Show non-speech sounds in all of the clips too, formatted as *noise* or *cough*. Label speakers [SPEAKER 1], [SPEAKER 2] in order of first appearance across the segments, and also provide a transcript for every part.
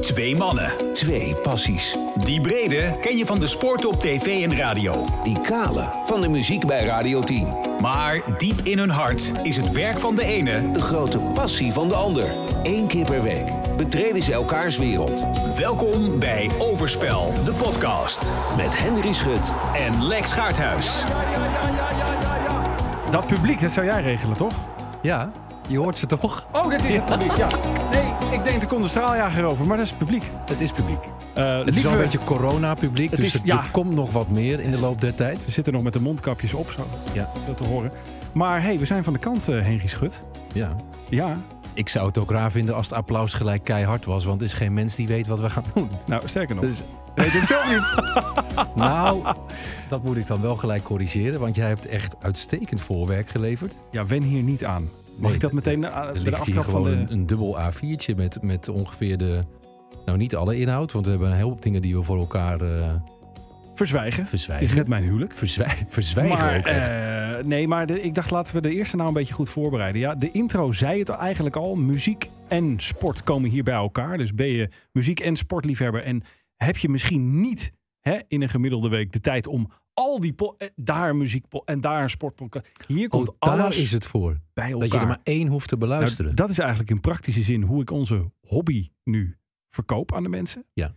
[SPEAKER 1] Twee mannen.
[SPEAKER 2] Twee passies.
[SPEAKER 1] Die brede ken je van de sport op tv en radio.
[SPEAKER 2] Die kale van de muziek bij Radio 10.
[SPEAKER 1] Maar diep in hun hart is het werk van de ene
[SPEAKER 2] De grote passie van de ander. Eén keer per week betreden ze elkaars wereld.
[SPEAKER 1] Welkom bij Overspel, de podcast.
[SPEAKER 2] Met Henry Schut.
[SPEAKER 1] En Lex Gaarthuis.
[SPEAKER 3] Dat publiek, dat zou jij regelen, toch?
[SPEAKER 4] Ja, je hoort ze toch?
[SPEAKER 3] Oh, dit is het publiek, ja. Nee, ik denk er komt een straaljager over, maar dat is het publiek.
[SPEAKER 4] Het is publiek.
[SPEAKER 3] Eh,
[SPEAKER 4] Het is wel een
[SPEAKER 3] lieve-
[SPEAKER 4] beetje corona-publiek,
[SPEAKER 3] Het
[SPEAKER 4] dus
[SPEAKER 3] is-
[SPEAKER 4] het-
[SPEAKER 3] ja.
[SPEAKER 4] er komt nog wat meer in de loop der tijd. Dus,
[SPEAKER 3] Ze zitten nog met de mondkapjes op, zo.
[SPEAKER 4] Ja.
[SPEAKER 3] Dat te horen. Maar hey, we zijn van de kant, eh Henry Schut.
[SPEAKER 4] Ja.
[SPEAKER 3] Ja.
[SPEAKER 4] Ik zou het ook raar vinden als het applaus gelijk keihard was, want er is geen mens die weet wat we gaan
[SPEAKER 3] *laughs*
[SPEAKER 4] doen.
[SPEAKER 3] Nou, sterker nog.
[SPEAKER 4] Dus,
[SPEAKER 3] weet het zelf niet.
[SPEAKER 4] nou, dat moet ik dan wel gelijk corrigeren, want jij hebt echt uitstekend voorwerk geleverd.
[SPEAKER 3] Ja, wen hier niet aan. Mag
[SPEAKER 4] Nee,
[SPEAKER 3] ik dat
[SPEAKER 4] er-
[SPEAKER 3] meteen eh,
[SPEAKER 4] Er
[SPEAKER 3] bij de
[SPEAKER 4] ligt hier
[SPEAKER 3] aftrap van
[SPEAKER 4] gewoon
[SPEAKER 3] de...
[SPEAKER 4] een, een dubbel A4'tje met, met ongeveer de... Nou, niet alle inhoud, want we hebben een heleboel dingen die we voor elkaar eh,
[SPEAKER 3] Verzwijgen. Het is
[SPEAKER 4] verzwijgen.
[SPEAKER 3] net mijn huwelijk.
[SPEAKER 4] Verzwij- *laughs* verzwijgen
[SPEAKER 3] maar,
[SPEAKER 4] ook echt.
[SPEAKER 3] eh, nee, maar de- ik dacht laten we de eerste nou een beetje goed voorbereiden. Ja, de intro zei het eigenlijk al. Muziek en sport komen hier bij elkaar. Dus ben je muziek- en sportliefhebber en heb je misschien niet hè, in een gemiddelde week de tijd om al die po- eh, daar een muziekpo en daar een sportpodcast. Hier komt
[SPEAKER 4] Oh, daar
[SPEAKER 3] alles
[SPEAKER 4] is het voor.
[SPEAKER 3] bij elkaar.
[SPEAKER 4] Dat je er maar één hoeft te
[SPEAKER 3] Nou,
[SPEAKER 4] beluisteren.
[SPEAKER 3] dat is eigenlijk in praktische zin hoe ik onze hobby nu verkoop aan de mensen.
[SPEAKER 4] Ja.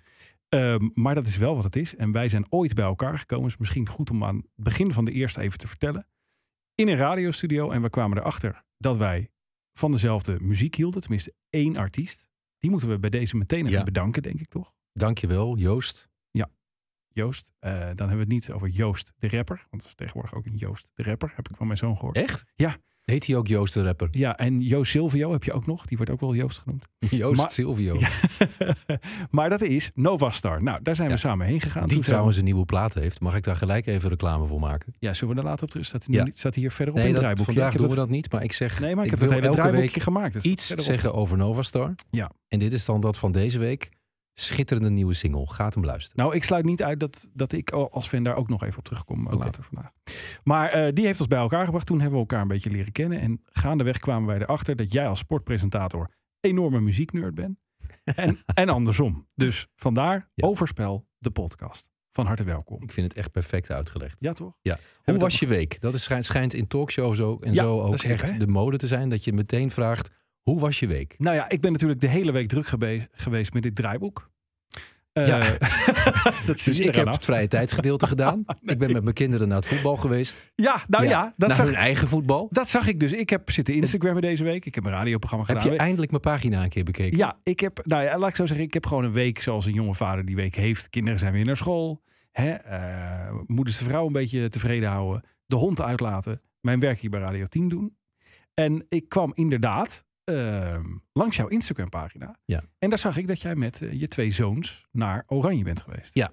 [SPEAKER 3] Ehm, maar dat is wel wat het is. En wij zijn ooit bij elkaar gekomen. is misschien goed om aan het begin van de eerste even te vertellen. In een radiostudio. En we kwamen erachter dat wij van dezelfde muziek hielden. Tenminste één artiest. Die moeten we bij deze meteen even
[SPEAKER 4] Ja.
[SPEAKER 3] bedanken, denk ik toch?
[SPEAKER 4] Dankjewel, Joost.
[SPEAKER 3] Joost. Eh, dan hebben we het niet over Joost de rapper. Want er is tegenwoordig ook een Joost de rapper. Heb ik van mijn zoon gehoord.
[SPEAKER 4] Echt?
[SPEAKER 3] Ja.
[SPEAKER 4] Heet hij ook Joost de rapper?
[SPEAKER 3] Ja, en Joost Silvio heb je ook nog. Die wordt ook wel Joost genoemd.
[SPEAKER 4] *laughs* Joost
[SPEAKER 3] Maar-
[SPEAKER 4] Silvio.
[SPEAKER 3] Ja. *laughs* maar dat is Novastar. Nou, daar zijn we
[SPEAKER 4] Ja.
[SPEAKER 3] samen heen gegaan.
[SPEAKER 4] Die
[SPEAKER 3] Toen
[SPEAKER 4] trouwens een nieuwe plaat heeft. Mag ik daar gelijk even reclame voor maken?
[SPEAKER 3] zijn we- Ja, zullen we daar later op terug? Staat, hij nu
[SPEAKER 4] Ja.
[SPEAKER 3] niet- staat hij hier verderop
[SPEAKER 4] Nee,
[SPEAKER 3] in het
[SPEAKER 4] dat,
[SPEAKER 3] draaiboekje?
[SPEAKER 4] vandaag
[SPEAKER 3] Ik heb
[SPEAKER 4] doen we dat niet. Maar ik zeg,
[SPEAKER 3] Nee, maar ik, heb
[SPEAKER 4] wil
[SPEAKER 3] het hele
[SPEAKER 4] elke
[SPEAKER 3] draaiboekje
[SPEAKER 4] week
[SPEAKER 3] gemaakt. Dus
[SPEAKER 4] iets
[SPEAKER 3] verderop.
[SPEAKER 4] zeggen over Novastar.
[SPEAKER 3] Ja.
[SPEAKER 4] En dit is dan dat van deze week. Schitterende nieuwe single. Gaat hem luisteren.
[SPEAKER 3] Nou, ik sluit niet uit dat, dat ik als fan daar ook nog even op terugkom eh,
[SPEAKER 4] Oké.
[SPEAKER 3] later vandaag. Maar eh, die heeft ons bij elkaar gebracht. Toen hebben we elkaar een beetje leren kennen. En gaandeweg kwamen wij erachter dat jij als sportpresentator enorme muzieknerd
[SPEAKER 4] *laughs*
[SPEAKER 3] bent. En, en andersom. Dus vandaar
[SPEAKER 4] Ja.
[SPEAKER 3] Overspel, de podcast. Van harte welkom.
[SPEAKER 4] Ik vind het echt perfect uitgelegd.
[SPEAKER 3] Ja, toch?
[SPEAKER 4] Hoe
[SPEAKER 3] we dat
[SPEAKER 4] was je week? Dat is, schijnt, schijnt in talkshows ook en
[SPEAKER 3] Ja,
[SPEAKER 4] zo
[SPEAKER 3] dat
[SPEAKER 4] ook
[SPEAKER 3] is gek,
[SPEAKER 4] echt
[SPEAKER 3] hè?
[SPEAKER 4] de mode te zijn. Dat je meteen vraagt, hoe was je week?
[SPEAKER 3] Nou ja, ik ben natuurlijk de hele week druk gebe- geweest met dit draaiboek. Eh, *laughs*
[SPEAKER 4] Ja.
[SPEAKER 3] dat zie
[SPEAKER 4] Dus
[SPEAKER 3] je
[SPEAKER 4] ik
[SPEAKER 3] eraan
[SPEAKER 4] heb
[SPEAKER 3] af.
[SPEAKER 4] het vrije
[SPEAKER 3] *laughs*
[SPEAKER 4] tijdsgedeelte gedaan. Ik ben met mijn kinderen naar het voetbal geweest.
[SPEAKER 3] Ja, nou ja, dat,
[SPEAKER 4] naar
[SPEAKER 3] zag,
[SPEAKER 4] hun eigen voetbal.
[SPEAKER 3] dat zag ik dus. Ik heb zitten Instagrammen deze week. Ik heb een radioprogramma
[SPEAKER 4] Heb
[SPEAKER 3] gedaan.
[SPEAKER 4] je eindelijk mijn pagina een keer bekeken?
[SPEAKER 3] ja, ik heb, nou ja, laat ik zo zeggen, ik heb gewoon een week zoals een jonge vader die week heeft. Kinderen zijn weer naar school. Hè? eh, moeders de vrouw een beetje tevreden houden. De hond uitlaten. Mijn werk hier bij Radio 10 doen. En ik kwam inderdaad ehm, langs jouw Instagram pagina.
[SPEAKER 4] Ja.
[SPEAKER 3] En daar zag ik dat jij met eh, je twee zoons naar Oranje bent geweest.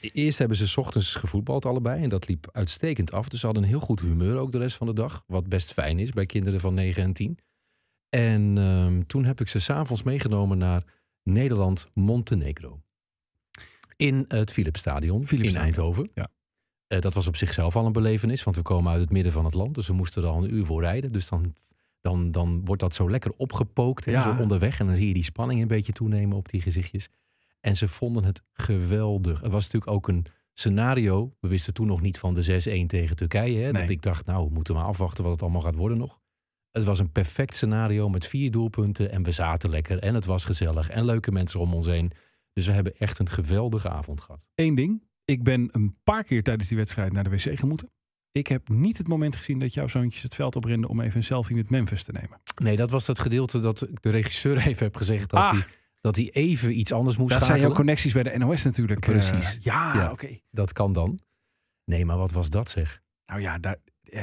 [SPEAKER 4] Eerst hebben ze 's ochtends gevoetbald allebei en dat liep uitstekend af. Dus ze hadden een heel goed humeur ook de rest van de dag. Wat best fijn is bij kinderen van 9 en 10. En ehm, toen heb ik ze s'avonds meegenomen naar Nederland-Montenegro. In het Philipsstadion in
[SPEAKER 3] Philipsstadion,
[SPEAKER 4] Eindhoven.
[SPEAKER 3] ja.
[SPEAKER 4] Eh, dat was op zichzelf al een belevenis, want we komen uit het midden van het land. Dus we moesten er al een uur voor rijden. Dus dan, dan, dan wordt dat zo lekker opgepookt hè,
[SPEAKER 3] Ja.
[SPEAKER 4] zo onderweg. En dan zie je die spanning een beetje toenemen op die gezichtjes. En ze vonden het geweldig. Er was natuurlijk ook een scenario. We wisten toen nog niet van de 6-1 tegen Turkije. Hè?
[SPEAKER 3] Nee.
[SPEAKER 4] Dat ik dacht, nou, we moeten maar afwachten wat het allemaal gaat worden nog. Het was een perfect scenario met vier doelpunten. En we zaten lekker. En het was gezellig. En leuke mensen om ons heen. Dus we hebben echt een geweldige avond gehad.
[SPEAKER 3] Eén ding. Ik ben een paar keer tijdens die wedstrijd naar de wc gemoeten. Ik heb niet het moment gezien dat jouw zoontjes het veld oprenden om even een selfie met Memphis te nemen.
[SPEAKER 4] Nee, dat was dat gedeelte dat ik de regisseur *laughs* even heb gezegd dat,
[SPEAKER 3] Ah.
[SPEAKER 4] hij, dat hij even iets anders moest
[SPEAKER 3] Dat zijn jouw
[SPEAKER 4] schakelen.
[SPEAKER 3] connecties bij de NOS natuurlijk.
[SPEAKER 4] Precies.
[SPEAKER 3] Eh, ja,
[SPEAKER 4] Ja.
[SPEAKER 3] oké.
[SPEAKER 4] dat kan dan. Nee, maar wat was dat zeg?
[SPEAKER 3] Nou ja, daar... eh,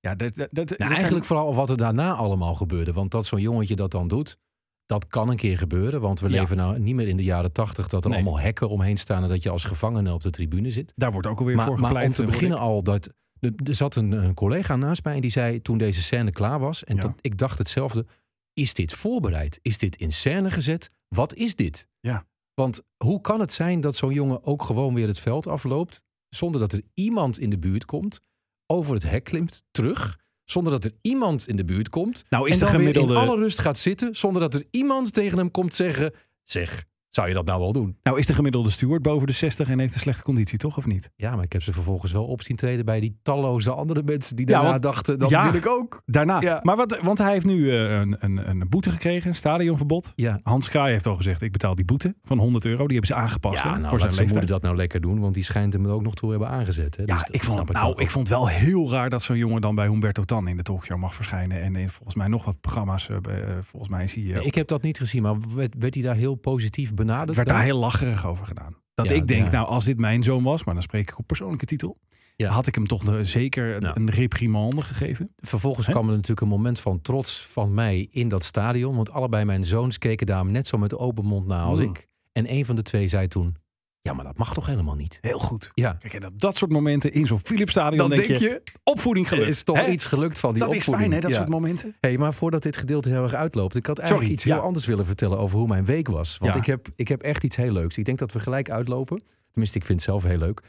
[SPEAKER 3] ja, dat, dat, dat- dat
[SPEAKER 4] Nou,
[SPEAKER 3] zijn-
[SPEAKER 4] eigenlijk vooral wat er daarna allemaal gebeurde. Want dat zo'n jongetje dat dan doet, dat kan een keer gebeuren. Want we
[SPEAKER 3] Ja.
[SPEAKER 4] leven nou niet meer in de jaren tachtig dat er
[SPEAKER 3] Nee.
[SPEAKER 4] allemaal hekken omheen staan en dat je als gevangene op de tribune zit.
[SPEAKER 3] Daar wordt ook alweer voor
[SPEAKER 4] Maar,
[SPEAKER 3] gepleit.
[SPEAKER 4] maar om te
[SPEAKER 3] eh, hoor
[SPEAKER 4] beginnen al dat. Er er zat een, een collega naast mij en die zei toen deze scène klaar was. En
[SPEAKER 3] Ja.
[SPEAKER 4] dat, ik dacht hetzelfde. Is dit voorbereid? Is dit in scène gezet? Wat is dit?
[SPEAKER 3] Ja.
[SPEAKER 4] Want hoe kan het zijn dat zo'n jongen ook gewoon weer het veld afloopt. zonder dat er iemand in de buurt komt. over het hek klimt, terug. zonder dat er iemand in de buurt komt.
[SPEAKER 3] ik. Nou is
[SPEAKER 4] en
[SPEAKER 3] de
[SPEAKER 4] dan weer
[SPEAKER 3] gemiddelde...
[SPEAKER 4] in alle rust gaat zitten. zonder dat er iemand tegen hem komt zeggen. Zeg, Zou je dat nou wel doen?
[SPEAKER 3] Nou is de gemiddelde steward boven de 60 en heeft een slechte conditie, toch of niet?
[SPEAKER 4] Ja, maar ik heb ze vervolgens wel op zien treden bij die talloze andere mensen die
[SPEAKER 3] Ja,
[SPEAKER 4] daarna
[SPEAKER 3] want-
[SPEAKER 4] dachten, dat
[SPEAKER 3] ja.
[SPEAKER 4] wil ik ook.
[SPEAKER 3] Daarna.
[SPEAKER 4] Ja.
[SPEAKER 3] Maar wat, want hij heeft nu eh, een, een, een boete gekregen, een stadionverbod.
[SPEAKER 4] Ja,
[SPEAKER 3] Hans Kraai heeft al gezegd, ik betaal die boete van 100 euro. Die hebben ze aangepast hè,
[SPEAKER 4] ja nou,
[SPEAKER 3] voor zijn
[SPEAKER 4] laat zijn moeder
[SPEAKER 3] leeftijd.
[SPEAKER 4] dat nou lekker doen, want die schijnt hem er ook nog toe hebben aangezet. Hè?
[SPEAKER 3] Ja,
[SPEAKER 4] Dus dat
[SPEAKER 3] ik, vond,
[SPEAKER 4] snap
[SPEAKER 3] nou,
[SPEAKER 4] dan
[SPEAKER 3] ik vond het wel heel raar dat zo'n jongen dan bij Humberto Tan in de talkshow mag verschijnen. En in volgens mij nog wat programma's. eh, bij- eh, volgens mij zie je.
[SPEAKER 4] Nee, Ik heb dat niet gezien, maar werd, werd hij daar heel positief benaderd?
[SPEAKER 3] werd daar
[SPEAKER 4] dan?
[SPEAKER 3] heel lacherig over gedaan. Dat
[SPEAKER 4] Ja,
[SPEAKER 3] ik denk,
[SPEAKER 4] ja.
[SPEAKER 3] nou, als dit mijn zoon was, maar dan spreek ik op persoonlijke titel.
[SPEAKER 4] Ja.
[SPEAKER 3] Had ik hem toch eh, zeker
[SPEAKER 4] Nou.
[SPEAKER 3] een reprimande gegeven?
[SPEAKER 4] Vervolgens
[SPEAKER 3] Hè?
[SPEAKER 4] kwam er natuurlijk een moment van trots van mij in dat stadion. Want allebei mijn zoons keken daar net zo met open mond naar als
[SPEAKER 3] Hmm.
[SPEAKER 4] ik. En een van de twee zei toen, ja, maar dat mag toch helemaal niet?
[SPEAKER 3] Heel goed.
[SPEAKER 4] Ja,
[SPEAKER 3] Kijk, en dat, dat soort momenten in zo'n Philips Stadion,
[SPEAKER 4] dan
[SPEAKER 3] denk,
[SPEAKER 4] denk je,
[SPEAKER 3] opvoeding
[SPEAKER 4] er
[SPEAKER 3] gelukt.
[SPEAKER 4] is toch
[SPEAKER 3] Hè?
[SPEAKER 4] iets gelukt van die
[SPEAKER 3] Dat is
[SPEAKER 4] opvoeding.
[SPEAKER 3] fijn, hè, dat
[SPEAKER 4] Ja.
[SPEAKER 3] soort momenten.
[SPEAKER 4] Hey, maar voordat dit gedeelte heel erg uitloopt, ik had eigenlijk
[SPEAKER 3] Sorry,
[SPEAKER 4] iets heel
[SPEAKER 3] ja.
[SPEAKER 4] anders willen vertellen over hoe mijn week was. Want
[SPEAKER 3] Ja.
[SPEAKER 4] ik, heb, ik heb echt iets heel leuks. Ik denk dat we gelijk uitlopen. Tenminste, ik vind het zelf heel leuk.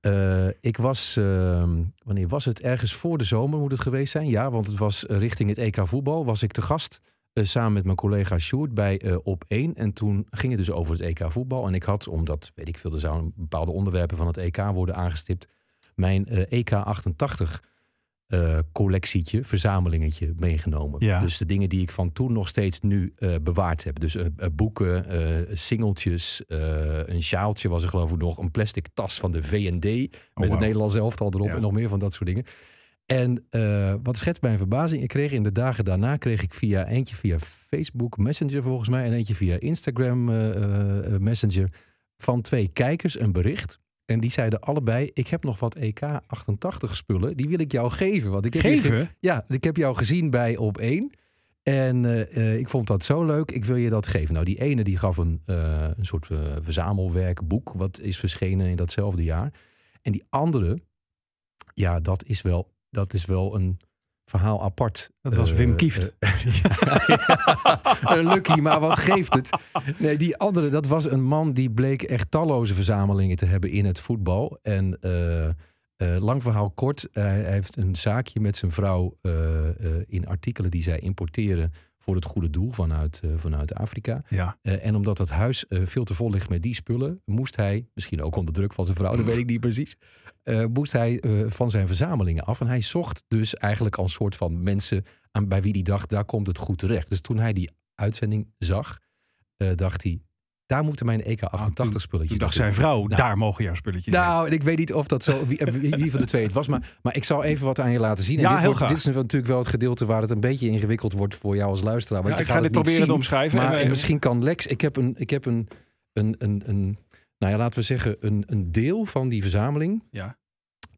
[SPEAKER 4] Eh, ik was, ehm, wanneer was het? Ergens voor de zomer moet het geweest zijn. Ja, want het was eh, richting het EK voetbal. Was ik te gast eh, samen met mijn collega Sjoerd bij eh, Op 1. En toen ging het dus over het EK voetbal. En ik had, omdat, weet ik veel, er zouden bepaalde onderwerpen van het EK worden aangestipt. Mijn eh, EK 88 eh, collectietje, verzamelingetje meegenomen.
[SPEAKER 3] Ja.
[SPEAKER 4] Dus de dingen die ik van toen nog steeds nu eh, bewaard heb. Dus eh, eh, boeken, eh, singeltjes, eh, een sjaaltje was er geloof ik nog. Een plastic tas van de V&D met
[SPEAKER 3] Oh, wauw.
[SPEAKER 4] het Nederlands elftal erop
[SPEAKER 3] Ja.
[SPEAKER 4] en nog meer van dat soort dingen. En eh, wat schetst mijn verbazing, ik kreeg in de dagen daarna kreeg ik via eentje via Facebook Messenger volgens mij en eentje via Instagram eh, eh, eh, Messenger van twee kijkers een bericht. En die zeiden allebei, ik heb nog wat EK 88 spullen, die wil ik jou geven. Want ik heb je ge-
[SPEAKER 3] Geven?
[SPEAKER 4] ja, ik heb jou gezien bij Op 1. En eh, eh, ik vond dat zo leuk, ik wil je dat geven. Nou, die ene die gaf een, eh, een soort eh, verzamelwerkboek, wat is verschenen in datzelfde jaar. En die andere, ja, dat is wel, dat is wel een verhaal apart.
[SPEAKER 3] Dat was
[SPEAKER 4] Eh, *laughs*
[SPEAKER 3] Wim Kieft.
[SPEAKER 4] een lucky, maar wat geeft het? Nee, die andere, dat was een man die bleek echt talloze verzamelingen te hebben in het voetbal. En eh, eh, lang verhaal kort, eh, hij heeft een zaakje met zijn vrouw eh, eh, in artikelen die zij importeren voor het goede doel vanuit, eh, vanuit Afrika.
[SPEAKER 3] ja.
[SPEAKER 4] Eh, en omdat dat huis eh, veel te vol ligt met die spullen, moest hij, misschien ook onder druk van zijn vrouw, dat weet ik niet precies, eh, moest hij eh, van zijn verzamelingen af. En hij zocht dus eigenlijk al een soort van mensen aan, bij wie hij dacht, daar komt het goed terecht. Dus toen hij die uitzending zag, eh, dacht hij, daar moeten mijn
[SPEAKER 3] Ah, toen-
[SPEAKER 4] EK88 spulletjes
[SPEAKER 3] Toen dacht
[SPEAKER 4] naartoe.
[SPEAKER 3] zijn vrouw, daar mogen jouw spulletjes heen.
[SPEAKER 4] Nou, en ik weet niet of dat zo, wie, eh, wie wie van de twee het was, maar, maar ik zal even wat aan je laten zien. En
[SPEAKER 3] Ja,
[SPEAKER 4] dit,
[SPEAKER 3] heel
[SPEAKER 4] wordt-
[SPEAKER 3] graag.
[SPEAKER 4] dit is natuurlijk wel het gedeelte waar het een beetje ingewikkeld wordt voor jou als luisteraar. Want
[SPEAKER 3] Ja,
[SPEAKER 4] je
[SPEAKER 3] ik ga
[SPEAKER 4] gaat
[SPEAKER 3] dit
[SPEAKER 4] het niet
[SPEAKER 3] proberen te
[SPEAKER 4] zien.
[SPEAKER 3] omschrijven.
[SPEAKER 4] Maar
[SPEAKER 3] En,
[SPEAKER 4] en
[SPEAKER 3] eh,
[SPEAKER 4] misschien kan Lex. Ik heb een. Ik heb een, een, een, een nou ja, laten we zeggen, een, een deel van die verzameling.
[SPEAKER 3] Ja.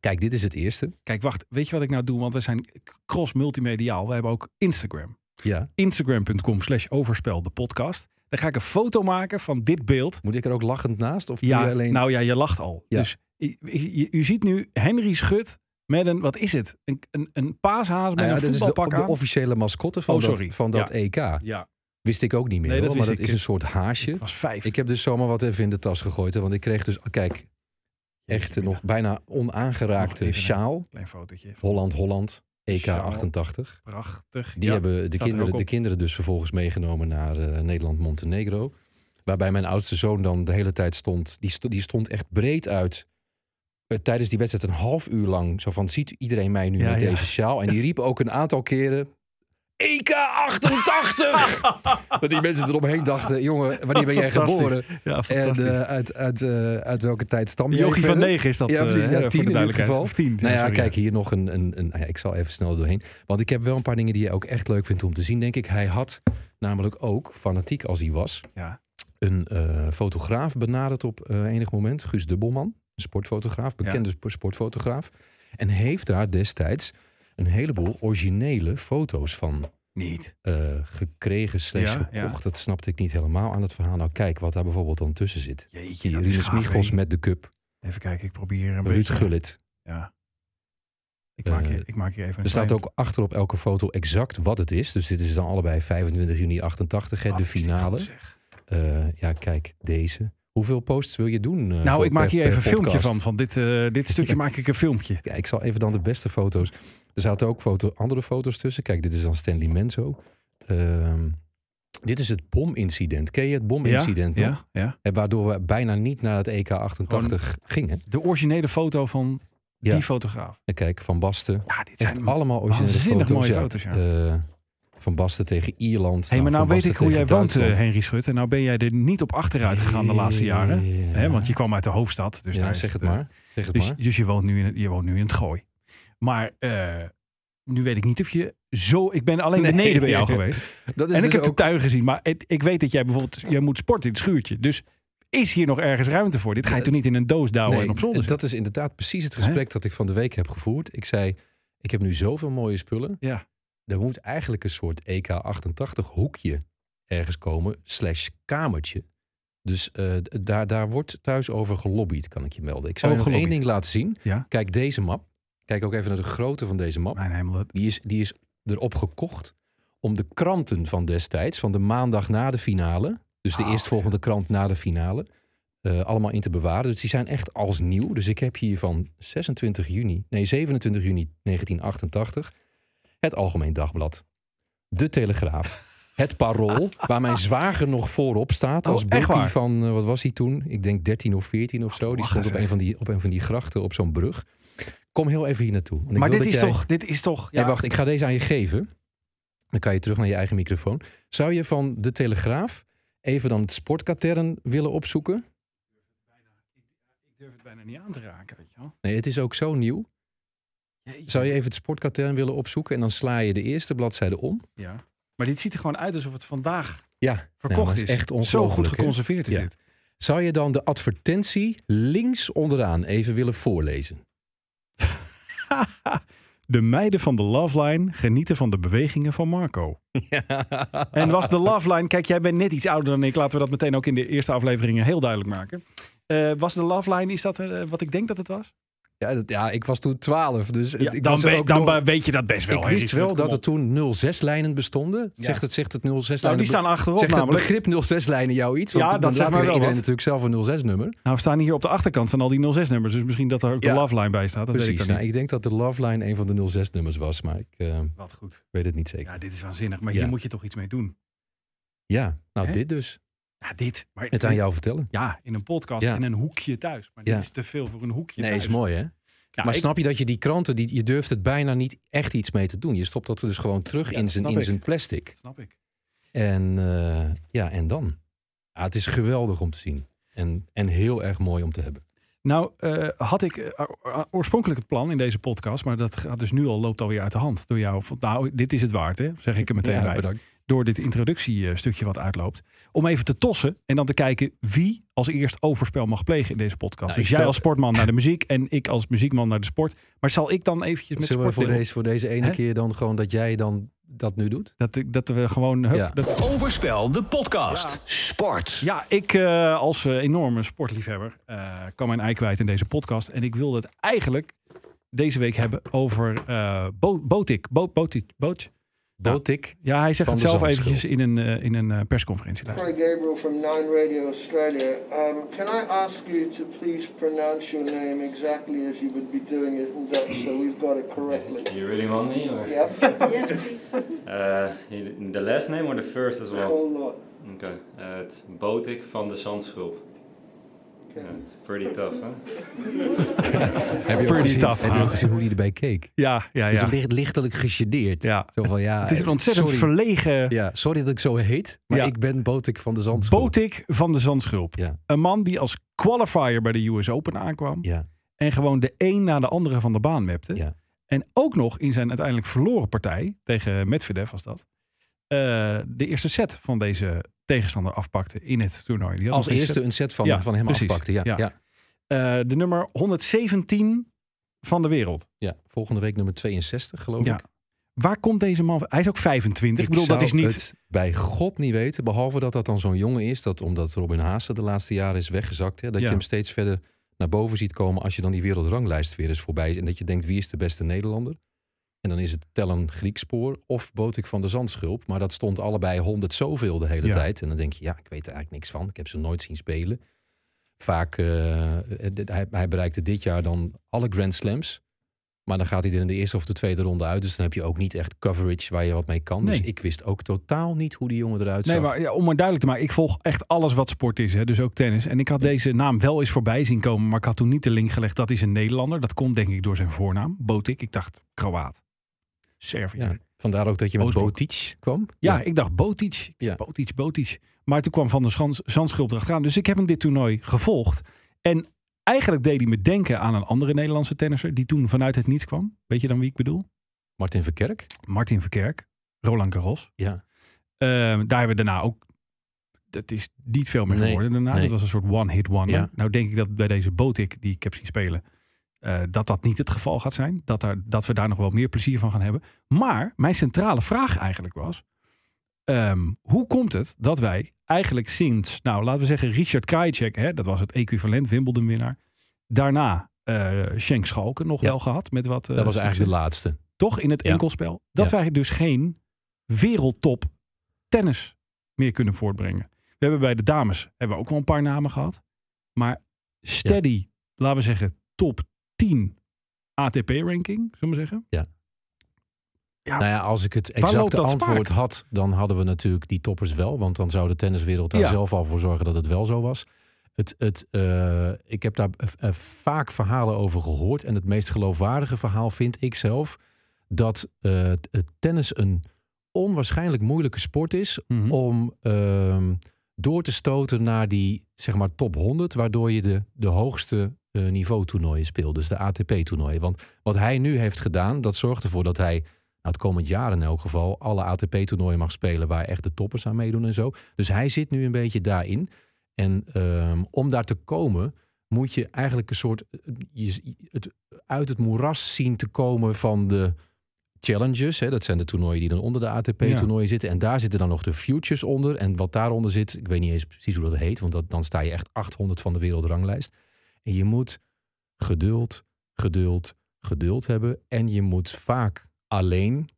[SPEAKER 4] Kijk, dit is het eerste.
[SPEAKER 3] Kijk, wacht. Weet je wat ik nou doe? Want we zijn cross-multimediaal. We hebben ook Instagram.
[SPEAKER 4] Ja.
[SPEAKER 3] Instagram.com slash overspel de podcast. Dan ga ik een foto maken van dit beeld.
[SPEAKER 4] Moet ik er ook lachend naast? Of doe
[SPEAKER 3] Ja,
[SPEAKER 4] je alleen.
[SPEAKER 3] nou ja, je lacht al.
[SPEAKER 4] Ja.
[SPEAKER 3] Dus je, je- u ziet nu Henry Schut met een, wat is het? Een, een, een paashaas met
[SPEAKER 4] Nou ja,
[SPEAKER 3] een
[SPEAKER 4] dit is de,
[SPEAKER 3] voetbalpak
[SPEAKER 4] de
[SPEAKER 3] aan.
[SPEAKER 4] officiële mascotte van
[SPEAKER 3] Oh,
[SPEAKER 4] dat,
[SPEAKER 3] sorry.
[SPEAKER 4] van dat
[SPEAKER 3] Ja.
[SPEAKER 4] EK.
[SPEAKER 3] Ja,
[SPEAKER 4] Wist ik ook niet meer.
[SPEAKER 3] Nee, dat
[SPEAKER 4] hoor,
[SPEAKER 3] wist
[SPEAKER 4] maar dat
[SPEAKER 3] ik.
[SPEAKER 4] is een soort haasje.
[SPEAKER 3] het was vijf.
[SPEAKER 4] Ik heb dus zomaar wat even in de tas gegooid. hè, Want ik kreeg dus, kijk, echt
[SPEAKER 3] Jeetje,
[SPEAKER 4] nog
[SPEAKER 3] mina.
[SPEAKER 4] bijna onaangeraakte
[SPEAKER 3] Nog even, hè.
[SPEAKER 4] sjaal.
[SPEAKER 3] Klein fotootje.
[SPEAKER 4] Holland, Holland, EK
[SPEAKER 3] Sjaal.
[SPEAKER 4] 88.
[SPEAKER 3] Prachtig.
[SPEAKER 4] Die
[SPEAKER 3] Ja,
[SPEAKER 4] hebben de
[SPEAKER 3] staat er ook
[SPEAKER 4] kinderen,
[SPEAKER 3] op.
[SPEAKER 4] de kinderen dus vervolgens meegenomen naar eh, Nederland-Montenegro. Waarbij mijn oudste zoon dan de hele tijd stond. Die, sto- die stond echt breed uit. Eh, tijdens die wedstrijd een half uur lang. Zo van, ziet iedereen mij nu
[SPEAKER 3] Ja,
[SPEAKER 4] met
[SPEAKER 3] ja.
[SPEAKER 4] deze sjaal? En die riep ook een aantal keren... EK 88!
[SPEAKER 3] *laughs*
[SPEAKER 4] Dat die mensen eromheen dachten... jongen, wanneer ben jij
[SPEAKER 3] Fantastisch.
[SPEAKER 4] geboren?
[SPEAKER 3] Ja,
[SPEAKER 4] En
[SPEAKER 3] fantastisch.
[SPEAKER 4] eh, uit, uit, eh, uit welke tijd stam je?
[SPEAKER 3] Jochie van
[SPEAKER 4] verder?
[SPEAKER 3] 9 is dat.
[SPEAKER 4] Ja,
[SPEAKER 3] eh,
[SPEAKER 4] precies. Ja,
[SPEAKER 3] hè, voor
[SPEAKER 4] tien
[SPEAKER 3] de
[SPEAKER 4] in dit
[SPEAKER 3] duidelijkheid.
[SPEAKER 4] geval.
[SPEAKER 3] Of tien. dus
[SPEAKER 4] Nou ja,
[SPEAKER 3] sorry.
[SPEAKER 4] kijk, hier nog een... een, een nou ja, ik zal even snel doorheen. Want ik heb wel een paar dingen die je ook echt leuk vindt om te zien, denk ik. Hij had namelijk ook, fanatiek als hij was,
[SPEAKER 3] Ja.
[SPEAKER 4] een eh, fotograaf benaderd op eh, enig moment. Guus Dubbelman, een sportfotograaf, bekende sp- sportfotograaf. En heeft daar destijds een heleboel originele foto's van
[SPEAKER 3] Niet.
[SPEAKER 4] eh, gekregen slash
[SPEAKER 3] Ja, ja.
[SPEAKER 4] gekocht. Dat snapte ik niet helemaal aan het verhaal. Nou kijk, wat daar bijvoorbeeld dan tussen zit.
[SPEAKER 3] Jeetje,
[SPEAKER 4] Die
[SPEAKER 3] dat is
[SPEAKER 4] Rinus
[SPEAKER 3] gaaf,
[SPEAKER 4] Michels
[SPEAKER 3] hè.
[SPEAKER 4] met de cup.
[SPEAKER 3] Even kijken, ik probeer een
[SPEAKER 4] Ruud
[SPEAKER 3] beetje...
[SPEAKER 4] Gullit.
[SPEAKER 3] Ja. Ik maak,
[SPEAKER 4] Eh,
[SPEAKER 3] hier, ik maak hier even een
[SPEAKER 4] Er staat
[SPEAKER 3] klein-
[SPEAKER 4] ook eh, achter op elke foto exact wat het is. Dus dit is dan allebei 25 juni 88, hè,
[SPEAKER 3] Wat
[SPEAKER 4] de
[SPEAKER 3] is dit
[SPEAKER 4] finale.
[SPEAKER 3] goed, zeg.
[SPEAKER 4] Eh, ja, voor- per- per podcast. Hoeveel posts wil je doen? eh,
[SPEAKER 3] Nou, ik maak hier even een filmpje van. Van dit, eh, dit stukje maak ik een filmpje.
[SPEAKER 4] Ja, ik zal even dan de beste foto's. Er zaten ook foto, andere foto's tussen. Kijk, dit is dan Stanley Menzo. Ehm, Dit is het bomincident. Ken je het bomincident nog?
[SPEAKER 3] ja, ja.
[SPEAKER 4] En waardoor we bijna niet naar het EK 88 gingen.
[SPEAKER 3] De originele foto van
[SPEAKER 4] Ja.
[SPEAKER 3] die fotograaf.
[SPEAKER 4] En kijk, Van Basten.
[SPEAKER 3] Ja, dit
[SPEAKER 4] Echt
[SPEAKER 3] zijn
[SPEAKER 4] allemaal originele
[SPEAKER 3] waanzinnig
[SPEAKER 4] foto's.
[SPEAKER 3] mooie foto's, ja.
[SPEAKER 4] Eh, van Basten tegen Ierland.
[SPEAKER 3] Hé, maar nou
[SPEAKER 4] Van
[SPEAKER 3] weet
[SPEAKER 4] Basten
[SPEAKER 3] ik hoe jij
[SPEAKER 4] tegen
[SPEAKER 3] woont, eh,
[SPEAKER 4] Duitsland.
[SPEAKER 3] Henry Schut. En nou ben jij er niet op achteruit gegaan de laatste jaren.
[SPEAKER 4] Ja.
[SPEAKER 3] Hè, want je kwam uit de hoofdstad. Dus
[SPEAKER 4] ja,
[SPEAKER 3] daar is
[SPEAKER 4] zeg het
[SPEAKER 3] eh,
[SPEAKER 4] maar. Zeg het
[SPEAKER 3] Dus,
[SPEAKER 4] maar.
[SPEAKER 3] dus je, woont nu in het, je woont nu in het gooi. Maar eh, nu weet ik niet of je zo... Ik ben alleen
[SPEAKER 4] Nee.
[SPEAKER 3] beneden bij
[SPEAKER 4] *laughs*
[SPEAKER 3] jou geweest.
[SPEAKER 4] Dat is
[SPEAKER 3] En ik
[SPEAKER 4] dus
[SPEAKER 3] heb de
[SPEAKER 4] ook-
[SPEAKER 3] tuin gezien. Maar het- ik weet dat jij bijvoorbeeld... Jij moet sporten in het schuurtje. Dus is hier nog ergens ruimte voor? Dit ga je toch niet in een doos douwen
[SPEAKER 4] Eh, Nee,
[SPEAKER 3] en op zolder zetten?
[SPEAKER 4] Dat is inderdaad precies het gesprek dat ik van de week heb gevoerd. Ik zei, ik heb nu zoveel mooie spullen.
[SPEAKER 3] Ja.
[SPEAKER 4] Er moet eigenlijk een soort EK88 hoekje ergens komen, slash kamertje. Dus eh, d- daar, daar wordt thuis over gelobbyd, kan ik je melden. Ik zou
[SPEAKER 3] Oh,
[SPEAKER 4] je nog één
[SPEAKER 3] gelobbyd.
[SPEAKER 4] ding laten zien.
[SPEAKER 3] Ja.
[SPEAKER 4] Kijk deze map. Kijk ook even naar de grootte van deze map.
[SPEAKER 3] Mijn hemel, dat-
[SPEAKER 4] Die is, die is erop gekocht om de kranten van destijds, van de maandag na de finale, dus de
[SPEAKER 3] Ah,
[SPEAKER 4] eerstvolgende krant na de finale, eh, allemaal in te bewaren. Dus die zijn echt als nieuw. Dus ik heb hier van 26 juni, nee 27 juni 1988, het Algemeen Dagblad, De Telegraaf. Het
[SPEAKER 3] *laughs*
[SPEAKER 4] Parool, waar mijn zwager nog voorop staat.
[SPEAKER 3] Oh,
[SPEAKER 4] Als
[SPEAKER 3] echt
[SPEAKER 4] broekie
[SPEAKER 3] waar?
[SPEAKER 4] van, eh, wat was hij toen? Ik denk 13 of 14 of zo. Die
[SPEAKER 3] Lachen,
[SPEAKER 4] stond op
[SPEAKER 3] zeg.
[SPEAKER 4] een, van die, op een van die grachten op zo'n brug. Kom heel even hier naartoe. want ik
[SPEAKER 3] maar
[SPEAKER 4] wil
[SPEAKER 3] dit
[SPEAKER 4] dat
[SPEAKER 3] is,
[SPEAKER 4] jij-
[SPEAKER 3] toch, dit is toch...
[SPEAKER 4] Nee, wacht, ik ga deze aan je geven. Dan kan je terug naar je eigen microfoon. Zou je van de Telegraaf even dan het sportkatern willen opzoeken?
[SPEAKER 3] Ik durf het bijna niet aan te raken, weet je wel.
[SPEAKER 4] Nee, het is ook zo nieuw. Zou je even het sportkatern willen opzoeken en dan sla je de eerste bladzijde om?
[SPEAKER 3] Ja. Maar dit ziet er gewoon uit alsof het vandaag
[SPEAKER 4] Ja,
[SPEAKER 3] verkocht
[SPEAKER 4] maar het
[SPEAKER 3] is.
[SPEAKER 4] is echt
[SPEAKER 3] Zo
[SPEAKER 4] ongelooflijk,
[SPEAKER 3] goed
[SPEAKER 4] hè?
[SPEAKER 3] geconserveerd is
[SPEAKER 4] Ja.
[SPEAKER 3] dit.
[SPEAKER 4] Zou je dan de advertentie links onderaan even willen
[SPEAKER 3] *laughs*
[SPEAKER 4] voorlezen?
[SPEAKER 3] De meiden van de Love Line genieten van de bewegingen van Marco. En was de Love Line, kijk, jij bent net iets ouder dan ik. Laten we dat meteen ook in de eerste afleveringen heel duidelijk maken. Eh, was de Love Line, is dat eh, wat ik denk dat het was?
[SPEAKER 4] Ja, dat- ja ik was toen 12, dus
[SPEAKER 3] Ja,
[SPEAKER 4] ik
[SPEAKER 3] dan
[SPEAKER 4] was er
[SPEAKER 3] we-
[SPEAKER 4] ook
[SPEAKER 3] dan
[SPEAKER 4] nog-
[SPEAKER 3] we- weet je dat best wel.
[SPEAKER 4] Ik
[SPEAKER 3] Henry.
[SPEAKER 4] wist wel
[SPEAKER 3] Kom
[SPEAKER 4] dat
[SPEAKER 3] op.
[SPEAKER 4] er toen 06-lijnen bestonden.
[SPEAKER 3] Ja.
[SPEAKER 4] Zegt het, zegt het 06-lijnen?
[SPEAKER 3] Nou, die staan achterop
[SPEAKER 4] Zegt het
[SPEAKER 3] namelijk.
[SPEAKER 4] begrip 06-lijnen jou iets? Want
[SPEAKER 3] Ja,
[SPEAKER 4] dan
[SPEAKER 3] dat zegt
[SPEAKER 4] later
[SPEAKER 3] mij
[SPEAKER 4] heeft
[SPEAKER 3] wel
[SPEAKER 4] iedereen
[SPEAKER 3] wat.
[SPEAKER 4] natuurlijk zelf een 06-nummer.
[SPEAKER 3] Nou, we staan hier op de achterkant, staan al die 06-nummers. Dus misschien dat er ook
[SPEAKER 4] Ja.
[SPEAKER 3] de Love Line bij staat. Dat
[SPEAKER 4] Precies.
[SPEAKER 3] weet ik dan
[SPEAKER 4] nou, Ik,
[SPEAKER 3] niet.
[SPEAKER 4] denk dat de Love Line een van de 06-nummers was, maar ik eh,
[SPEAKER 3] Wat goed.
[SPEAKER 4] weet het niet zeker. Ja,
[SPEAKER 3] Ja, dit is waanzinnig. Maar
[SPEAKER 4] Ja.
[SPEAKER 3] hier moet je toch iets mee doen.
[SPEAKER 4] nou
[SPEAKER 3] Hè?
[SPEAKER 4] dit dus.
[SPEAKER 3] Ja, dit. Maar
[SPEAKER 4] Het aan jou vertellen.
[SPEAKER 3] Ja, in een podcast
[SPEAKER 4] Ja.
[SPEAKER 3] en een hoekje thuis. Maar dit
[SPEAKER 4] Ja.
[SPEAKER 3] is te veel voor een hoekje
[SPEAKER 4] Nee,
[SPEAKER 3] thuis.
[SPEAKER 4] is mooi hè?
[SPEAKER 3] Ja,
[SPEAKER 4] maar
[SPEAKER 3] ik-
[SPEAKER 4] snap je dat je die kranten, die, je durft het bijna niet echt iets mee te doen. Je stopt dat er dus gewoon terug
[SPEAKER 3] Ja,
[SPEAKER 4] in,
[SPEAKER 3] dat
[SPEAKER 4] zijn,
[SPEAKER 3] snap
[SPEAKER 4] in
[SPEAKER 3] ik.
[SPEAKER 4] zijn plastic.
[SPEAKER 3] dat snap ik.
[SPEAKER 4] En eh, ja, en dan? Ja, het is geweldig om te zien. En, en heel erg mooi om te hebben.
[SPEAKER 3] Nou, eh, had ik eh, o- oorspronkelijk het plan in deze podcast, maar dat gaat dus nu al, loopt alweer uit de hand door jou. Van, nou, dit is het waard, hè? zeg ik er meteen bij.
[SPEAKER 4] bedankt.
[SPEAKER 3] Door dit introductiestukje wat uitloopt. Om even te tossen en dan te kijken wie als eerst overspel mag plegen in deze podcast.
[SPEAKER 4] Nou,
[SPEAKER 3] dus
[SPEAKER 4] ik
[SPEAKER 3] jij
[SPEAKER 4] stel-
[SPEAKER 3] als sportman naar de muziek en ik als muziekman naar de sport. Maar zal ik dan eventjes met
[SPEAKER 4] Zullen we
[SPEAKER 3] sport
[SPEAKER 4] voor
[SPEAKER 3] voor
[SPEAKER 4] deze, voor deze ene
[SPEAKER 3] Hè?
[SPEAKER 4] keer dan gewoon dat jij dan dat nu doet?
[SPEAKER 3] dat, ik- dat we gewoon... hup,
[SPEAKER 4] Ja.
[SPEAKER 3] dat-
[SPEAKER 1] Overspel, de podcast.
[SPEAKER 2] Sport.
[SPEAKER 3] Ja, ik eh, als eh, enorme sportliefhebber eh, kan mijn ei kwijt in deze podcast. En ik wilde het eigenlijk deze week hebben over eh Bo- Botik. Bo- Botik. Boot. Nou,
[SPEAKER 4] Botik.
[SPEAKER 3] Ja, hij zegt
[SPEAKER 4] Van
[SPEAKER 3] het
[SPEAKER 4] de
[SPEAKER 3] zelf
[SPEAKER 4] Zandschul.
[SPEAKER 3] eventjes in een, eh, in een eh, persconferentie. Luister.
[SPEAKER 5] Hi, Gabriel from Nine Radio Australia. Um, can I ask you to please pronounce your name exactly as you would be doing it in Dutch so we've got it
[SPEAKER 6] *laughs*
[SPEAKER 5] correctly?
[SPEAKER 6] You really want me, or
[SPEAKER 5] Yep,
[SPEAKER 7] Yes, please.
[SPEAKER 6] uh, you- the last name or the first as well?
[SPEAKER 5] whole lot.
[SPEAKER 6] Okay, uh, it's Botik van de Zandschulp. Yeah, it's pretty tough, huh?
[SPEAKER 4] Heb je ook
[SPEAKER 3] Pretty
[SPEAKER 4] gezien-
[SPEAKER 3] tough,
[SPEAKER 4] Heb je
[SPEAKER 3] man.
[SPEAKER 4] ook gezien hoe die erbij keek?
[SPEAKER 3] Ja, ja,
[SPEAKER 4] Dus
[SPEAKER 3] ja.
[SPEAKER 4] licht, lichtelijk gegedeerd.
[SPEAKER 3] Ja.
[SPEAKER 4] Zo van, ja,
[SPEAKER 3] Het is een ontzettend
[SPEAKER 4] sorry.
[SPEAKER 3] verlegen
[SPEAKER 4] Ja, sorry dat ik zo heet, maar
[SPEAKER 3] Ja.
[SPEAKER 4] ik ben Botik van de Zandschool.
[SPEAKER 3] Botik van de Zandschulp.
[SPEAKER 4] Ja,
[SPEAKER 3] Een man die als qualifier bij de US Open aankwam.
[SPEAKER 4] ja.
[SPEAKER 3] En gewoon de een na de andere van de baan mepte.
[SPEAKER 4] Ja.
[SPEAKER 3] En ook nog in zijn uiteindelijk verloren partij, tegen Medvedev was dat, eh, de eerste set van deze tegenstander afpakte in het toernooi. Die had
[SPEAKER 4] Als
[SPEAKER 3] nog geen
[SPEAKER 4] eerste
[SPEAKER 3] set.
[SPEAKER 4] een set van,
[SPEAKER 3] Ja,
[SPEAKER 4] van hem
[SPEAKER 3] precies.
[SPEAKER 4] afpakte. Ja,
[SPEAKER 3] Ja.
[SPEAKER 4] ja. Ja.
[SPEAKER 3] Eh, de nummer 117 van de wereld.
[SPEAKER 4] volgende week nummer 62 geloof
[SPEAKER 3] Ja.
[SPEAKER 4] ik.
[SPEAKER 3] Waar komt deze man van? Hij is ook 25. Ik, bedoel,
[SPEAKER 4] zou
[SPEAKER 3] dat is niet...
[SPEAKER 4] het bij God niet weten, behalve dat dat dan zo'n jongen is, dat omdat Robin Haase de laatste jaren is weggezakt, hè, dat
[SPEAKER 3] Ja.
[SPEAKER 4] je hem steeds verder naar boven ziet komen als je dan die wereldranglijst weer eens voorbij is en dat je denkt wie is de beste Nederlander? En dan is het tellen Griekspoor of Botik van de Zandschulp, maar dat stond allebei honderd zoveel de hele
[SPEAKER 3] Ja.
[SPEAKER 4] tijd en dan denk je ja, ik weet er eigenlijk niks van, ik heb ze nooit zien spelen. Vaak, eh, eh, hij, hij bereikte dit jaar dan alle Grand Slams. Maar dan gaat hij er in de eerste of de tweede ronde uit. Dus dan heb je ook niet echt coverage waar je wat mee kan. Dus
[SPEAKER 3] Nee.
[SPEAKER 4] ik wist ook totaal niet hoe die jongen eruit zag.
[SPEAKER 3] Nee, maar ja, om maar duidelijk te maken, ik volg echt alles wat sport is, hè, dus ook tennis. En ik had deze naam wel eens voorbij zien komen, maar ik had toen niet de link gelegd. Dat is een Nederlander. Dat komt denk ik door zijn voornaam, Botik. Ik dacht Kroaat. Servië.
[SPEAKER 4] ja,
[SPEAKER 3] Ja.
[SPEAKER 4] vandaar ook dat je met
[SPEAKER 3] Oostblok.
[SPEAKER 4] Botic kwam.
[SPEAKER 3] ik dacht Botic.
[SPEAKER 4] Ja.
[SPEAKER 3] Botic, Botic. Maar toen kwam Van der Schans, Zandschulp erachteraan. Dus ik heb hem dit toernooi gevolgd. En eigenlijk deed hij me denken aan een andere Nederlandse tennisser... die toen vanuit het niets kwam. Weet je dan wie ik bedoel?
[SPEAKER 4] Martin Verkerk.
[SPEAKER 3] Martin Verkerk, Roland Garros.
[SPEAKER 4] Ja.
[SPEAKER 3] Ehm, daar hebben we daarna ook. Dat is niet veel meer
[SPEAKER 4] Nee,
[SPEAKER 3] geworden daarna.
[SPEAKER 4] nee.
[SPEAKER 3] Dat was een soort one-hit wonder.
[SPEAKER 4] Ja.
[SPEAKER 3] Nou denk ik dat bij deze Botik die ik heb zien spelen, eh, dat dat niet het geval gaat zijn. Dat, daar, dat we daar nog wel meer plezier van gaan hebben. Maar mijn centrale vraag eigenlijk was, ehm, hoe komt het dat wij eigenlijk sinds, nou laten we zeggen Richard Krajicek, hè, dat was het equivalent Wimbledon winnaar, daarna eh Schenk Schalken nog
[SPEAKER 4] Ja.
[SPEAKER 3] wel gehad met wat... eh,
[SPEAKER 4] Dat was
[SPEAKER 3] succes
[SPEAKER 4] eigenlijk de laatste.
[SPEAKER 3] toch in het
[SPEAKER 4] Ja.
[SPEAKER 3] enkelspel. Dat
[SPEAKER 4] Ja.
[SPEAKER 3] wij dus geen wereldtop tennis meer kunnen voortbrengen. We hebben bij de dames hebben we ook wel een paar namen gehad. Maar steady, laten we zeggen, top 10 ATP-ranking, zullen we maar zeggen.
[SPEAKER 4] Nou ja, als ik het
[SPEAKER 3] loopt
[SPEAKER 4] exacte
[SPEAKER 3] dat
[SPEAKER 4] antwoord
[SPEAKER 3] spaak?
[SPEAKER 4] had, dan hadden we natuurlijk die toppers wel. Want dan zou de tenniswereld daar
[SPEAKER 3] Ja.
[SPEAKER 4] zelf al voor zorgen dat het wel zo was. Het, het, eh, ik heb daar eh, eh, vaak verhalen over gehoord. En het meest geloofwaardige verhaal vind ik zelf dat eh, het- het tennis een onwaarschijnlijk moeilijke sport is
[SPEAKER 3] Mhm.
[SPEAKER 4] om ehm, door te stoten naar die zeg maar top 100, waardoor je de, de hoogste eh, niveau toernooien speelt, dus de ATP toernooien. Want wat hij nu heeft gedaan, dat zorgt ervoor dat hij nou, het komend jaar in elk geval alle ATP toernooien mag spelen waar echt de toppers aan meedoen en zo. Dus hij zit nu een beetje daarin. En ehm, om daar te komen moet je eigenlijk een soort je, het, uit het moeras zien te komen van de challenges. Hè, dat zijn de toernooien die dan onder de ATP-toernooien zitten. En daar zitten dan nog de futures onder. En wat daaronder zit, ik weet niet eens precies hoe dat heet, want dat, dan sta je echt 800 van de wereldranglijst. En je moet geduld, geduld, geduld hebben. En je moet vaak alleen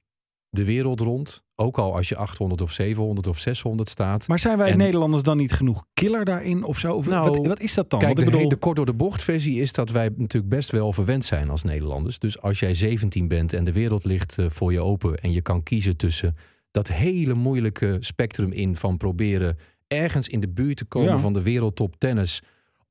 [SPEAKER 4] de wereld rond. Ook al als je 800 of 700 of 600 staat.
[SPEAKER 3] Maar zijn wij
[SPEAKER 4] En-
[SPEAKER 3] Nederlanders dan niet genoeg killer daarin of zo? Of
[SPEAKER 4] Nou,
[SPEAKER 3] wat, wat is dat dan?
[SPEAKER 4] Kijk,
[SPEAKER 3] Want
[SPEAKER 4] de,
[SPEAKER 3] ik bedoel,
[SPEAKER 4] de kort door de bocht versie is dat wij natuurlijk best wel verwend zijn als Nederlanders. Dus als jij 17 bent en de wereld ligt eh, voor je open en je kan kiezen tussen dat hele moeilijke spectrum in van proberen ergens in de buurt te komen
[SPEAKER 3] Ja.
[SPEAKER 4] van de wereldtop tennis.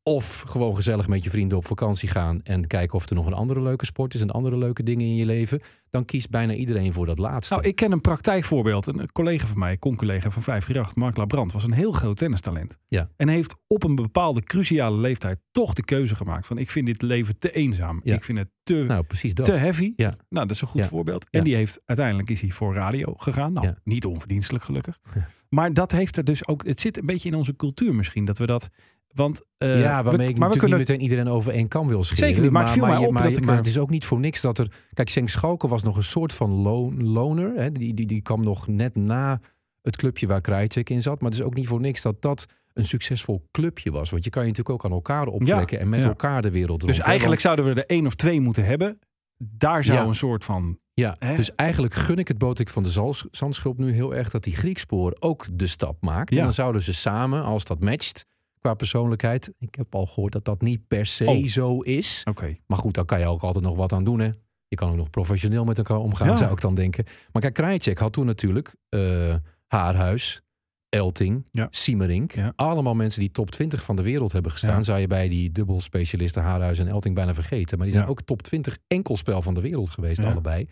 [SPEAKER 4] Of gewoon gezellig met je vrienden op vakantie gaan en kijken of er nog een andere leuke sport is en andere leuke dingen in je leven. Dan kiest bijna iedereen voor dat laatste.
[SPEAKER 3] nou, ik ken een praktijkvoorbeeld. Een collega van mij, con-collega van 538, Mark Labrand, was een heel groot tennistalent.
[SPEAKER 4] Ja.
[SPEAKER 3] En heeft op een bepaalde cruciale leeftijd toch de keuze gemaakt van ik vind dit leven te eenzaam.
[SPEAKER 4] Ja.
[SPEAKER 3] Ik vind het te
[SPEAKER 4] nou precies dat.
[SPEAKER 3] te heavy.
[SPEAKER 4] Ja.
[SPEAKER 3] Nou, dat is een goed
[SPEAKER 4] Ja.
[SPEAKER 3] voorbeeld. En
[SPEAKER 4] Ja.
[SPEAKER 3] die heeft uiteindelijk is hij voor radio gegaan. Nou,
[SPEAKER 4] Ja.
[SPEAKER 3] niet onverdienstelijk gelukkig.
[SPEAKER 4] *laughs* Ja.
[SPEAKER 3] Maar dat heeft er dus ook. Het zit een beetje in onze cultuur misschien dat we dat. Want eh,
[SPEAKER 4] ja, waarmee
[SPEAKER 3] we,
[SPEAKER 4] ik
[SPEAKER 3] maar we
[SPEAKER 4] natuurlijk
[SPEAKER 3] kunnen.
[SPEAKER 4] niet meteen iedereen over één kam wil scheren.
[SPEAKER 3] Zeker niet, maar het viel mij
[SPEAKER 4] je-
[SPEAKER 3] op
[SPEAKER 4] maar,
[SPEAKER 3] dat
[SPEAKER 4] je-
[SPEAKER 3] ik
[SPEAKER 4] maar
[SPEAKER 3] er-
[SPEAKER 4] het is ook niet voor niks dat er... Kijk, Senk Schalke was nog een soort van loon, loner. Hè? Die, die, die kwam nog net na het clubje waar Krajicek in zat. Maar het is ook niet voor niks dat dat een succesvol clubje was. Want je kan je natuurlijk ook aan elkaar optrekken... en met
[SPEAKER 3] ja.
[SPEAKER 4] elkaar de wereld rond.
[SPEAKER 3] dus
[SPEAKER 4] hè,
[SPEAKER 3] eigenlijk
[SPEAKER 4] want-
[SPEAKER 3] zouden we er één of twee moeten hebben. Daar zou
[SPEAKER 4] Ja.
[SPEAKER 3] een soort van. hè?
[SPEAKER 4] ja, dus eigenlijk gun ik het Botik van de Zals- Zandschulp nu heel erg... dat die Griekspoor ook de stap maakt.
[SPEAKER 3] Ja.
[SPEAKER 4] En dan zouden ze samen, als dat matcht qua persoonlijkheid... ik heb al gehoord dat dat niet per se
[SPEAKER 3] Oh.
[SPEAKER 4] zo is...
[SPEAKER 3] Oké.
[SPEAKER 4] Maar goed, daar kan je ook altijd nog wat aan doen, hè. Je kan ook nog professioneel met elkaar omgaan,
[SPEAKER 3] Ja.
[SPEAKER 4] zou ik dan denken. Maar kijk, Krajicek had toen natuurlijk eh, Haarhuis, Elting,
[SPEAKER 3] Ja.
[SPEAKER 4] Siemerink.
[SPEAKER 3] Ja.
[SPEAKER 4] Allemaal mensen die top 20 van de wereld hebben gestaan.
[SPEAKER 3] Ja.
[SPEAKER 4] Zou je bij die dubbelspecialisten Haarhuis en Elting bijna vergeten. Maar die zijn
[SPEAKER 3] Ja.
[SPEAKER 4] ook top 20 enkelspel van de wereld geweest,
[SPEAKER 3] Ja.
[SPEAKER 4] allebei.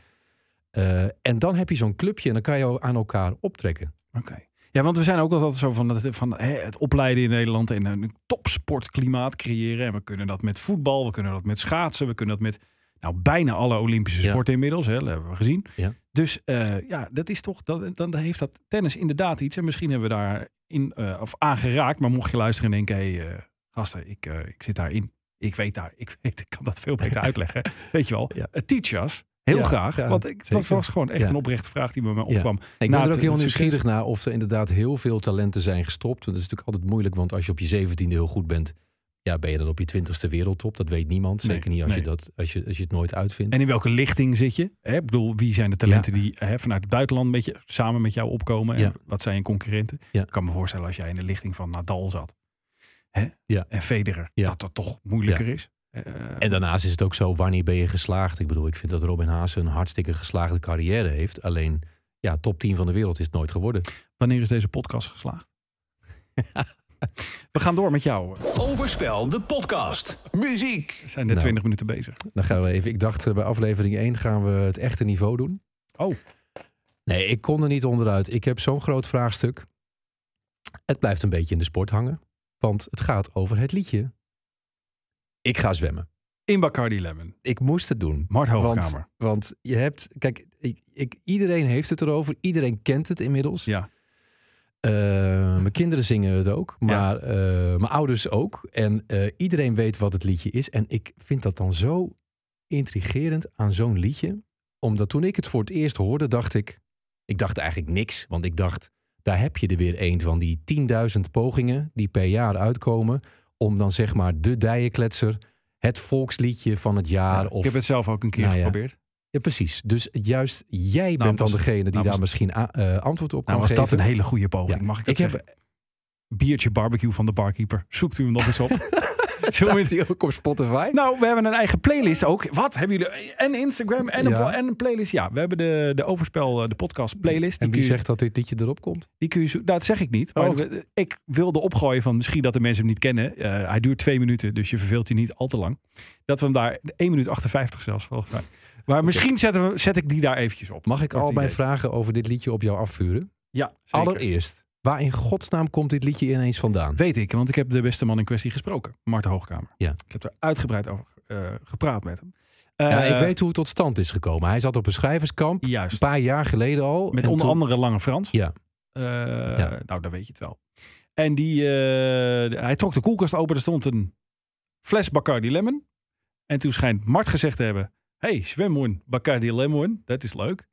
[SPEAKER 4] Eh, en dan heb je zo'n clubje en dan kan je aan elkaar optrekken.
[SPEAKER 3] Oké. Ja, want we zijn ook altijd zo van, het, van hè, het opleiden in Nederland en een topsportklimaat creëren. En we kunnen dat met voetbal, we kunnen dat met schaatsen, we kunnen dat met nou, bijna alle Olympische
[SPEAKER 4] Ja.
[SPEAKER 3] sporten inmiddels, hè, dat hebben we gezien.
[SPEAKER 4] Ja.
[SPEAKER 3] Dus eh, ja, dat is toch, dat, dan heeft dat tennis inderdaad iets. En misschien hebben we daar in, eh, of aangeraakt, maar mocht je luisteren en denken, hé hey, eh, gasten, ik, eh, ik zit daarin. Ik weet daar, ik weet, ik kan dat veel
[SPEAKER 4] *laughs*
[SPEAKER 3] beter uitleggen. Weet je wel,
[SPEAKER 4] Ja.
[SPEAKER 3] Eh, teach us. Heel
[SPEAKER 4] Ja,
[SPEAKER 3] graag,
[SPEAKER 4] ja,
[SPEAKER 3] want ik, dat
[SPEAKER 4] zeker.
[SPEAKER 3] was gewoon echt
[SPEAKER 4] Ja.
[SPEAKER 3] een oprechte vraag die bij mij
[SPEAKER 4] Ja.
[SPEAKER 3] opkwam.
[SPEAKER 4] Ik
[SPEAKER 3] Na
[SPEAKER 4] ben er
[SPEAKER 3] het-
[SPEAKER 4] ook heel
[SPEAKER 3] het succes.
[SPEAKER 4] nieuwsgierig naar of er inderdaad heel veel talenten zijn gestopt. Want dat is natuurlijk altijd moeilijk, want als je op je zeventiende heel goed bent, ja, ben je dan op je twintigste wereldtop. Dat weet niemand.
[SPEAKER 3] Nee,
[SPEAKER 4] Zeker niet als,
[SPEAKER 3] nee.
[SPEAKER 4] je dat, als, je, als je het nooit uitvindt.
[SPEAKER 3] En in welke lichting zit je? Hè, ik bedoel, wie zijn de talenten die hè, vanuit het buitenland met je, samen met jou opkomen? En
[SPEAKER 4] Ja.
[SPEAKER 3] wat zijn je concurrenten?
[SPEAKER 4] Ja.
[SPEAKER 3] Ik kan me voorstellen als jij in de lichting van Nadal zat. Hè?
[SPEAKER 4] Ja.
[SPEAKER 3] En Federer,
[SPEAKER 4] Ja.
[SPEAKER 3] dat dat toch moeilijker is. Eh,
[SPEAKER 4] En daarnaast is het ook zo, wanneer ben je geslaagd? Ik bedoel, ik vind dat Robin Haase een hartstikke geslaagde carrière heeft. Alleen, ja, top 10 van de wereld is het nooit geworden.
[SPEAKER 3] wanneer is deze podcast *laughs* geslaagd? We gaan door met jou.
[SPEAKER 1] Overspel, de podcast.
[SPEAKER 2] Muziek.
[SPEAKER 3] We zijn net
[SPEAKER 4] Nou.
[SPEAKER 3] 20 minuten bezig.
[SPEAKER 4] Dan gaan we even, ik dacht eh, bij aflevering 1 gaan we het echte niveau doen.
[SPEAKER 3] Oh.
[SPEAKER 4] Nee, ik kon er niet onderuit. Ik heb zo'n groot vraagstuk. Het blijft een beetje in de sport hangen. Want het gaat over het liedje. Ik ga zwemmen.
[SPEAKER 3] In Bacardi Lemon.
[SPEAKER 4] Ik moest het doen.
[SPEAKER 3] Mart Hoogkamer.
[SPEAKER 4] Want, want je hebt, kijk, ik, ik, iedereen heeft het erover. Iedereen kent het inmiddels.
[SPEAKER 3] Ja.
[SPEAKER 4] Eh, mijn kinderen zingen het ook, maar eh, mijn ouders ook. En eh, iedereen weet wat het liedje is. En ik vind dat dan zo intrigerend aan zo'n liedje. Omdat toen ik het voor het eerst hoorde, dacht ik... Ik dacht eigenlijk niks, want ik dacht... Daar heb je er weer een van die 10.000 pogingen die per jaar uitkomen... om dan zeg maar de dijenkletser, het volksliedje van het jaar...
[SPEAKER 3] Ja,
[SPEAKER 4] of
[SPEAKER 3] Ik heb het zelf ook een keer
[SPEAKER 4] Nou ja.
[SPEAKER 3] geprobeerd.
[SPEAKER 4] ja, precies. Dus juist jij bent
[SPEAKER 3] was-
[SPEAKER 4] dan degene die
[SPEAKER 3] nou
[SPEAKER 4] daar
[SPEAKER 3] was-
[SPEAKER 4] misschien a- eh, antwoord op kan
[SPEAKER 3] Nou was dat
[SPEAKER 4] geven.
[SPEAKER 3] een hele goede poging,
[SPEAKER 4] Ja.
[SPEAKER 3] mag ik dat
[SPEAKER 4] Ik heb-
[SPEAKER 3] zeggen? Biertje barbecue van de barkeeper. Zoekt u hem nog eens *laughs* op. Zullen we-
[SPEAKER 4] Staat die ook op Spotify?
[SPEAKER 3] Nou, we hebben een eigen playlist ook. Wat hebben jullie? En Instagram en een,
[SPEAKER 4] Ja.
[SPEAKER 3] pla- en een playlist. Ja, we hebben de, de Overspel, eh, de podcast playlist. Die
[SPEAKER 4] en wie
[SPEAKER 3] kun je-
[SPEAKER 4] zegt dat dit liedje erop komt?
[SPEAKER 3] Die kun je zo- nou, dat zeg ik niet. Maar
[SPEAKER 4] Oh.
[SPEAKER 3] we- ik wilde opgooien van misschien dat de mensen hem niet kennen. Eh, hij duurt twee minuten, dus je verveelt je niet al te lang. Dat we hem daar 1 minuut 58 zelfs volgens mij. Maar misschien zetten we, zet ik die daar eventjes op.
[SPEAKER 4] Mag ik
[SPEAKER 3] Kort
[SPEAKER 4] al mijn
[SPEAKER 3] idee.
[SPEAKER 4] vragen over dit liedje op jou afvuren?
[SPEAKER 3] Ja, zeker.
[SPEAKER 4] Allereerst, waar in godsnaam komt dit liedje ineens vandaan?
[SPEAKER 3] Weet ik, want ik heb de beste man in kwestie gesproken. Marten Hoogkamer.
[SPEAKER 4] Ja.
[SPEAKER 3] Ik heb er uitgebreid over eh, gepraat met hem.
[SPEAKER 4] ja,
[SPEAKER 3] Eh,
[SPEAKER 4] ik weet hoe het tot stand is gekomen. Hij zat op een schrijverskamp, een
[SPEAKER 3] Juist.
[SPEAKER 4] paar jaar geleden al.
[SPEAKER 3] Met
[SPEAKER 4] En
[SPEAKER 3] onder
[SPEAKER 4] toen-
[SPEAKER 3] andere Lange Frans.
[SPEAKER 4] Ja.
[SPEAKER 3] Eh,
[SPEAKER 4] Ja.
[SPEAKER 3] Nou, dan weet je het wel. En die, eh, hij trok de koelkast open. Er stond een fles Bacardi Lemon. En toen schijnt Mart gezegd te hebben... hey, zwemmoen, Bacardi Lemon. Dat is leuk.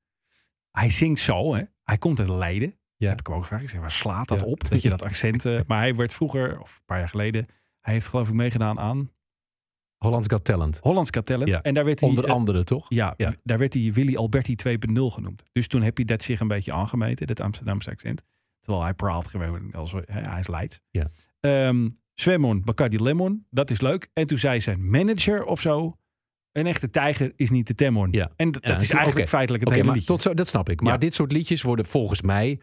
[SPEAKER 3] Hij zingt zo, hè. Hij komt uit Leiden.
[SPEAKER 4] Ja.
[SPEAKER 3] Heb ik hem ook gevraagd. Ik zeg, waar slaat dat
[SPEAKER 4] Ja.
[SPEAKER 3] op? Dat je dat accent... eh, maar hij werd vroeger, of een paar jaar geleden... Hij heeft geloof ik meegedaan aan
[SPEAKER 4] Hollands Got Talent.
[SPEAKER 3] Hollands Got Talent.
[SPEAKER 4] Ja.
[SPEAKER 3] En daar werd hij...
[SPEAKER 4] Onder
[SPEAKER 3] eh,
[SPEAKER 4] andere, toch?
[SPEAKER 3] ja,
[SPEAKER 4] Ja.
[SPEAKER 3] w- daar werd hij Willy Alberti 2.0 genoemd. Dus toen heb je dat zich een beetje aangemeten, dat Amsterdamse accent. Terwijl hij praalt gewoon als hè, hij is Leids.
[SPEAKER 4] Ja.
[SPEAKER 3] Ehm, Zwemmon, Bacardi Lemon, dat is leuk. En toen zei zijn manager of zo, een echte tijger is niet de Temmon.
[SPEAKER 4] Ja.
[SPEAKER 3] En d- dat
[SPEAKER 4] Ja,
[SPEAKER 3] is
[SPEAKER 4] natuurlijk,
[SPEAKER 3] eigenlijk
[SPEAKER 4] oké.
[SPEAKER 3] feitelijk het
[SPEAKER 4] Oké,
[SPEAKER 3] hele
[SPEAKER 4] maar
[SPEAKER 3] liedje.
[SPEAKER 4] tot zo, dat snap ik. Maar
[SPEAKER 3] Ja.
[SPEAKER 4] dit soort liedjes worden volgens mij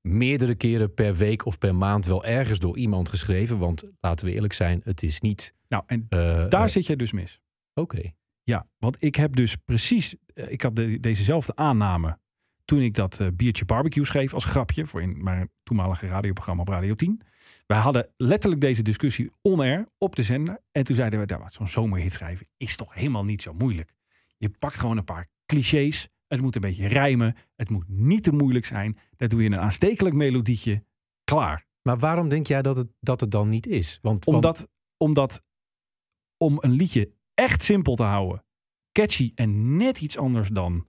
[SPEAKER 4] meerdere keren per week of per maand wel ergens door iemand geschreven. Want laten we eerlijk zijn, het is niet.
[SPEAKER 3] Nou, en
[SPEAKER 4] eh,
[SPEAKER 3] daar
[SPEAKER 4] eh,
[SPEAKER 3] zit jij dus mis.
[SPEAKER 4] Oké.
[SPEAKER 3] Ja, want ik heb dus precies, eh, ik had de- dezezelfde aanname toen ik dat eh, biertje barbecue schreef als grapje voor in mijn toenmalige radioprogramma op Radio 10. Wij hadden letterlijk deze discussie on-air op de zender. En toen zeiden we, nou, wat, zo'n zomerhit schrijven is toch helemaal niet zo moeilijk. Je pakt gewoon een paar clichés. Het moet een beetje rijmen. Het moet niet te moeilijk zijn. Daar doe je een aanstekelijk melodietje. Klaar.
[SPEAKER 4] Maar waarom denk jij dat het, dat het dan niet is? Want, want-
[SPEAKER 3] Omdat, omdat om een liedje echt simpel te houden, catchy en net iets anders dan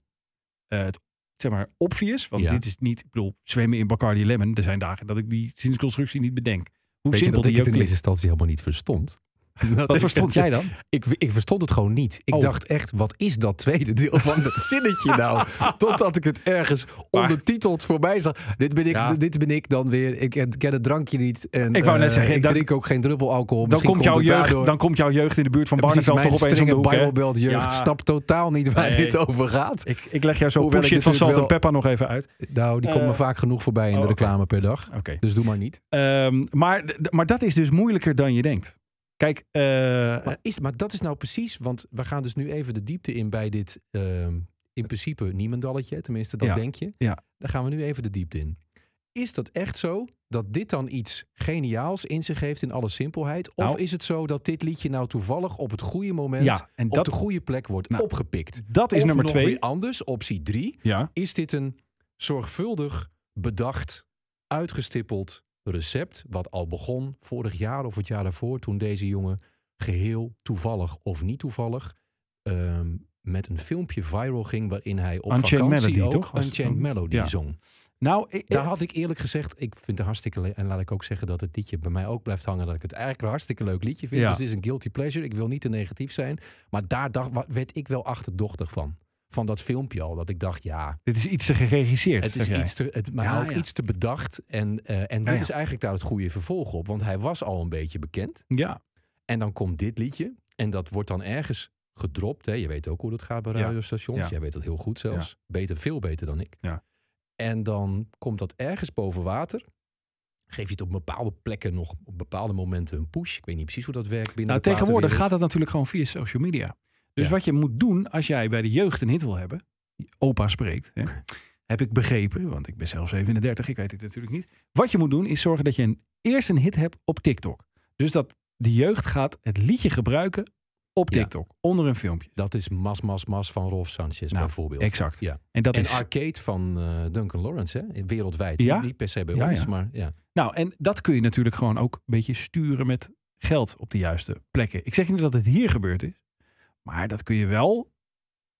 [SPEAKER 3] eh, het zeg maar obvious. Want
[SPEAKER 4] Ja.
[SPEAKER 3] dit is niet, ik bedoel, zwemmen in Bacardi Lemon. Er zijn dagen dat ik die zinsconstructie niet bedenk. Hoe
[SPEAKER 4] weet je
[SPEAKER 3] simpel
[SPEAKER 4] dat ik
[SPEAKER 3] die
[SPEAKER 4] het
[SPEAKER 3] ook
[SPEAKER 4] in eerste
[SPEAKER 3] is.
[SPEAKER 4] instantie helemaal niet
[SPEAKER 3] *laughs*
[SPEAKER 4] verstond?
[SPEAKER 3] Wat
[SPEAKER 4] *laughs*
[SPEAKER 3] verstond jij dan?
[SPEAKER 4] Ik, ik verstond het gewoon niet. Ik
[SPEAKER 3] Oh.
[SPEAKER 4] dacht echt, wat is dat tweede deel van dat
[SPEAKER 3] *laughs*
[SPEAKER 4] zinnetje nou? Totdat ik het ergens ondertiteld voorbij zag. Dit ben ik,
[SPEAKER 3] Ja.
[SPEAKER 4] dit ben ik dan weer. Ik ken het drankje niet. En,
[SPEAKER 3] Ik wou net
[SPEAKER 4] eh,
[SPEAKER 3] zeggen,
[SPEAKER 4] ik
[SPEAKER 3] dan-
[SPEAKER 4] drink ook geen druppel alcohol.
[SPEAKER 3] Dan komt, jouw jeugd, dan komt jouw jeugd in de buurt van Barneveld toch
[SPEAKER 4] Precies,
[SPEAKER 3] opeens om de
[SPEAKER 4] mijn
[SPEAKER 3] hoek. hè?
[SPEAKER 4] strenge Bijbelbelt jeugd
[SPEAKER 3] Ja.
[SPEAKER 4] snapt totaal niet waar
[SPEAKER 3] Nee.
[SPEAKER 4] dit over gaat.
[SPEAKER 3] Ik, ik leg jou zo
[SPEAKER 4] Hoewel
[SPEAKER 3] push
[SPEAKER 4] ik
[SPEAKER 3] it van Salt
[SPEAKER 4] natuurlijk
[SPEAKER 3] en Peppa nog even uit.
[SPEAKER 4] Nou, die komt me
[SPEAKER 3] Eh,
[SPEAKER 4] vaak genoeg voorbij in
[SPEAKER 3] oh,
[SPEAKER 4] de
[SPEAKER 3] oké.
[SPEAKER 4] reclame per dag.
[SPEAKER 3] Oké.
[SPEAKER 4] Dus doe maar niet.
[SPEAKER 3] Ehm, maar, d- maar dat is dus moeilijker dan je denkt. Kijk, eh,
[SPEAKER 4] Maar, is, maar dat is nou precies, want we gaan dus nu even de diepte in bij dit ehm, in principe niemendalletje. Tenminste, dat
[SPEAKER 3] Ja,
[SPEAKER 4] denk je.
[SPEAKER 3] ja.
[SPEAKER 4] Daar gaan we nu even de diepte in. Is dat echt zo dat dit dan iets geniaals in zich heeft in alle simpelheid? Of
[SPEAKER 3] Nou.
[SPEAKER 4] is het zo dat dit liedje nou toevallig op het goede moment
[SPEAKER 3] ja, en
[SPEAKER 4] op de
[SPEAKER 3] dat,
[SPEAKER 4] goede plek wordt
[SPEAKER 3] Nou,
[SPEAKER 4] opgepikt?
[SPEAKER 3] dat is
[SPEAKER 4] Of
[SPEAKER 3] nummer
[SPEAKER 4] nog
[SPEAKER 3] twee.
[SPEAKER 4] weer anders, optie drie.
[SPEAKER 3] Ja.
[SPEAKER 4] Is dit een zorgvuldig bedacht, uitgestippeld recept, wat al begon vorig jaar of het jaar daarvoor, toen deze jongen geheel toevallig of niet toevallig ehm, met een filmpje viral ging waarin hij op
[SPEAKER 3] Unchained
[SPEAKER 4] vakantie
[SPEAKER 3] Melody,
[SPEAKER 4] ook
[SPEAKER 3] toch? Was het
[SPEAKER 4] Unchained
[SPEAKER 3] toen?
[SPEAKER 4] Melody
[SPEAKER 3] Ja.
[SPEAKER 4] zong.
[SPEAKER 3] Nou, ik,
[SPEAKER 4] Daar had ik eerlijk gezegd, ik vind het hartstikke le- en laat ik ook zeggen dat het liedje bij mij ook blijft hangen, dat ik het eigenlijk een hartstikke leuk liedje vind.
[SPEAKER 3] Ja.
[SPEAKER 4] Dus het is een guilty pleasure. Ik wil niet te negatief zijn, maar daar dacht, wa- werd ik wel achterdochtig van. Van dat filmpje al, dat ik dacht, ja,
[SPEAKER 3] dit is iets te geregisseerd.
[SPEAKER 4] het is
[SPEAKER 3] zeg jij.
[SPEAKER 4] iets te, het, maar
[SPEAKER 3] Ja,
[SPEAKER 4] ook
[SPEAKER 3] ja.
[SPEAKER 4] iets te bedacht. En, eh,
[SPEAKER 3] Ja,
[SPEAKER 4] en dit
[SPEAKER 3] ja.
[SPEAKER 4] is eigenlijk daar het goede vervolg op. Want hij was al een beetje bekend.
[SPEAKER 3] Ja,
[SPEAKER 4] En dan komt dit liedje. En dat wordt dan ergens gedropt. Hè? Je weet ook hoe dat gaat bij
[SPEAKER 3] Ja.
[SPEAKER 4] radiostations.
[SPEAKER 3] Ja.
[SPEAKER 4] Jij weet dat heel goed zelfs. Beter, veel beter dan ik.
[SPEAKER 3] Ja.
[SPEAKER 4] En dan komt dat ergens boven water. Geef je het op bepaalde plekken nog op bepaalde momenten een push. Ik weet niet precies hoe dat werkt binnen
[SPEAKER 3] Nou,
[SPEAKER 4] de
[SPEAKER 3] tegenwoordig
[SPEAKER 4] platenwereld.
[SPEAKER 3] gaat dat natuurlijk gewoon via social media. Dus
[SPEAKER 4] Ja.
[SPEAKER 3] wat je moet doen als jij bij de jeugd een hit wil hebben. Opa spreekt,
[SPEAKER 4] *laughs*
[SPEAKER 3] hè, heb ik begrepen, want ik ben zelf 37, ik weet het natuurlijk niet. Wat je moet doen is zorgen dat je een, eerst een hit hebt op TikTok. Dus dat de jeugd gaat het liedje gebruiken op
[SPEAKER 4] Ja.
[SPEAKER 3] TikTok, onder een filmpje.
[SPEAKER 4] Dat is Mas Mas Mas van Rolf Sanchez
[SPEAKER 3] Nou,
[SPEAKER 4] bijvoorbeeld.
[SPEAKER 3] exact.
[SPEAKER 4] Ja.
[SPEAKER 3] En dat
[SPEAKER 4] en
[SPEAKER 3] is
[SPEAKER 4] Arcade van eh, Duncan Lawrence, hè? wereldwijd.
[SPEAKER 3] Ja?
[SPEAKER 4] Niet, niet per se bij
[SPEAKER 3] Ja,
[SPEAKER 4] ons,
[SPEAKER 3] ja.
[SPEAKER 4] maar ja.
[SPEAKER 3] Nou, en dat kun je natuurlijk gewoon ook een beetje sturen met geld op de juiste plekken. Ik zeg niet dat het hier gebeurd is, maar dat kun je wel.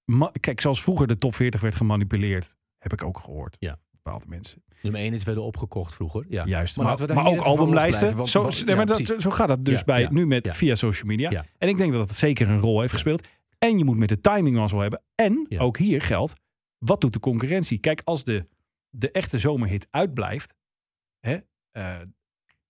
[SPEAKER 3] ma- Kijk, zoals vroeger de top 40 werd gemanipuleerd, heb ik ook gehoord.
[SPEAKER 4] Ja.
[SPEAKER 3] Bepaalde mensen.
[SPEAKER 4] Nummer 1 is werden opgekocht vroeger. Ja.
[SPEAKER 3] Juist.
[SPEAKER 4] Maar
[SPEAKER 3] Maar,
[SPEAKER 4] laten we
[SPEAKER 3] maar,
[SPEAKER 4] daar
[SPEAKER 3] ook
[SPEAKER 4] hier even van
[SPEAKER 3] albumlijsten.
[SPEAKER 4] losblijven, want-
[SPEAKER 3] zo,
[SPEAKER 4] want-
[SPEAKER 3] nee,
[SPEAKER 4] ja,
[SPEAKER 3] maar dat,
[SPEAKER 4] precies.
[SPEAKER 3] zo gaat dat dus
[SPEAKER 4] Ja,
[SPEAKER 3] bij,
[SPEAKER 4] ja,
[SPEAKER 3] nu met,
[SPEAKER 4] ja.
[SPEAKER 3] via social media.
[SPEAKER 4] Ja.
[SPEAKER 3] En ik denk dat dat zeker een rol heeft gespeeld. En je moet met de timing wel zo hebben. En
[SPEAKER 4] Ja.
[SPEAKER 3] ook hier geldt, wat doet de concurrentie? Kijk, als de, de echte zomerhit uitblijft. Hè, eh,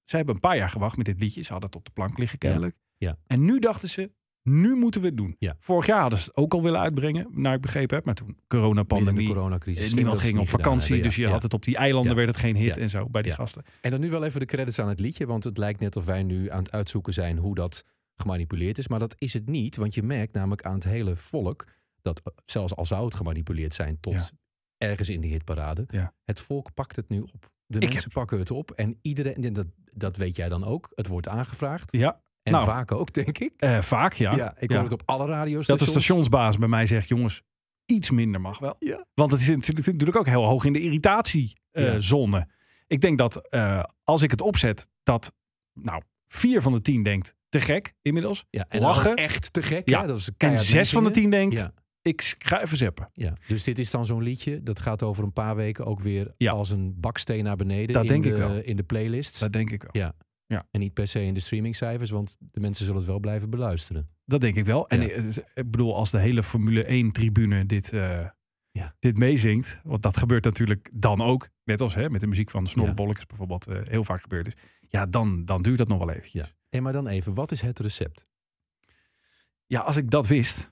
[SPEAKER 3] zij hebben een paar jaar gewacht met dit liedje. Ze hadden het op de plank liggen kennelijk.
[SPEAKER 4] ja.
[SPEAKER 3] En nu dachten ze, nu moeten we het doen.
[SPEAKER 4] Ja.
[SPEAKER 3] Vorig jaar hadden ze het ook al willen uitbrengen, naar ik begrepen heb. Maar toen
[SPEAKER 4] Midden in
[SPEAKER 3] coronapandemie.
[SPEAKER 4] de coronacrisis.
[SPEAKER 3] eh,
[SPEAKER 4] Slim dat
[SPEAKER 3] Niemand
[SPEAKER 4] ze
[SPEAKER 3] ging
[SPEAKER 4] het
[SPEAKER 3] op
[SPEAKER 4] niet gedaan
[SPEAKER 3] vakantie,
[SPEAKER 4] hebben,
[SPEAKER 3] dus je
[SPEAKER 4] ja.
[SPEAKER 3] had het op die eilanden,
[SPEAKER 4] Ja.
[SPEAKER 3] werd het geen hit
[SPEAKER 4] Ja.
[SPEAKER 3] en zo bij die
[SPEAKER 4] Ja.
[SPEAKER 3] gasten.
[SPEAKER 4] En dan nu wel even de credits aan het liedje, want het lijkt net of wij nu aan het uitzoeken zijn hoe dat gemanipuleerd is. Maar dat is het niet, want je merkt namelijk aan het hele volk dat eh, zelfs al zou het gemanipuleerd zijn tot
[SPEAKER 3] Ja.
[SPEAKER 4] ergens in de hitparade,
[SPEAKER 3] Ja.
[SPEAKER 4] het volk pakt het nu op. De
[SPEAKER 3] Ik
[SPEAKER 4] mensen pakken het op en iedereen, en dat, dat weet jij dan ook, het wordt aangevraagd.
[SPEAKER 3] Ja,
[SPEAKER 4] En
[SPEAKER 3] Nou.
[SPEAKER 4] vaak ook, denk ik.
[SPEAKER 3] eh, vaak ja.
[SPEAKER 4] Ja, ik hoor het op alle radio's.
[SPEAKER 3] Dat de stationsbaas bij mij zegt, jongens, iets minder mag wel.
[SPEAKER 4] Ja.
[SPEAKER 3] Want het is het zit natuurlijk ook heel hoog in de
[SPEAKER 4] Ja.
[SPEAKER 3] irritatiezone. Ik denk dat eh, als ik het opzet, dat nou, vier van de tien denkt, te gek inmiddels.
[SPEAKER 4] Ja, en
[SPEAKER 3] lachen.
[SPEAKER 4] lachen. Echt te gek.
[SPEAKER 3] Ja.
[SPEAKER 4] hè? Dat is
[SPEAKER 3] En
[SPEAKER 4] keihard
[SPEAKER 3] zes van de
[SPEAKER 4] meezingen.
[SPEAKER 3] tien denkt,
[SPEAKER 4] Ja.
[SPEAKER 3] ik s- ga even zeppen.
[SPEAKER 4] Ja, dus dit is dan zo'n liedje. Dat gaat over een paar weken ook weer
[SPEAKER 3] Ja.
[SPEAKER 4] als een baksteen naar beneden.
[SPEAKER 3] Dat
[SPEAKER 4] in
[SPEAKER 3] denk
[SPEAKER 4] de,
[SPEAKER 3] ik wel.
[SPEAKER 4] In de playlist.
[SPEAKER 3] Dat denk ik wel.
[SPEAKER 4] Ja. En niet per se in de streamingcijfers, want de mensen zullen het wel blijven beluisteren.
[SPEAKER 3] Dat denk ik wel. En
[SPEAKER 4] Ja.
[SPEAKER 3] eh, dus, ik bedoel, als de hele Formule 1 tribune dit, eh,
[SPEAKER 4] Ja.
[SPEAKER 3] dit meezingt. Want dat gebeurt natuurlijk dan ook. Net als hè, met de muziek van Snorrebollekes bijvoorbeeld eh, heel vaak gebeurd is. Ja, dan, dan duurt dat nog wel eventjes.
[SPEAKER 4] Ja. En maar dan even, wat is het recept?
[SPEAKER 3] Ja, als ik dat wist,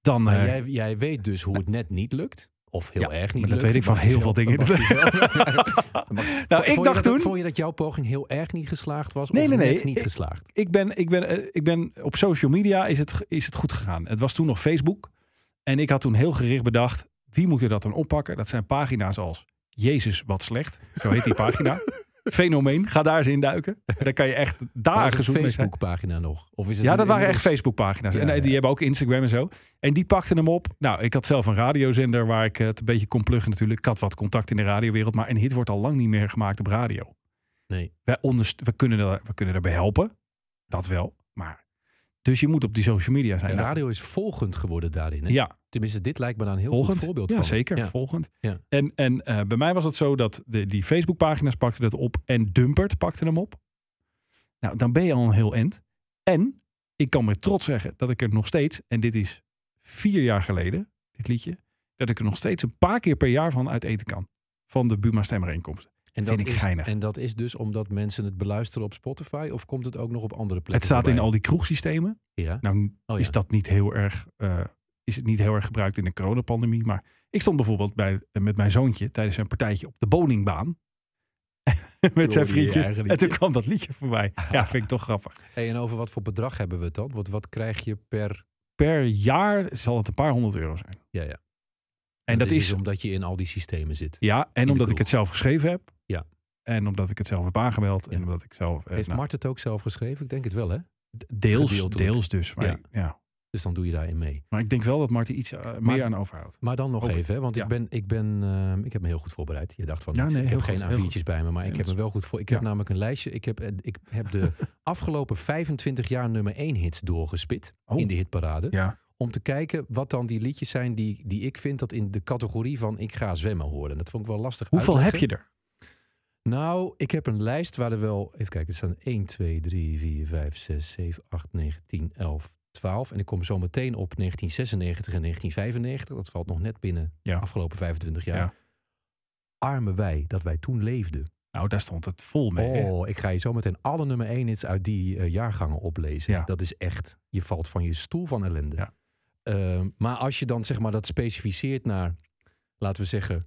[SPEAKER 3] dan...
[SPEAKER 4] Nou,
[SPEAKER 3] eh,
[SPEAKER 4] jij, jij weet dus hoe het net niet lukt. Of heel
[SPEAKER 3] Ja,
[SPEAKER 4] erg niet
[SPEAKER 3] maar dat
[SPEAKER 4] lukt.
[SPEAKER 3] weet ik van
[SPEAKER 4] Mag je
[SPEAKER 3] heel
[SPEAKER 4] zelf-
[SPEAKER 3] veel dingen.
[SPEAKER 4] mag
[SPEAKER 3] *laughs*
[SPEAKER 4] je zelf- Mag-
[SPEAKER 3] Nou,
[SPEAKER 4] Vo-
[SPEAKER 3] ik
[SPEAKER 4] vond je
[SPEAKER 3] dacht
[SPEAKER 4] dat-
[SPEAKER 3] toen-
[SPEAKER 4] Vond je dat jouw poging heel erg niet geslaagd was?
[SPEAKER 3] Nee,
[SPEAKER 4] of
[SPEAKER 3] nee, nee.
[SPEAKER 4] net niet
[SPEAKER 3] Ik-
[SPEAKER 4] geslaagd?
[SPEAKER 3] ik ben, ik ben, eh, ik ben op social media is het, ge- is het goed gegaan. Het was toen nog Facebook. En ik had toen heel gericht bedacht, wie moet er dat dan oppakken? Dat zijn pagina's als Jezus wat slecht. Zo heet die
[SPEAKER 4] *laughs*
[SPEAKER 3] pagina. Fenomeen, ga daar eens induiken. Daar kan je echt
[SPEAKER 4] Maar
[SPEAKER 3] daar
[SPEAKER 4] is het
[SPEAKER 3] gezoend Ah, mee zijn.
[SPEAKER 4] Facebookpagina nog? Of is het
[SPEAKER 3] Ja, dat waren echt
[SPEAKER 4] inmiddels-
[SPEAKER 3] Facebookpagina's.
[SPEAKER 4] Ja,
[SPEAKER 3] en eh, die
[SPEAKER 4] ja.
[SPEAKER 3] hebben ook Instagram en zo. En die pakten hem op. Nou, ik had zelf een radiozender waar ik eh, het een beetje kon pluggen natuurlijk. Ik had wat contact in de radiowereld. Maar een hit wordt al lang niet meer gemaakt op radio
[SPEAKER 4] Nee.
[SPEAKER 3] wij onderst- we, kunnen daar, we kunnen daarbij helpen. Dat wel. Maar, dus je moet op die social media zijn.
[SPEAKER 4] En
[SPEAKER 3] Nou,
[SPEAKER 4] radio is volgend geworden daarin. Hè?
[SPEAKER 3] Ja,
[SPEAKER 4] Tenminste, dit lijkt me daar een heel
[SPEAKER 3] volgend.
[SPEAKER 4] goed voorbeeld
[SPEAKER 3] ja,
[SPEAKER 4] van.
[SPEAKER 3] zeker.
[SPEAKER 4] Ja.
[SPEAKER 3] Volgend.
[SPEAKER 4] Ja.
[SPEAKER 3] En, en eh, bij mij was het zo dat de, die Facebookpagina's pakten dat op. En Dumpert pakte hem op. Nou, dan ben je al een heel end. En ik kan met trots zeggen dat ik er nog steeds... En dit is vier jaar geleden, dit liedje... Dat ik er nog steeds een paar keer per jaar van uit eten kan. Van de Buma stemmereenkomsten.
[SPEAKER 4] En
[SPEAKER 3] Vind ik
[SPEAKER 4] is,
[SPEAKER 3] geinig.
[SPEAKER 4] En dat is dus omdat mensen het beluisteren op Spotify of komt het ook nog op andere plekken?
[SPEAKER 3] Het staat in
[SPEAKER 4] voorbij?
[SPEAKER 3] al die kroegsystemen.
[SPEAKER 4] Ja.
[SPEAKER 3] Nou,
[SPEAKER 4] Oh,
[SPEAKER 3] is
[SPEAKER 4] ja.
[SPEAKER 3] dat niet heel erg. eh, is het niet heel erg gebruikt in de coronapandemie. Maar ik stond bijvoorbeeld bij, eh, met mijn zoontje tijdens een partijtje op de bowlingbaan. *laughs* met zijn
[SPEAKER 4] je
[SPEAKER 3] vriendjes.
[SPEAKER 4] eigen
[SPEAKER 3] En
[SPEAKER 4] liedje.
[SPEAKER 3] toen kwam dat liedje voorbij. Ja, vind ik toch grappig.
[SPEAKER 4] Hey, en over wat voor bedrag hebben we het dan? Wat, wat krijg je per...
[SPEAKER 3] Per jaar zal het een paar honderd euro zijn.
[SPEAKER 4] Ja, ja.
[SPEAKER 3] En dat,
[SPEAKER 4] dus
[SPEAKER 3] is.
[SPEAKER 4] omdat je in al die systemen zit.
[SPEAKER 3] ja, en omdat ik
[SPEAKER 4] kroeg.
[SPEAKER 3] het zelf geschreven heb.
[SPEAKER 4] Ja.
[SPEAKER 3] En omdat ik het zelf heb aangemeld.
[SPEAKER 4] Ja.
[SPEAKER 3] En omdat ik zelf. eh,
[SPEAKER 4] Heeft
[SPEAKER 3] nou,
[SPEAKER 4] Mart het ook zelf geschreven? Ik denk het wel, hè?
[SPEAKER 3] deels,
[SPEAKER 4] gedeeltelijk?
[SPEAKER 3] deels dus. Maar,
[SPEAKER 4] Ja.
[SPEAKER 3] ja.
[SPEAKER 4] Dus dan doe je daarin mee.
[SPEAKER 3] maar ik denk wel dat Marten iets eh,
[SPEAKER 4] Maar-
[SPEAKER 3] meer aan overhoudt.
[SPEAKER 4] Maar dan nog
[SPEAKER 3] Hoop ik.
[SPEAKER 4] even, hè? want ik,
[SPEAKER 3] Ja.
[SPEAKER 4] ben, ik, ben, ehm, ik heb me heel goed voorbereid. Je dacht van,
[SPEAKER 3] Ja,
[SPEAKER 4] niet.
[SPEAKER 3] nee,
[SPEAKER 4] ik heb
[SPEAKER 3] heel
[SPEAKER 4] geen
[SPEAKER 3] goed, heel
[SPEAKER 4] A4'tjes bij me, maar
[SPEAKER 3] Ja,
[SPEAKER 4] ik
[SPEAKER 3] dat
[SPEAKER 4] heb me
[SPEAKER 3] is-
[SPEAKER 4] wel goed voor. Ik heb
[SPEAKER 3] Ja.
[SPEAKER 4] namelijk een lijstje. Ik heb, eh, ik heb de
[SPEAKER 3] *laughs*
[SPEAKER 4] afgelopen 25 jaar nummer 1 hits doorgespit
[SPEAKER 3] Oh.
[SPEAKER 4] in de hitparade.
[SPEAKER 3] Ja.
[SPEAKER 4] om te kijken wat dan die liedjes zijn die, die ik vind dat in de categorie van ik ga zwemmen horen. En dat vond ik wel lastig.
[SPEAKER 3] Hoeveel heb
[SPEAKER 4] uitleggen.
[SPEAKER 3] je er?
[SPEAKER 4] Nou, ik heb een lijst waar er wel, even kijken, er staan 1, 2, 3, 4, 5, 6, 7, 8, 9, 10, 11, 12. En ik kom zo meteen op 1996 en 1995. Dat valt nog net binnen
[SPEAKER 3] Ja.
[SPEAKER 4] de afgelopen 25 jaar.
[SPEAKER 3] Ja.
[SPEAKER 4] Arme wij, dat wij toen leefden.
[SPEAKER 3] Nou, daar stond het vol mee. hè?
[SPEAKER 4] Oh, ik ga je zo meteen alle nummer 1 hits uit die eh, jaargangen oplezen.
[SPEAKER 3] Ja.
[SPEAKER 4] Dat is echt, je valt van je stoel van ellende.
[SPEAKER 3] Ja.
[SPEAKER 4] Ehm, maar als je dan zeg maar dat specificeert naar, laten we zeggen,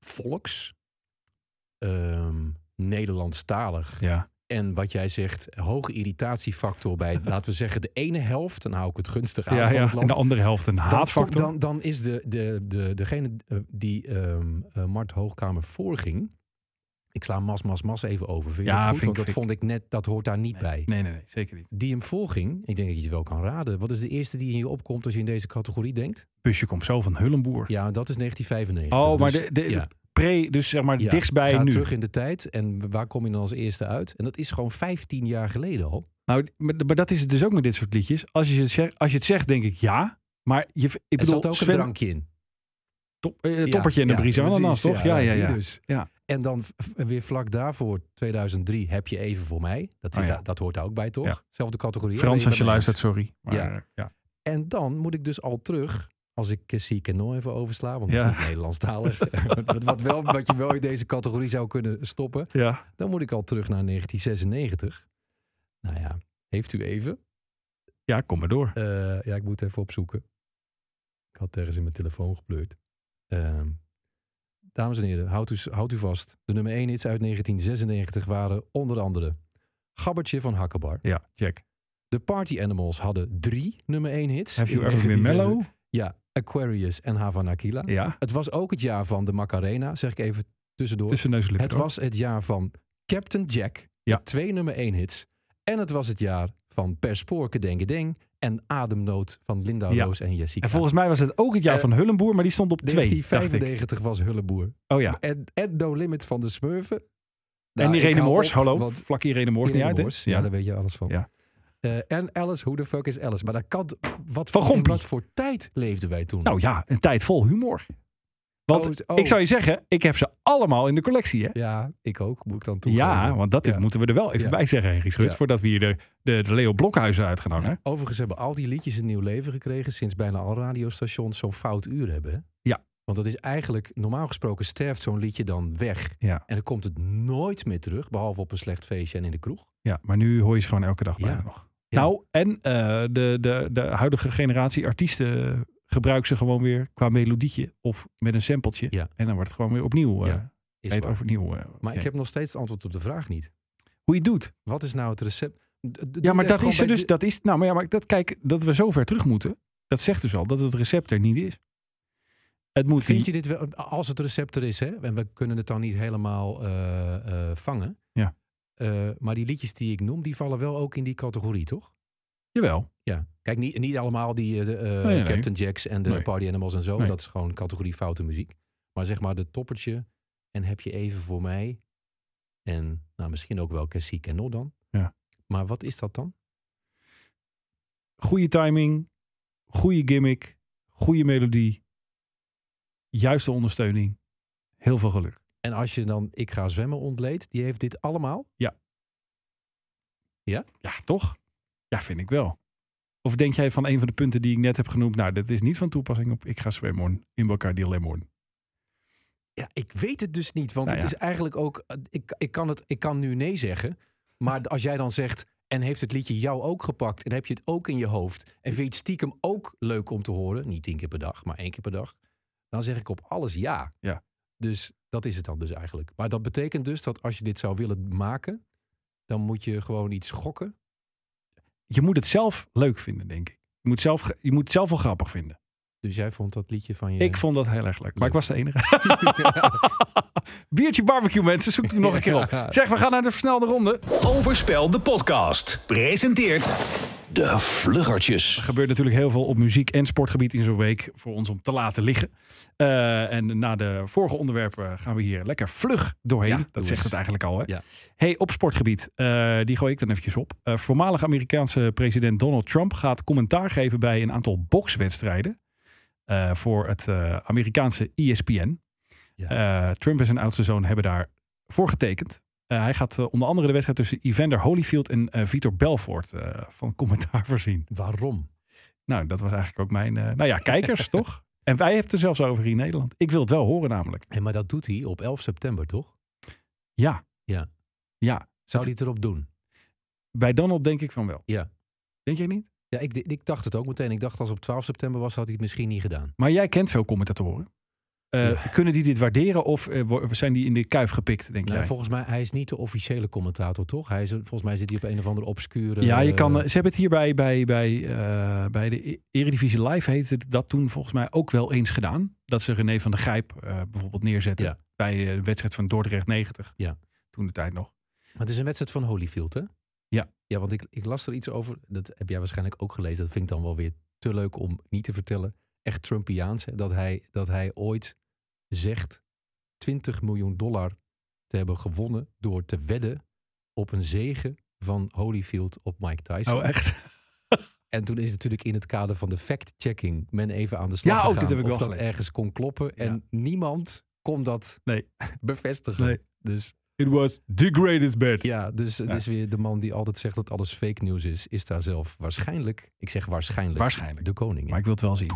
[SPEAKER 4] volks, ehm, Nederlandstalig.
[SPEAKER 3] Ja.
[SPEAKER 4] En wat jij zegt, hoge irritatiefactor bij, *laughs* laten we zeggen, de ene helft. Dan hou ik het gunstig aan
[SPEAKER 3] Ja,
[SPEAKER 4] van
[SPEAKER 3] ja.
[SPEAKER 4] het
[SPEAKER 3] En
[SPEAKER 4] land.
[SPEAKER 3] de andere helft een
[SPEAKER 4] Dan-
[SPEAKER 3] haatfactor.
[SPEAKER 4] Dan, dan is de, de, de, degene eh, die ehm eh, Mart Hoogkamer voorging. Ik sla Mas, Mas, Mas even over. Vind je
[SPEAKER 3] Ja,
[SPEAKER 4] dat goed?
[SPEAKER 3] vind
[SPEAKER 4] Want
[SPEAKER 3] ik-
[SPEAKER 4] dat vond ik net, dat hoort daar niet bij.
[SPEAKER 3] Nee, nee, nee, zeker niet.
[SPEAKER 4] Die hem voorging, ik denk dat je het wel kan raden. Wat is de eerste die in je opkomt als je in deze categorie denkt?
[SPEAKER 3] Busje komt zo van Hullenboer.
[SPEAKER 4] Ja, dat is 1995.
[SPEAKER 3] oh, maar
[SPEAKER 4] Dus-
[SPEAKER 3] de, de, de
[SPEAKER 4] ja,
[SPEAKER 3] pre, dus zeg maar
[SPEAKER 4] ja.
[SPEAKER 3] dichtstbij
[SPEAKER 4] Ga
[SPEAKER 3] nu.
[SPEAKER 4] terug in de tijd en waar kom je dan als eerste uit? En dat is gewoon 15 jaar geleden al.
[SPEAKER 3] Nou, maar, maar dat is het dus ook met dit soort liedjes. Als je het zegt, als je het zegt denk ik ja. Maar je, ik
[SPEAKER 4] Er
[SPEAKER 3] bedoel,
[SPEAKER 4] zat ook
[SPEAKER 3] Sven-
[SPEAKER 4] een drankje in.
[SPEAKER 3] top- eh, toppertje en
[SPEAKER 4] ja,
[SPEAKER 3] de bries
[SPEAKER 4] precies,
[SPEAKER 3] ananas, toch? Ja, ja,
[SPEAKER 4] die
[SPEAKER 3] ja.
[SPEAKER 4] dus.
[SPEAKER 3] Ja.
[SPEAKER 4] En dan v- v- weer vlak daarvoor, 2003, heb je even voor mij. Dat, zit
[SPEAKER 3] Oh ja.
[SPEAKER 4] daar- dat hoort daar ook bij, toch?
[SPEAKER 3] Ja.
[SPEAKER 4] Zelfde categorie. ben
[SPEAKER 3] Frans, als je
[SPEAKER 4] met me
[SPEAKER 3] luistert, sorry. Maar,
[SPEAKER 4] Ja.
[SPEAKER 3] eh, ja.
[SPEAKER 4] eens? En dan moet ik dus al terug, als ik eh, Seek and Know even oversla, want dat
[SPEAKER 3] Ja.
[SPEAKER 4] is
[SPEAKER 3] *laughs*
[SPEAKER 4] niet Nederlandstalig. *laughs* wat, wat, wel, wat je wel in deze categorie zou kunnen stoppen.
[SPEAKER 3] Ja.
[SPEAKER 4] Dan moet ik al terug naar 1996. Nou ja, heeft u even?
[SPEAKER 3] ja, kom maar door.
[SPEAKER 4] Eh, ja, ik moet even opzoeken. Ik had ergens in mijn telefoon gepleurd. Ehm, dames en heren, houdt u, houdt u vast. De nummer 1 hits uit 1996 waren onder andere... Gabbertje van Hakkebar.
[SPEAKER 3] Ja, check.
[SPEAKER 4] De Party Animals hadden drie nummer 1 hits.
[SPEAKER 3] Have you
[SPEAKER 4] in
[SPEAKER 3] ever been
[SPEAKER 4] 1996.
[SPEAKER 3] mellow?
[SPEAKER 4] Ja, Aquarius en Havana Kila.
[SPEAKER 3] Ja,
[SPEAKER 4] Het was ook het jaar van de Macarena, zeg ik even tussendoor.
[SPEAKER 3] tussen neus en lippen.
[SPEAKER 4] het was het jaar van Captain Jack. met
[SPEAKER 3] Ja.
[SPEAKER 4] Twee nummer 1 hits. En het was het jaar van Per Spoorke Deng Deng en Ademnood van Linda
[SPEAKER 3] Ja.
[SPEAKER 4] Roos en Jessica.
[SPEAKER 3] En volgens mij was het ook het jaar
[SPEAKER 4] Eh,
[SPEAKER 3] van Hullenboer, maar die stond op twee, dacht ik.
[SPEAKER 4] 1995 was Hulleboer.
[SPEAKER 3] Oh ja.
[SPEAKER 4] En, en No Limit van de Smurfen. Nou,
[SPEAKER 3] en
[SPEAKER 4] die
[SPEAKER 3] Irene Moors, hallo. Vlak Irene Moors niet uit, hè?
[SPEAKER 4] ja. daar weet je alles van.
[SPEAKER 3] Ja.
[SPEAKER 4] Eh, en Alice, hoe de fuck is Alice? Maar dat kan... Wat,
[SPEAKER 3] Van
[SPEAKER 4] in
[SPEAKER 3] Gompie.
[SPEAKER 4] wat voor tijd leefden wij toen?
[SPEAKER 3] Nou ja, een tijd vol humor. Want
[SPEAKER 4] Oh, het- oh.
[SPEAKER 3] ik zou je zeggen, ik heb ze allemaal in de collectie, hè?
[SPEAKER 4] Ja, ik ook, moet ik dan toegeven.
[SPEAKER 3] Ja, want dat
[SPEAKER 4] Ja.
[SPEAKER 3] moeten we er wel even
[SPEAKER 4] Ja.
[SPEAKER 3] bij zeggen, Henry Schut,
[SPEAKER 4] Ja.
[SPEAKER 3] voordat we hier de, de, de Leo Blokhuizen uitgenomen hebben.
[SPEAKER 4] Overigens hebben al die liedjes een nieuw leven gekregen sinds bijna al radiostations zo'n fout uur hebben. hè?
[SPEAKER 3] Ja.
[SPEAKER 4] Want dat is eigenlijk, normaal gesproken sterft zo'n liedje dan weg.
[SPEAKER 3] Ja.
[SPEAKER 4] En dan komt het nooit meer terug, behalve op een slecht feestje en in de kroeg.
[SPEAKER 3] ja, maar nu hoor je ze gewoon elke dag bijna
[SPEAKER 4] Ja.
[SPEAKER 3] nog.
[SPEAKER 4] Ja.
[SPEAKER 3] Nou, en eh, de, de, de huidige generatie artiesten gebruikt ze gewoon weer qua melodietje of met een sampletje.
[SPEAKER 4] Ja.
[SPEAKER 3] En dan wordt het gewoon weer opnieuw, eh
[SPEAKER 4] Ja, Is
[SPEAKER 3] heet
[SPEAKER 4] waar.
[SPEAKER 3] overnieuw. eh,
[SPEAKER 4] Maar ik
[SPEAKER 3] ja.
[SPEAKER 4] heb nog steeds het antwoord op de vraag niet.
[SPEAKER 3] Hoe je het doet.
[SPEAKER 4] Wat is nou het recept? D- d- doe het
[SPEAKER 3] Ja, maar
[SPEAKER 4] even
[SPEAKER 3] dat
[SPEAKER 4] gewoon
[SPEAKER 3] is er
[SPEAKER 4] bij
[SPEAKER 3] dus.
[SPEAKER 4] de-
[SPEAKER 3] Dat is, nou, maar ja, maar dat, kijk, dat we zo ver terug moeten, dat zegt dus al dat het recept er niet is. Het moet
[SPEAKER 4] Vind je dit wel, als het recept er is, hè, en we kunnen het dan niet helemaal eh, eh, vangen.
[SPEAKER 3] Ja.
[SPEAKER 4] Eh, maar die liedjes die ik noem, die vallen wel ook in die categorie, toch?
[SPEAKER 3] Jawel.
[SPEAKER 4] Ja, kijk, niet, niet allemaal die eh, de, eh,
[SPEAKER 3] nee, nee.
[SPEAKER 4] Captain Jacks en de
[SPEAKER 3] Nee.
[SPEAKER 4] Party Animals en zo.
[SPEAKER 3] Nee.
[SPEAKER 4] Dat is gewoon categorie foute muziek. Maar zeg maar de toppertje en heb je even voor mij. En nou, misschien ook wel Cassie Kennel dan.
[SPEAKER 3] Ja.
[SPEAKER 4] Maar wat is dat dan?
[SPEAKER 3] Goede timing, goede gimmick, goede melodie, juiste ondersteuning, heel veel geluk.
[SPEAKER 4] En als je dan Ik Ga Zwemmen ontleedt, die heeft dit allemaal.
[SPEAKER 3] Ja, toch? Ja, vind ik wel. Of denk jij van een van de punten die ik net heb genoemd, nou, dat is niet van toepassing op ik ga zwemmen in elkaar die lemon.
[SPEAKER 4] Ja, ik weet het dus niet. Want
[SPEAKER 3] Nou
[SPEAKER 4] het
[SPEAKER 3] ja.
[SPEAKER 4] is eigenlijk ook. eh, Ik, ik, kan het, ik kan nu nee zeggen. Maar als jij dan zegt. En heeft het liedje jou ook gepakt? En heb je het ook in je hoofd? En vind je het stiekem ook leuk om te horen? Niet tien keer per dag, maar één keer per dag. Dan zeg ik op alles ja.
[SPEAKER 3] Ja.
[SPEAKER 4] Dus dat is het dan dus eigenlijk. Maar dat betekent dus dat als je dit zou willen maken. Dan moet je gewoon iets gokken.
[SPEAKER 3] Je moet het zelf leuk vinden, denk ik. Je moet, zelf, ge- je moet het zelf wel grappig vinden.
[SPEAKER 4] Dus jij vond dat liedje van je...
[SPEAKER 3] Ik vond dat heel erg leuk, maar
[SPEAKER 4] Leuk.
[SPEAKER 3] ik was de enige. *laughs* Biertje barbecue, mensen. Zoek hem nog een keer op. Zeg, we gaan naar de versnelde ronde.
[SPEAKER 1] Overspel de podcast. Presenteert
[SPEAKER 2] De Vluggertjes.
[SPEAKER 3] Er gebeurt natuurlijk heel veel op muziek- en sportgebied in zo'n week voor ons om te laten liggen. Eh, en na de vorige onderwerpen gaan we hier lekker vlug doorheen.
[SPEAKER 4] Ja, doe
[SPEAKER 3] dat
[SPEAKER 4] eens.
[SPEAKER 3] zegt het eigenlijk al, hè?
[SPEAKER 4] Ja.
[SPEAKER 3] Hey, op sportgebied, eh, die gooi ik dan eventjes op. Eh, voormalig Amerikaanse president Donald Trump gaat commentaar geven bij een aantal bokswedstrijden eh, voor het eh, Amerikaanse ESPN. Eh, Trump en zijn oudste zoon hebben daar voor getekend. Eh, hij gaat eh, onder andere de wedstrijd tussen Evander Holyfield en eh, Vitor Belfort eh, van commentaar *laughs* voorzien.
[SPEAKER 4] Waarom?
[SPEAKER 3] Nou, dat was eigenlijk ook mijn. eh, nou ja,
[SPEAKER 4] *laughs*
[SPEAKER 3] kijkers toch? En wij hebben het er zelfs over hier in Nederland. Ik wil het wel horen namelijk.
[SPEAKER 4] En maar dat doet hij op 11 september, toch?
[SPEAKER 3] Ja.
[SPEAKER 4] Ja.
[SPEAKER 3] Ja.
[SPEAKER 4] Zou die het erop doen?
[SPEAKER 3] Bij Donald denk ik van wel.
[SPEAKER 4] Ja.
[SPEAKER 3] Denk jij niet?
[SPEAKER 4] Ja, ik, ik dacht het ook meteen. Ik dacht als het op 12 september was, had hij het misschien niet gedaan.
[SPEAKER 3] Maar jij kent veel commentatoren. Eh, Kunnen die dit waarderen of eh, wo- zijn die in de kuif gepikt, denk
[SPEAKER 4] Nou,
[SPEAKER 3] jij?
[SPEAKER 4] volgens mij, hij is niet de officiële commentator, toch? Hij is, volgens mij zit hij op een of andere obscure...
[SPEAKER 3] Ja, je kan, eh,
[SPEAKER 4] eh,
[SPEAKER 3] ze hebben het hier bij, bij, bij, eh, bij de E- Eredivisie Live heette het dat toen volgens mij ook wel eens gedaan. Dat ze René van der Grijp eh, bijvoorbeeld neerzetten
[SPEAKER 4] Ja.
[SPEAKER 3] bij eh, de wedstrijd van Dordrecht 90.
[SPEAKER 4] Ja.
[SPEAKER 3] Toen de tijd nog.
[SPEAKER 4] Maar het is een wedstrijd van Holyfield, hè?
[SPEAKER 3] Ja.
[SPEAKER 4] Ja, want ik, ik las er iets over. Dat heb jij waarschijnlijk ook gelezen. Dat vind ik dan wel weer te leuk om niet te vertellen. Echt Trumpiaans. Hè? Dat, hij, dat hij ooit zegt 20 miljoen dollar te hebben gewonnen door te wedden op een zege van Holyfield op Mike Tyson.
[SPEAKER 3] Oh, echt? *laughs*
[SPEAKER 4] En toen is natuurlijk in het kader van de fact-checking men even aan de slag
[SPEAKER 3] Ja, ook
[SPEAKER 4] gegaan
[SPEAKER 3] dit heb ik
[SPEAKER 4] of
[SPEAKER 3] wel
[SPEAKER 4] dat
[SPEAKER 3] gelezen.
[SPEAKER 4] ergens kon kloppen. En
[SPEAKER 3] Ja.
[SPEAKER 4] niemand kon dat
[SPEAKER 3] Nee.
[SPEAKER 4] *laughs* bevestigen.
[SPEAKER 3] Nee.
[SPEAKER 4] Dus
[SPEAKER 3] It was the greatest bet.
[SPEAKER 4] ja, dus het
[SPEAKER 3] Ja.
[SPEAKER 4] is weer de man die altijd zegt dat alles fake nieuws is, is daar zelf waarschijnlijk, ik zeg waarschijnlijk,
[SPEAKER 3] Waarschijnlijk.
[SPEAKER 4] de koning. in.
[SPEAKER 3] Maar ik wil het wel zien.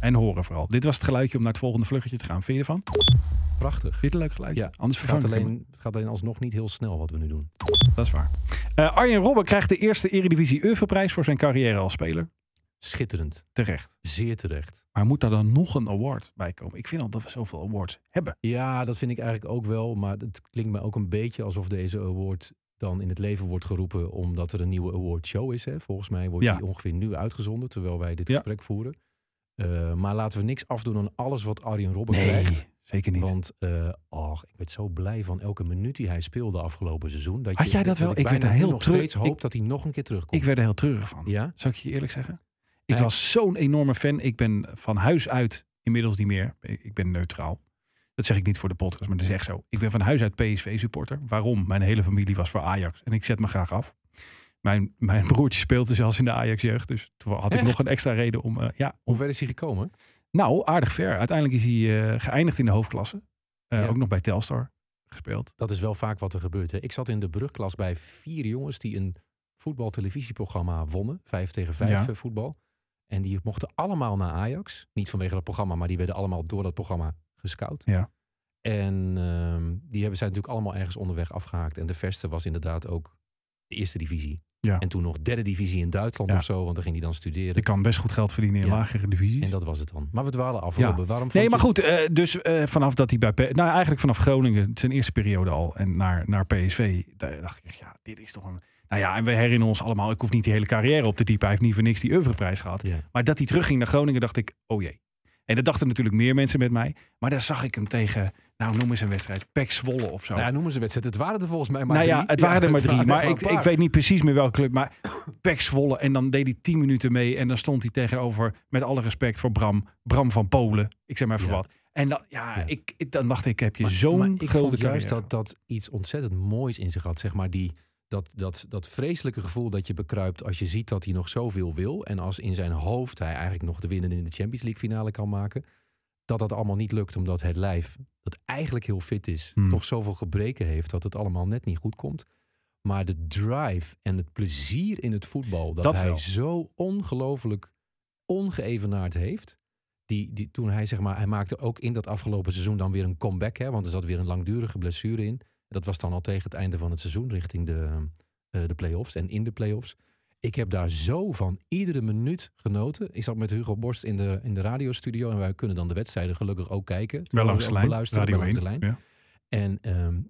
[SPEAKER 3] En horen vooral. Dit was het geluidje om naar het volgende vluggetje te gaan. Vind je ervan? Vind
[SPEAKER 4] prachtig.
[SPEAKER 3] je het een leuk geluidje?
[SPEAKER 4] Ja,
[SPEAKER 3] Anders
[SPEAKER 4] Het gaat,
[SPEAKER 3] vervangen alleen...
[SPEAKER 4] alleen, het gaat alleen alsnog niet heel snel wat we nu doen.
[SPEAKER 3] Dat is waar. Eh, Arjen Robben krijgt de eerste Eredivisie Europrijs voor zijn carrière als speler.
[SPEAKER 4] Schitterend.
[SPEAKER 3] Terecht.
[SPEAKER 4] Zeer terecht.
[SPEAKER 3] Maar moet daar dan nog een award bij komen? Ik vind al dat we zoveel awards hebben.
[SPEAKER 4] Ja, dat vind ik eigenlijk ook wel. Maar het klinkt mij ook een beetje alsof deze award dan in het leven wordt geroepen omdat er een nieuwe awardshow is. Hè? Volgens mij wordt
[SPEAKER 3] Ja.
[SPEAKER 4] die ongeveer nu uitgezonden terwijl wij dit
[SPEAKER 3] Ja.
[SPEAKER 4] gesprek voeren. Eh, maar laten we niks afdoen aan alles wat Arjen Robben krijgt.
[SPEAKER 3] zeker niet.
[SPEAKER 4] Want eh och, ik werd zo blij van elke minuut die hij speelde afgelopen seizoen. Dat
[SPEAKER 3] Had
[SPEAKER 4] je-
[SPEAKER 3] jij dat wel?
[SPEAKER 4] Ik,
[SPEAKER 3] Ik werd
[SPEAKER 4] bijna
[SPEAKER 3] er heel
[SPEAKER 4] nu nog
[SPEAKER 3] treu-
[SPEAKER 4] steeds hoop
[SPEAKER 3] ik-
[SPEAKER 4] dat hij nog een keer terugkomt.
[SPEAKER 3] ik werd er heel treurig van.
[SPEAKER 4] Ja?
[SPEAKER 3] Zal ik je eerlijk zeggen? Ik
[SPEAKER 4] Ja.
[SPEAKER 3] was zo'n enorme fan. Ik ben van huis uit inmiddels niet meer. Ik ben neutraal. Dat zeg ik niet voor de podcast, maar dat is echt zo. Ik ben van huis uit PSV-supporter. Waarom? Mijn hele familie was voor Ajax. En ik zet me graag af. Mijn, mijn *laughs* broertje speelde zelfs in de Ajax-jeugd. Dus toen had ik
[SPEAKER 4] Echt?
[SPEAKER 3] nog een extra reden om... eh, ja, om
[SPEAKER 4] Hoe ver is hij gekomen?
[SPEAKER 3] nou, aardig ver. Uiteindelijk is hij eh, geëindigd in de hoofdklasse. Eh,
[SPEAKER 4] Ja.
[SPEAKER 3] Ook nog bij Telstar gespeeld.
[SPEAKER 4] Dat is wel vaak wat er gebeurt. Hè? Ik zat in de brugklas bij vier jongens die een voetbaltelevisieprogramma wonnen. Vijf tegen vijf
[SPEAKER 3] Ja.
[SPEAKER 4] eh, voetbal. En die mochten allemaal naar Ajax. Niet vanwege dat programma, maar die werden allemaal door dat programma gescout.
[SPEAKER 3] Ja.
[SPEAKER 4] En ehm, die hebben, zijn natuurlijk allemaal ergens onderweg afgehaakt. En de verste was inderdaad ook de eerste divisie.
[SPEAKER 3] Ja.
[SPEAKER 4] En toen nog derde divisie in Duitsland
[SPEAKER 3] Ja.
[SPEAKER 4] of zo. Want daar ging hij dan studeren.
[SPEAKER 3] Ik kan best goed geld verdienen in
[SPEAKER 4] Ja.
[SPEAKER 3] lagere divisies.
[SPEAKER 4] En dat was het dan. Maar we dwalen af.
[SPEAKER 3] Ja.
[SPEAKER 4] Robben. Waarom
[SPEAKER 3] Nee,
[SPEAKER 4] vond
[SPEAKER 3] maar
[SPEAKER 4] je-
[SPEAKER 3] goed. eh, dus eh, vanaf dat hij bij... P- nou, eigenlijk vanaf Groningen, zijn eerste periode al. En naar, naar PSV. Daar dacht ik echt, ja, dit is toch een... Nou ja, en we herinneren ons allemaal. Ik hoef niet die hele carrière op te diepen. Hij heeft niet voor niks die oeuvreprijs gehad.
[SPEAKER 4] Ja.
[SPEAKER 3] Maar dat hij terugging naar Groningen, dacht ik, oh jee. En dat dachten natuurlijk meer mensen met mij. Maar daar zag ik hem tegen, nou noem eens een wedstrijd. Pek Zwolle of zo.
[SPEAKER 4] Nou ja, noemen ze wedstrijd. Het waren er volgens mij maar
[SPEAKER 3] nou
[SPEAKER 4] drie.
[SPEAKER 3] ja, het waren er maar drie. Maar ik,
[SPEAKER 4] een
[SPEAKER 3] ik
[SPEAKER 4] paar.
[SPEAKER 3] weet niet precies meer welke club. Maar Pek Zwolle. En dan deed hij tien minuten mee. En dan stond hij tegenover, met alle respect voor Bram, Bram van Polen. Ik zeg maar even
[SPEAKER 4] Ja.
[SPEAKER 3] wat. En dan, ja,
[SPEAKER 4] Ja.
[SPEAKER 3] Ik, ik- dan dacht ik, heb je
[SPEAKER 4] Maar- maar
[SPEAKER 3] zo'n
[SPEAKER 4] ik
[SPEAKER 3] grote
[SPEAKER 4] vond juist
[SPEAKER 3] carrière.
[SPEAKER 4] dat dat iets ontzettend moois in zich had. Zeg maar die, dat, dat, dat vreselijke gevoel dat je bekruipt als je ziet dat hij nog zoveel wil. En als in zijn hoofd hij eigenlijk nog de winnende in de Champions League finale kan maken. Dat dat allemaal niet lukt omdat het lijf, dat eigenlijk heel fit is,
[SPEAKER 3] Hmm.
[SPEAKER 4] toch zoveel gebreken heeft dat het allemaal net niet goed komt. Maar de drive en het plezier in het voetbal dat,
[SPEAKER 3] Dat
[SPEAKER 4] hij
[SPEAKER 3] wel.
[SPEAKER 4] zo ongelooflijk ongeëvenaard heeft. Die, die, toen hij, zeg maar, hij maakte ook in dat afgelopen seizoen dan weer een comeback. Hè, want er zat weer een langdurige blessure in. Dat was dan al tegen het einde van het seizoen richting de, eh, de play-offs en in de play-offs. Ik heb daar zo van iedere minuut genoten. Ik zat met Hugo Borst in de, in de radiostudio en wij kunnen dan de wedstrijden gelukkig ook kijken.
[SPEAKER 3] Wel langs de
[SPEAKER 4] Ook
[SPEAKER 3] lijn.
[SPEAKER 4] beluisteren,
[SPEAKER 3] Radio
[SPEAKER 4] wel langs
[SPEAKER 3] 1,
[SPEAKER 4] de lijn.
[SPEAKER 3] ja.
[SPEAKER 4] En ehm,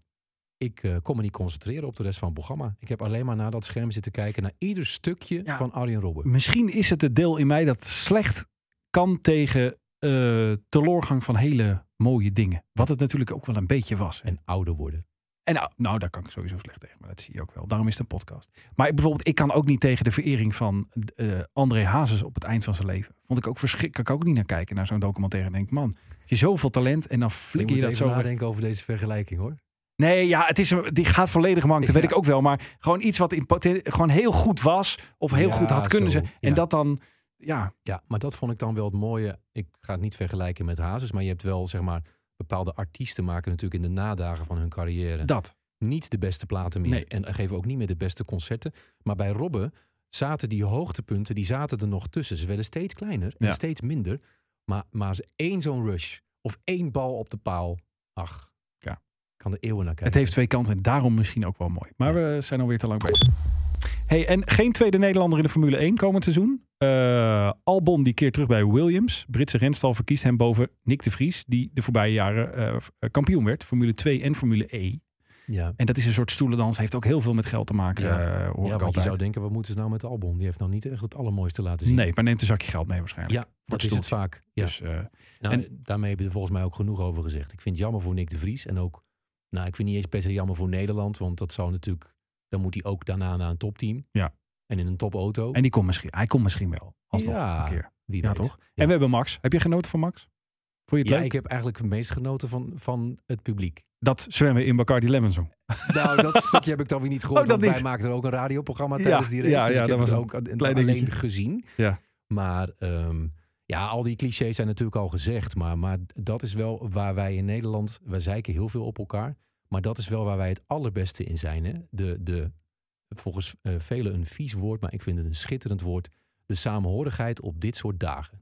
[SPEAKER 4] ik eh, kon me niet concentreren op de rest van het programma. Ik heb alleen maar naar dat scherm zitten kijken, naar ieder stukje
[SPEAKER 3] Ja.
[SPEAKER 4] van Arjen Robben.
[SPEAKER 3] Misschien is het het deel in mij dat slecht kan tegen eh teleurgang van hele mooie dingen. Wat het natuurlijk ook wel een beetje was.
[SPEAKER 4] En ouder worden.
[SPEAKER 3] En nou, nou, daar kan ik sowieso slecht tegen, maar dat zie je ook wel. Daarom is het een podcast. Maar ik- bijvoorbeeld, ik kan ook niet tegen de verering van eh, André Hazes op het eind van zijn leven. Vond ik ook verschrikkelijk. Kan ik ook niet naar kijken, naar zo'n documentaire. En denk, ik, man, je zoveel talent en dan
[SPEAKER 4] Ik
[SPEAKER 3] flikker
[SPEAKER 4] moet
[SPEAKER 3] je dat
[SPEAKER 4] even
[SPEAKER 3] zo weg.
[SPEAKER 4] nadenken over deze vergelijking hoor.
[SPEAKER 3] Nee, ja, het is, een- die gaat volledig mank, dat weet
[SPEAKER 4] Ja.
[SPEAKER 3] ik ook wel. Maar gewoon iets wat in, poten- gewoon heel goed was of heel
[SPEAKER 4] Ja,
[SPEAKER 3] goed had kunnen
[SPEAKER 4] zo,
[SPEAKER 3] zijn. En
[SPEAKER 4] ja.
[SPEAKER 3] dat dan, ja,
[SPEAKER 4] Ja, maar dat vond ik dan wel het mooie. Ik ga het niet vergelijken met Hazes, maar je hebt wel zeg maar bepaalde artiesten maken natuurlijk in de nadagen van hun carrière
[SPEAKER 3] dat.
[SPEAKER 4] niet de beste platen meer
[SPEAKER 3] Nee.
[SPEAKER 4] en geven ook niet meer de beste concerten. Maar bij Robben zaten die hoogtepunten, die zaten er nog tussen. Ze werden steeds kleiner en
[SPEAKER 3] Ja.
[SPEAKER 4] steeds minder. Maar maar als één zo'n rush of één bal op de paal, ach,
[SPEAKER 3] Ja.
[SPEAKER 4] kan de eeuwen naar kijken.
[SPEAKER 3] Het heeft twee kanten en daarom misschien ook wel mooi. Maar we zijn alweer te lang bezig. Hey, en geen tweede Nederlander in de Formule 1 komend seizoen. Eh, Albon die keert terug bij Williams. Britse renstal verkiest hem boven Nick de Vries, die de voorbije jaren eh, kampioen werd. Formule 2 en Formule E.
[SPEAKER 4] ja.
[SPEAKER 3] En dat is een soort stoelendans. Heeft ook heel veel met geld te maken,
[SPEAKER 4] Ja.
[SPEAKER 3] eh, hoor
[SPEAKER 4] ja,
[SPEAKER 3] ik
[SPEAKER 4] want je
[SPEAKER 3] altijd.
[SPEAKER 4] zou denken, wat moeten ze nou met Albon? Die heeft nou niet echt het allermooiste laten zien.
[SPEAKER 3] Nee, maar neemt een zakje geld mee waarschijnlijk.
[SPEAKER 4] Ja, dat is het
[SPEAKER 3] stoeltje.
[SPEAKER 4] vaak. Ja.
[SPEAKER 3] Dus, eh,
[SPEAKER 4] Nou,
[SPEAKER 3] En-
[SPEAKER 4] en daarmee hebben we er volgens mij ook genoeg over gezegd. Ik vind het jammer voor Nick de Vries. En ook, nou, ik vind niet eens per se jammer voor Nederland. Want dat zou natuurlijk, dan moet hij ook daarna naar een topteam.
[SPEAKER 3] Ja.
[SPEAKER 4] En in een topauto.
[SPEAKER 3] en die komt misschien, hij komt misschien wel. Alsnog
[SPEAKER 4] Ja,
[SPEAKER 3] een keer.
[SPEAKER 4] wie
[SPEAKER 3] Ja,
[SPEAKER 4] weet.
[SPEAKER 3] toch?
[SPEAKER 4] Ja.
[SPEAKER 3] En we hebben Max. Heb je genoten van Max? Vond je het
[SPEAKER 4] Ja,
[SPEAKER 3] leuk?
[SPEAKER 4] ik heb eigenlijk het meest genoten van, van het publiek.
[SPEAKER 3] Dat zwemmen in Bacardi Lemon Song.
[SPEAKER 4] Nou, dat stukje heb ik dan weer niet gehoord.
[SPEAKER 3] Oh, dat
[SPEAKER 4] want wij
[SPEAKER 3] niet.
[SPEAKER 4] maakten ook een radioprogramma
[SPEAKER 3] Ja,
[SPEAKER 4] tijdens die race.
[SPEAKER 3] ja,
[SPEAKER 4] dus
[SPEAKER 3] ja,
[SPEAKER 4] ik
[SPEAKER 3] dat
[SPEAKER 4] heb het
[SPEAKER 3] was een
[SPEAKER 4] ook a-
[SPEAKER 3] klein
[SPEAKER 4] alleen
[SPEAKER 3] dingetje.
[SPEAKER 4] gezien.
[SPEAKER 3] Ja.
[SPEAKER 4] Maar ehm, ja, al die clichés zijn natuurlijk al gezegd. Maar, maar dat is wel waar wij in Nederland... Wij zeiken heel veel op elkaar. Maar dat is wel waar wij het allerbeste in zijn. Hè? De, de, volgens eh, velen een vies woord, maar ik vind het een schitterend woord. De samenhorigheid op dit soort dagen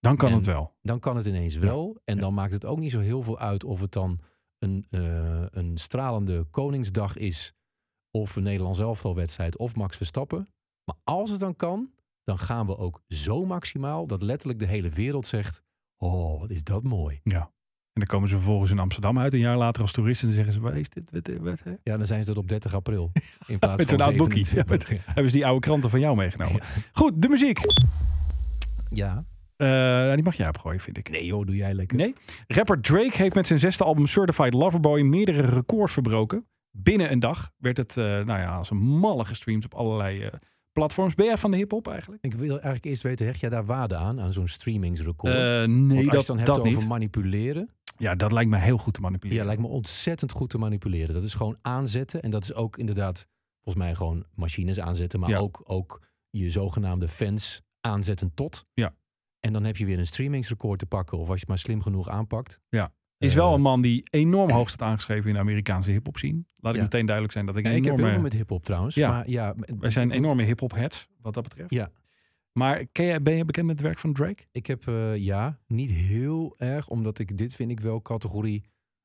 [SPEAKER 3] Dan kan
[SPEAKER 4] En-
[SPEAKER 3] het wel.
[SPEAKER 4] dan kan het ineens wel. En dan maakt het ook niet zo heel veel uit of het dan een, eh, een stralende Koningsdag is. Of een Nederlands elftalwedstrijd of Max Verstappen. Maar als het dan kan, dan gaan we ook zo maximaal dat letterlijk de hele wereld zegt: Oh, wat is dat mooi.
[SPEAKER 3] En dan komen ze vervolgens in Amsterdam uit, een jaar later als toeristen. En dan zeggen ze, waar is dit? Wat, wat, hè?
[SPEAKER 4] Ja, dan zijn ze dat op 30
[SPEAKER 3] *laughs*
[SPEAKER 4] april. In plaats
[SPEAKER 3] Met
[SPEAKER 4] van
[SPEAKER 3] zo'n oud boekie.
[SPEAKER 4] 27.
[SPEAKER 3] Ja, Hebben ze die oude kranten van jou meegenomen.
[SPEAKER 4] Ja.
[SPEAKER 3] Goed, de muziek.
[SPEAKER 4] Ja.
[SPEAKER 3] Eh, nou, die mag jij opgooien, vind ik.
[SPEAKER 4] Nee, joh, doe jij lekker.
[SPEAKER 3] Nee? Rapper Drake heeft met zijn zesde album Certified Loverboy meerdere records verbroken. Binnen een dag werd het eh, nou ja, als een malle gestreamd op allerlei eh, platforms. Ben jij van de hip-hop eigenlijk?
[SPEAKER 4] Ik wil eigenlijk eerst weten: hecht jij daar waarde aan, aan zo'n streamingsrecord? Want
[SPEAKER 3] Eh,
[SPEAKER 4] als
[SPEAKER 3] nee,
[SPEAKER 4] je het
[SPEAKER 3] dat,
[SPEAKER 4] dan hebt
[SPEAKER 3] dat
[SPEAKER 4] over
[SPEAKER 3] niet.
[SPEAKER 4] manipuleren.
[SPEAKER 3] Ja, dat lijkt me heel goed te
[SPEAKER 4] Ja,
[SPEAKER 3] manipuleren.
[SPEAKER 4] lijkt me ontzettend goed te manipuleren. Dat is gewoon aanzetten. En dat is ook inderdaad, volgens mij, gewoon machines aanzetten. Maar
[SPEAKER 3] Ja.
[SPEAKER 4] ook, ook je zogenaamde fans aanzetten tot.
[SPEAKER 3] Ja.
[SPEAKER 4] En dan heb je weer een streamingsrecord te pakken. Of als je het maar slim genoeg aanpakt.
[SPEAKER 3] Is wel
[SPEAKER 4] Eh,
[SPEAKER 3] een man die enorm hoog staat aangeschreven in de Amerikaanse hip-hop scene. Laat ik
[SPEAKER 4] Ja.
[SPEAKER 3] meteen duidelijk zijn dat ik een
[SPEAKER 4] En ik heb
[SPEAKER 3] enorme...
[SPEAKER 4] heel veel met hip-hop trouwens.
[SPEAKER 3] Ja.
[SPEAKER 4] Maar ja,
[SPEAKER 3] Wij zijn enorme hip-hop heads, wat dat betreft.
[SPEAKER 4] Ja.
[SPEAKER 3] Maar ken jij, ben je bekend met het werk van Drake?
[SPEAKER 4] Ik heb, eh, ja, niet heel erg. Omdat ik, dit vind ik wel categorie.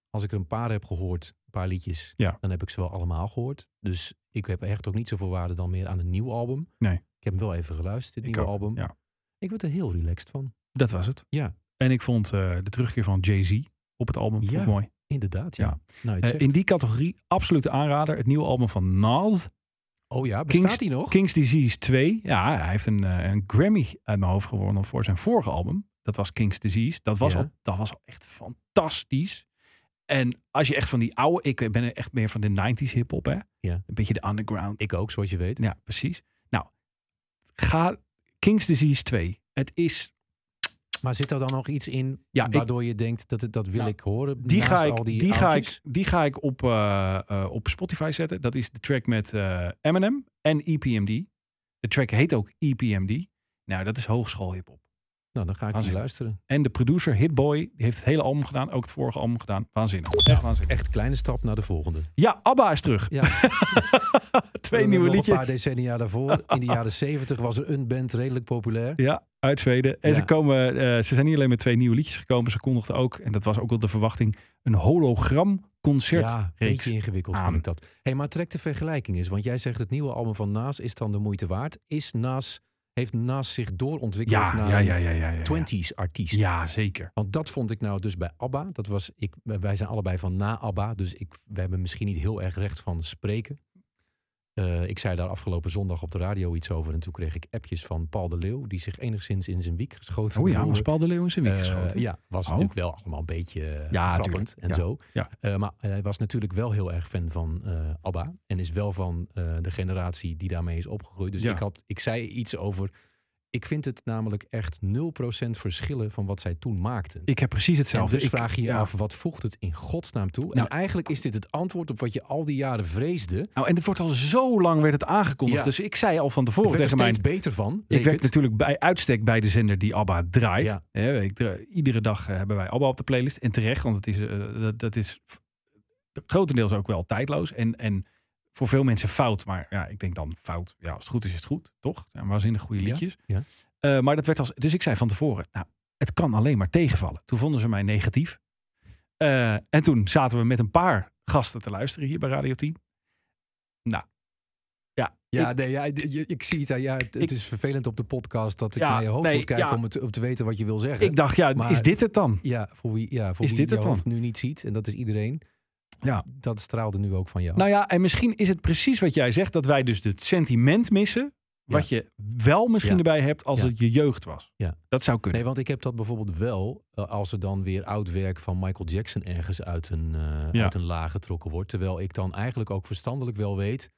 [SPEAKER 4] Als ik er een paar heb gehoord, een paar liedjes.
[SPEAKER 3] Ja.
[SPEAKER 4] Dan heb ik ze wel allemaal gehoord. Dus ik heb echt ook niet zoveel waarde dan meer aan een nieuw album.
[SPEAKER 3] Nee.
[SPEAKER 4] Ik heb hem wel even geluisterd, dit
[SPEAKER 3] Ik
[SPEAKER 4] nieuwe
[SPEAKER 3] ook,
[SPEAKER 4] album.
[SPEAKER 3] ja.
[SPEAKER 4] Ik word er heel relaxed van.
[SPEAKER 3] Dat was het.
[SPEAKER 4] Ja.
[SPEAKER 3] En ik vond eh, de terugkeer van Jay-Z op het album vond ik
[SPEAKER 4] Ja.
[SPEAKER 3] mooi.
[SPEAKER 4] Inderdaad, ja.
[SPEAKER 3] Ja.
[SPEAKER 4] Nou, het
[SPEAKER 3] Eh,
[SPEAKER 4] zegt-
[SPEAKER 3] in die categorie absolute aanrader. Het nieuwe album van Nas.
[SPEAKER 4] oh ja, bestaat
[SPEAKER 3] Kings-
[SPEAKER 4] die nog?
[SPEAKER 3] King's Disease 2. Ja, hij heeft een, eh, een Grammy uit mijn hoofd gewonnen voor zijn vorige album. Dat was King's Disease. Dat was,
[SPEAKER 4] Ja.
[SPEAKER 3] al, dat was al echt fantastisch. En als je echt van die oude... Ik ben echt meer van de 90s hip-hop, hè?
[SPEAKER 4] Ja.
[SPEAKER 3] Een beetje de underground.
[SPEAKER 4] Ik ook, zoals je weet.
[SPEAKER 3] Ja, precies. Nou, ga King's Disease 2. Het is...
[SPEAKER 4] Maar zit er dan nog iets in
[SPEAKER 3] Ja, ik-
[SPEAKER 4] waardoor je denkt dat, het- dat wil
[SPEAKER 3] Ja.
[SPEAKER 4] ik horen?
[SPEAKER 3] Die
[SPEAKER 4] naast
[SPEAKER 3] ga ik,
[SPEAKER 4] al
[SPEAKER 3] die
[SPEAKER 4] die
[SPEAKER 3] ga
[SPEAKER 4] oudjes?
[SPEAKER 3] ik, die ga ik op, eh, eh, op Spotify zetten. Dat is de track met eh, Eminem en E EPMD. De track heet ook E EPMD. Nou, dat is hogeschool hiphop.
[SPEAKER 4] Nou, dan ga ik die
[SPEAKER 3] Waanzinnig.
[SPEAKER 4] luisteren.
[SPEAKER 3] En de producer Hitboy die heeft het hele album gedaan. Ook het vorige album gedaan. Waanzinnig. Echt waanzinnig.
[SPEAKER 4] Echt kleine stap naar de volgende.
[SPEAKER 3] Ja, ABBA is terug.
[SPEAKER 4] Ja.
[SPEAKER 3] *laughs* Twee
[SPEAKER 4] Dan
[SPEAKER 3] nieuwe
[SPEAKER 4] nog
[SPEAKER 3] liedjes.
[SPEAKER 4] Een paar decennia daarvoor, in de jaren zeventig, was er een band redelijk populair.
[SPEAKER 3] Ja, uit Zweden. En
[SPEAKER 4] Ja.
[SPEAKER 3] ze, komen, eh, ze zijn niet alleen met twee nieuwe liedjes gekomen. Ze kondigden ook, en dat was ook wel de verwachting, een hologram concert.
[SPEAKER 4] Ja, een beetje ingewikkeld
[SPEAKER 3] aan.
[SPEAKER 4] vond ik dat. hey, maar trek de vergelijking eens. Want jij zegt het nieuwe album van Nas is dan de moeite waard. Is Nas, heeft Nas zich doorontwikkeld
[SPEAKER 3] ja,
[SPEAKER 4] naar
[SPEAKER 3] ja, ja, ja, ja, ja.
[SPEAKER 4] een 20s artiest?
[SPEAKER 3] Ja, zeker.
[SPEAKER 4] Want dat vond ik nou dus bij ABBA. Dat was, ik, wij zijn allebei van na ABBA, dus ik, we hebben misschien niet heel erg recht van spreken. Eh, ik zei daar afgelopen zondag op de radio iets over en toen kreeg ik appjes van Paul de Leeuw, die zich enigszins in zijn wiek geschoten
[SPEAKER 3] Oh ja,
[SPEAKER 4] voelde.
[SPEAKER 3] was Paul de Leeuw in zijn wiek
[SPEAKER 4] Eh,
[SPEAKER 3] geschoten.
[SPEAKER 4] ja, was
[SPEAKER 3] Oh.
[SPEAKER 4] natuurlijk wel allemaal een beetje eh,
[SPEAKER 3] Ja,
[SPEAKER 4] grappend
[SPEAKER 3] tuurlijk.
[SPEAKER 4] en
[SPEAKER 3] Ja,
[SPEAKER 4] zo.
[SPEAKER 3] ja.
[SPEAKER 4] Eh, maar hij was natuurlijk wel heel erg fan van eh, ABBA. En is wel van eh, de generatie die daarmee is opgegroeid. Dus
[SPEAKER 3] Ja.
[SPEAKER 4] ik, had, ik zei iets over... Ik vind het namelijk echt 0% verschillen van wat zij toen maakten.
[SPEAKER 3] Ik heb precies
[SPEAKER 4] en
[SPEAKER 3] hetzelfde.
[SPEAKER 4] dus
[SPEAKER 3] ik
[SPEAKER 4] vraag je je
[SPEAKER 3] ja.
[SPEAKER 4] af, wat voegt het in godsnaam toe?
[SPEAKER 3] Nou.
[SPEAKER 4] en eigenlijk is dit het antwoord op wat je al die jaren vreesde.
[SPEAKER 3] Nou, en het wordt al zo lang werd het aangekondigd.
[SPEAKER 4] Ja.
[SPEAKER 3] Dus ik zei al van
[SPEAKER 4] Ik
[SPEAKER 3] tevoren
[SPEAKER 4] werd er
[SPEAKER 3] tegen mij...
[SPEAKER 4] steeds beter van.
[SPEAKER 3] Ik
[SPEAKER 4] leek
[SPEAKER 3] werk
[SPEAKER 4] het.
[SPEAKER 3] natuurlijk bij uitstek bij de zender die ABBA draait.
[SPEAKER 4] Ja.
[SPEAKER 3] Hè, ik dra- iedere dag eh, hebben wij ABBA op de playlist. En terecht, want het is, eh, dat, dat is f- grotendeels ook wel tijdloos. En, en voor veel mensen fout. Maar ja, ik denk dan fout. Ja, als het goed is, is het goed. Toch? Het Zijn waanzinnig goede
[SPEAKER 4] Ja,
[SPEAKER 3] liedjes.
[SPEAKER 4] ja.
[SPEAKER 3] Eh, maar dat werd als... Dus ik zei van tevoren, nou, het kan alleen maar tegenvallen. Toen vonden ze mij negatief. Eh, en toen zaten we met een paar gasten te luisteren hier bij Radio 10. Nou, ja.
[SPEAKER 4] Ja,
[SPEAKER 3] ik-
[SPEAKER 4] nee, ja, d- je- ik zie het. aan- Ja, het, het
[SPEAKER 3] Ik-
[SPEAKER 4] is vervelend op de podcast dat ik
[SPEAKER 3] Ja,
[SPEAKER 4] naar je hoofd
[SPEAKER 3] nee,
[SPEAKER 4] moet kijken
[SPEAKER 3] ja.
[SPEAKER 4] om, het, om te weten wat je wil zeggen.
[SPEAKER 3] ik dacht, ja,
[SPEAKER 4] Maar-
[SPEAKER 3] is dit het dan?
[SPEAKER 4] ja, voor wie, ja, voor
[SPEAKER 3] Is
[SPEAKER 4] wie
[SPEAKER 3] dit
[SPEAKER 4] je
[SPEAKER 3] het dan?
[SPEAKER 4] hoofd nu niet ziet, en dat is iedereen,
[SPEAKER 3] Ja.
[SPEAKER 4] dat straalde nu ook van jou.
[SPEAKER 3] Nou ja, en misschien is het precies wat jij zegt, dat wij dus het sentiment missen. Wat je wel misschien
[SPEAKER 4] Ja.
[SPEAKER 3] erbij hebt als
[SPEAKER 4] Ja.
[SPEAKER 3] het je jeugd was.
[SPEAKER 4] Ja.
[SPEAKER 3] Dat zou kunnen.
[SPEAKER 4] Nee, want ik heb dat bijvoorbeeld wel eh, als er dan weer oud werk van Michael Jackson ergens uit een, eh,
[SPEAKER 3] Ja.
[SPEAKER 4] uit een laag getrokken wordt. Terwijl ik dan eigenlijk ook verstandelijk wel weet,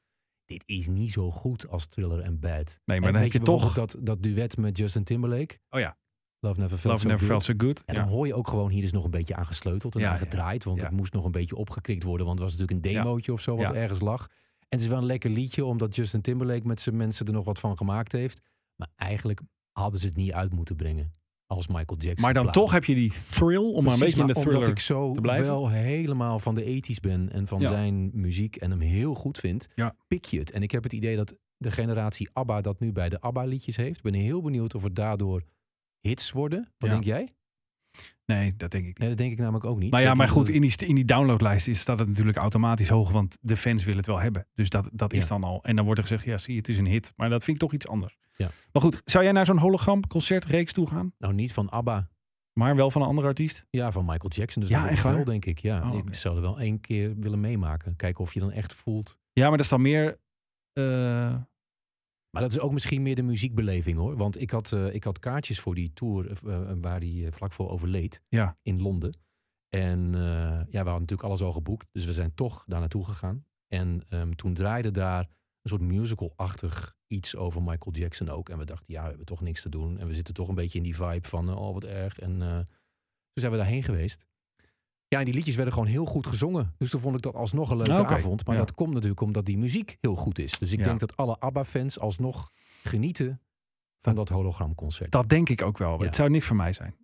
[SPEAKER 4] dit is niet zo goed als Thriller en Bad.
[SPEAKER 3] Nee,
[SPEAKER 4] En
[SPEAKER 3] maar dan
[SPEAKER 4] weet
[SPEAKER 3] heb je toch...
[SPEAKER 4] bijvoorbeeld dat, dat duet met Justin Timberlake.
[SPEAKER 3] Oh ja.
[SPEAKER 4] Love Never Felt
[SPEAKER 3] Love
[SPEAKER 4] So
[SPEAKER 3] Never Felt
[SPEAKER 4] Good.
[SPEAKER 3] So Good.
[SPEAKER 4] En
[SPEAKER 3] Ja.
[SPEAKER 4] dan hoor je ook gewoon, hier is nog een beetje aan gesleuteld en
[SPEAKER 3] Ja,
[SPEAKER 4] aan gedraaid. Want
[SPEAKER 3] ja.
[SPEAKER 4] het moest nog een beetje opgekrikt worden. Want het was natuurlijk een
[SPEAKER 3] Ja.
[SPEAKER 4] demootje of zo wat
[SPEAKER 3] Ja.
[SPEAKER 4] ergens lag. En het is wel een lekker liedje, omdat Justin Timberlake met zijn mensen er nog wat van gemaakt heeft. Maar eigenlijk hadden ze het niet uit moeten brengen als Michael Jackson.
[SPEAKER 3] Maar dan
[SPEAKER 4] plaat.
[SPEAKER 3] toch heb je die thrill om maar een
[SPEAKER 4] Precies,
[SPEAKER 3] beetje in de
[SPEAKER 4] maar
[SPEAKER 3] thriller.
[SPEAKER 4] Omdat ik zo
[SPEAKER 3] te blijven.
[SPEAKER 4] wel helemaal van de ethisch ben en van
[SPEAKER 3] Ja.
[SPEAKER 4] zijn muziek en hem heel goed vind,
[SPEAKER 3] Ja.
[SPEAKER 4] pik je het. En ik heb het idee dat de generatie ABBA dat nu bij de ABBA-liedjes heeft. Ik ben heel benieuwd of het daardoor hits worden. Wat
[SPEAKER 3] Ja.
[SPEAKER 4] denk jij?
[SPEAKER 3] Nee, dat denk ik
[SPEAKER 4] Nee,
[SPEAKER 3] niet.
[SPEAKER 4] dat denk ik namelijk ook niet.
[SPEAKER 3] Nou ja,
[SPEAKER 4] Zeker
[SPEAKER 3] maar
[SPEAKER 4] omdat
[SPEAKER 3] goed, in die, in die downloadlijst is, staat het natuurlijk automatisch hoog, want de fans willen het wel hebben. Dus dat, dat is
[SPEAKER 4] Ja.
[SPEAKER 3] dan al. En dan wordt er gezegd, ja zie, het is een hit. Maar dat vind ik toch iets anders.
[SPEAKER 4] Ja.
[SPEAKER 3] Maar goed, zou jij naar zo'n hologram concertreeks toe gaan,
[SPEAKER 4] Nou, niet van ABBA.
[SPEAKER 3] maar wel van een andere artiest?
[SPEAKER 4] Ja, van Michael Jackson. Dus
[SPEAKER 3] Ja,
[SPEAKER 4] ja, dat
[SPEAKER 3] echt
[SPEAKER 4] wel,
[SPEAKER 3] waar?
[SPEAKER 4] denk ik. Ja,
[SPEAKER 3] Oh,
[SPEAKER 4] ik
[SPEAKER 3] oké.
[SPEAKER 4] zou er wel één keer willen meemaken. Kijken of je dan echt voelt.
[SPEAKER 3] Ja, maar dat is dan meer... eh,
[SPEAKER 4] Maar dat is ook misschien meer de muziekbeleving, hoor. Want ik had, eh, ik had kaartjes voor die tour eh, eh, waar hij eh, vlak voor overleed.
[SPEAKER 3] Ja.
[SPEAKER 4] In Londen. En eh, ja, we hadden natuurlijk alles al geboekt. Dus we zijn toch daar naartoe gegaan. En ehm, toen draaide daar een soort musical-achtig iets over Michael Jackson ook. En we dachten, ja, we hebben toch niks te doen. En we zitten toch een beetje in die vibe van, eh, oh, wat erg. En eh, toen zijn we daarheen geweest. Ja, en die liedjes werden gewoon heel goed gezongen. Dus toen vond ik dat alsnog een leuke
[SPEAKER 3] Ah, oké.
[SPEAKER 4] avond. Maar
[SPEAKER 3] Ja.
[SPEAKER 4] dat komt natuurlijk omdat die muziek heel goed is. Dus ik
[SPEAKER 3] Ja.
[SPEAKER 4] denk dat alle ABBA-fans alsnog genieten van dat hologramconcert.
[SPEAKER 3] Dat denk ik ook wel.
[SPEAKER 4] Ja.
[SPEAKER 3] Het zou niks voor mij zijn.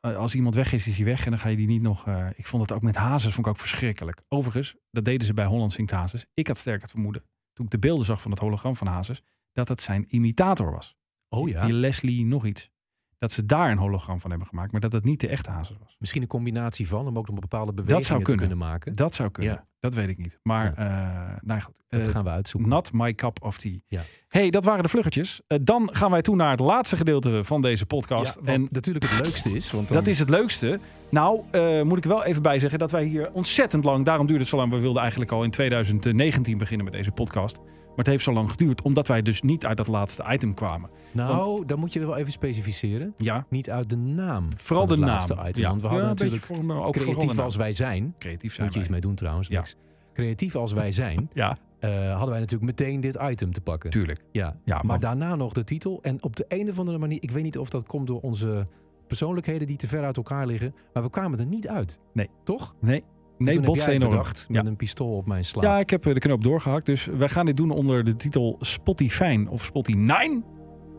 [SPEAKER 3] Eh, Als iemand weg is, is hij weg. En dan ga je die niet nog... eh, ik vond het ook met Hazes vond ik ook verschrikkelijk. Overigens, dat deden ze bij Holland Zingt Hazes. Ik had sterk het vermoeden, toen ik de beelden zag van het hologram van Hazes... dat het zijn imitator was.
[SPEAKER 4] oh
[SPEAKER 3] Die-
[SPEAKER 4] ja,
[SPEAKER 3] Die Leslie nog iets. Dat ze daar een hologram van hebben gemaakt. Maar dat dat niet de echte Hazes was.
[SPEAKER 4] misschien een combinatie van hem ook nog bepaalde bewegingen
[SPEAKER 3] zou
[SPEAKER 4] te
[SPEAKER 3] kunnen.
[SPEAKER 4] kunnen maken.
[SPEAKER 3] Dat zou kunnen.
[SPEAKER 4] Ja.
[SPEAKER 3] Dat weet ik niet. Maar, eh nou ja, goed.
[SPEAKER 4] Dat
[SPEAKER 3] Eh,
[SPEAKER 4] gaan we uitzoeken.
[SPEAKER 3] Not my cup of tea.
[SPEAKER 4] Ja.
[SPEAKER 3] hey, dat waren de vluggetjes. Eh, dan gaan wij toe naar het laatste gedeelte van deze podcast.
[SPEAKER 4] Ja, wat
[SPEAKER 3] en
[SPEAKER 4] natuurlijk het leukste is, want dan-
[SPEAKER 3] Dat is het leukste. Nou, eh, moet ik er wel even bij zeggen dat wij hier ontzettend lang. Daarom duurde het zo lang. We wilden eigenlijk al in 2019 beginnen met deze podcast. Maar het heeft zo lang geduurd, omdat wij dus niet uit dat laatste item kwamen.
[SPEAKER 4] nou, dan moet je wel even specificeren.
[SPEAKER 3] Ja,
[SPEAKER 4] Niet uit de naam.
[SPEAKER 3] vooral
[SPEAKER 4] van
[SPEAKER 3] de
[SPEAKER 4] het
[SPEAKER 3] naam.
[SPEAKER 4] laatste item.
[SPEAKER 3] ja.
[SPEAKER 4] Want we hadden
[SPEAKER 3] Ja, een beetje
[SPEAKER 4] natuurlijk
[SPEAKER 3] voor, maar ook vooral
[SPEAKER 4] creatief
[SPEAKER 3] de naam.
[SPEAKER 4] als wij zijn.
[SPEAKER 3] creatief zijn.
[SPEAKER 4] Moet je iets
[SPEAKER 3] wij.
[SPEAKER 4] mee doen trouwens.
[SPEAKER 3] Ja.
[SPEAKER 4] niks. Creatief als wij zijn,
[SPEAKER 3] Ja,
[SPEAKER 4] eh, hadden wij natuurlijk meteen dit item te pakken.
[SPEAKER 3] tuurlijk.
[SPEAKER 4] Ja,
[SPEAKER 3] Ja,
[SPEAKER 4] maar
[SPEAKER 3] want-
[SPEAKER 4] daarna nog de titel. En op de een of andere manier, ik weet niet of dat komt door onze persoonlijkheden die te ver uit elkaar liggen. Maar we kwamen er niet uit.
[SPEAKER 3] Nee.
[SPEAKER 4] Toch?
[SPEAKER 3] Nee,
[SPEAKER 4] En
[SPEAKER 3] nee,
[SPEAKER 4] toen heb
[SPEAKER 3] botsen
[SPEAKER 4] jij het
[SPEAKER 3] enorm.
[SPEAKER 4] bedacht
[SPEAKER 3] Ja.
[SPEAKER 4] met een pistool op mijn slaap.
[SPEAKER 3] ja, ik heb eh, de knoop doorgehakt. Dus wij gaan dit doen onder de titel Spotify of Spotty 9.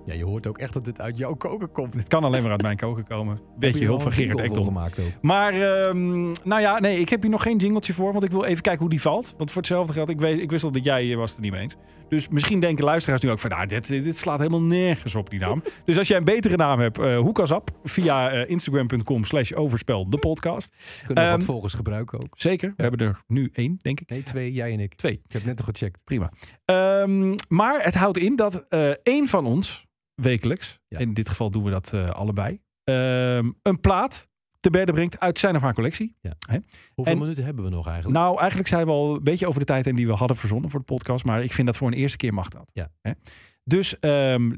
[SPEAKER 4] Ja, je hoort ook echt dat dit uit jouw koker komt.
[SPEAKER 3] Dit kan alleen maar uit mijn koken komen. Beetje hulp van Gerard Ekdom.
[SPEAKER 4] gemaakt ook.
[SPEAKER 3] Maar, ehm, nou ja, nee, ik heb hier nog geen jingletje voor, want ik wil even kijken hoe die valt. Want voor hetzelfde geld, ik, weet, ik wist al dat jij eh, was het er niet mee eens. Dus misschien denken luisteraars nu ook van, nou, dit, dit slaat helemaal nergens op, die naam. dus als jij een betere naam hebt, eh hoek als app via eh, instagram.com slash overspel de podcast.
[SPEAKER 4] Kunnen we
[SPEAKER 3] Ehm,
[SPEAKER 4] wat volgers gebruiken ook.
[SPEAKER 3] Zeker, we hebben er nu één, denk ik.
[SPEAKER 4] Nee, twee, jij en ik.
[SPEAKER 3] Twee.
[SPEAKER 4] Ik heb net nog gecheckt.
[SPEAKER 3] Prima. Ehm, maar het houdt in dat eh één van ons wekelijks,
[SPEAKER 4] Ja.
[SPEAKER 3] in dit geval doen we dat eh, allebei, ehm, een plaat te berden brengt uit zijn of haar collectie.
[SPEAKER 4] Hoeveel
[SPEAKER 3] En-
[SPEAKER 4] minuten hebben we nog eigenlijk?
[SPEAKER 3] Nou, eigenlijk zijn we al een beetje over de tijd heen die we hadden verzonnen voor de podcast. Maar ik vind dat voor een eerste keer mag dat.
[SPEAKER 4] Ja.
[SPEAKER 3] Hè? Dus ehm,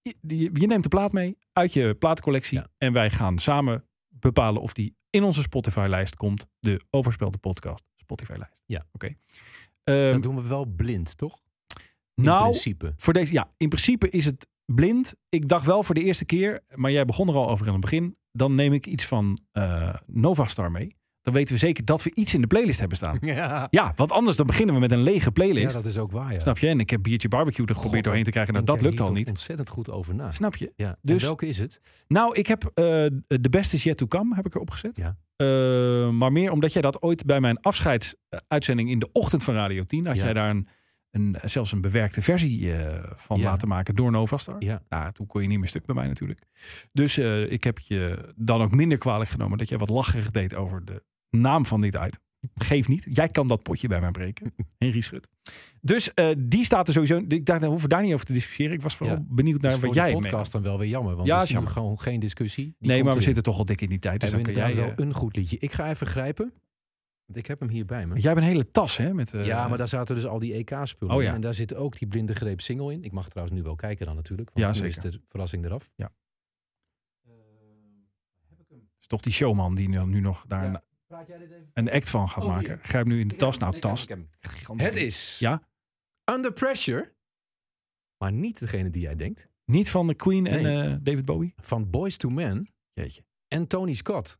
[SPEAKER 3] je- je, je neemt de plaat mee uit je plaatcollectie.
[SPEAKER 4] Ja.
[SPEAKER 3] En wij gaan samen bepalen of die in onze Spotify-lijst komt. De overspelde podcast Spotify-lijst.
[SPEAKER 4] Ja.
[SPEAKER 3] Oké. Ehm,
[SPEAKER 4] dat doen we wel blind, toch? In
[SPEAKER 3] nou,
[SPEAKER 4] principe. *laughs*
[SPEAKER 3] voor deze, ja, in principe is het blind. Ik dacht wel voor de eerste keer, maar jij begon er al over aan het begin. Dan neem ik iets van eh, Novastar mee. Dan weten we zeker dat we iets in de playlist hebben staan.
[SPEAKER 4] Ja.
[SPEAKER 3] Ja, want anders dan beginnen we met een lege playlist.
[SPEAKER 4] ja, dat is ook waar. Ja.
[SPEAKER 3] Snap je? En ik heb biertje barbecue er geprobeerd
[SPEAKER 4] God,
[SPEAKER 3] doorheen te krijgen. Nou,
[SPEAKER 4] Ik
[SPEAKER 3] dat
[SPEAKER 4] denk
[SPEAKER 3] lukt
[SPEAKER 4] hier
[SPEAKER 3] al
[SPEAKER 4] toch
[SPEAKER 3] niet.
[SPEAKER 4] ontzettend goed over na.
[SPEAKER 3] Snap je?
[SPEAKER 4] Ja.
[SPEAKER 3] Dus-
[SPEAKER 4] Dus, en welke is het?
[SPEAKER 3] Nou, ik heb eh The Best Is Yet To Come heb ik erop gezet.
[SPEAKER 4] Ja.
[SPEAKER 3] Eh, maar meer omdat jij dat ooit bij mijn afscheidsuitzending in de ochtend van Radio 10... had
[SPEAKER 4] Ja.
[SPEAKER 3] jij daar een, een, zelfs een bewerkte versie eh, van
[SPEAKER 4] Ja.
[SPEAKER 3] laten maken door Novastar.
[SPEAKER 4] Ja.
[SPEAKER 3] Nou, toen kon je niet meer stuk bij mij natuurlijk. Dus eh, ik heb je dan ook minder kwalijk genomen... dat jij wat lacherig deed over de Naam van dit item. Geef niet. Jij kan dat potje bij mij
[SPEAKER 4] *laughs*
[SPEAKER 3] breken. Henry Schut. Dus eh, die staat er sowieso. Ik dacht, we hoeven daar niet over te discussiëren. Ik was vooral
[SPEAKER 4] Ja.
[SPEAKER 3] benieuwd
[SPEAKER 4] Dat
[SPEAKER 3] naar
[SPEAKER 4] is
[SPEAKER 3] wat
[SPEAKER 4] voor
[SPEAKER 3] jij
[SPEAKER 4] de
[SPEAKER 3] mee.
[SPEAKER 4] podcast dan wel weer jammer, want
[SPEAKER 3] Ja,
[SPEAKER 4] ja,
[SPEAKER 3] is
[SPEAKER 4] is nu
[SPEAKER 3] jammer.
[SPEAKER 4] gewoon geen discussie. Die
[SPEAKER 3] Nee,
[SPEAKER 4] komt
[SPEAKER 3] maar we
[SPEAKER 4] erin.
[SPEAKER 3] zitten toch al dik in die tijd. Dus dan
[SPEAKER 4] Hebben
[SPEAKER 3] kun jij,
[SPEAKER 4] we inderdaad
[SPEAKER 3] eh,
[SPEAKER 4] wel een goed liedje. Ik ga even grijpen, want ik heb hem hier bij me.
[SPEAKER 3] jij hebt een hele tas, hè? Met, eh,
[SPEAKER 4] ja, maar daar zaten dus al die EK-spullen
[SPEAKER 3] Oh
[SPEAKER 4] in.
[SPEAKER 3] ja.
[SPEAKER 4] En daar zit ook die blinde greep single in. Ik mag trouwens nu wel kijken dan natuurlijk. Want
[SPEAKER 3] Ja,
[SPEAKER 4] nu
[SPEAKER 3] zeker.
[SPEAKER 4] is de verrassing eraf.
[SPEAKER 3] is toch die showman die nu, nu nog daar een,
[SPEAKER 4] Praat jij dit even?
[SPEAKER 3] een act van gaat
[SPEAKER 4] Oh, hier.
[SPEAKER 3] maken. Grijp nu in de tas. Nou, tas.
[SPEAKER 4] Het is
[SPEAKER 3] Ja?
[SPEAKER 4] Under Pressure, maar niet degene die jij denkt.
[SPEAKER 3] Niet van de Queen en
[SPEAKER 4] Nee.
[SPEAKER 3] eh, David Bowie.
[SPEAKER 4] Van Boys to Men
[SPEAKER 3] Jeetje.
[SPEAKER 4] en Tony Scott.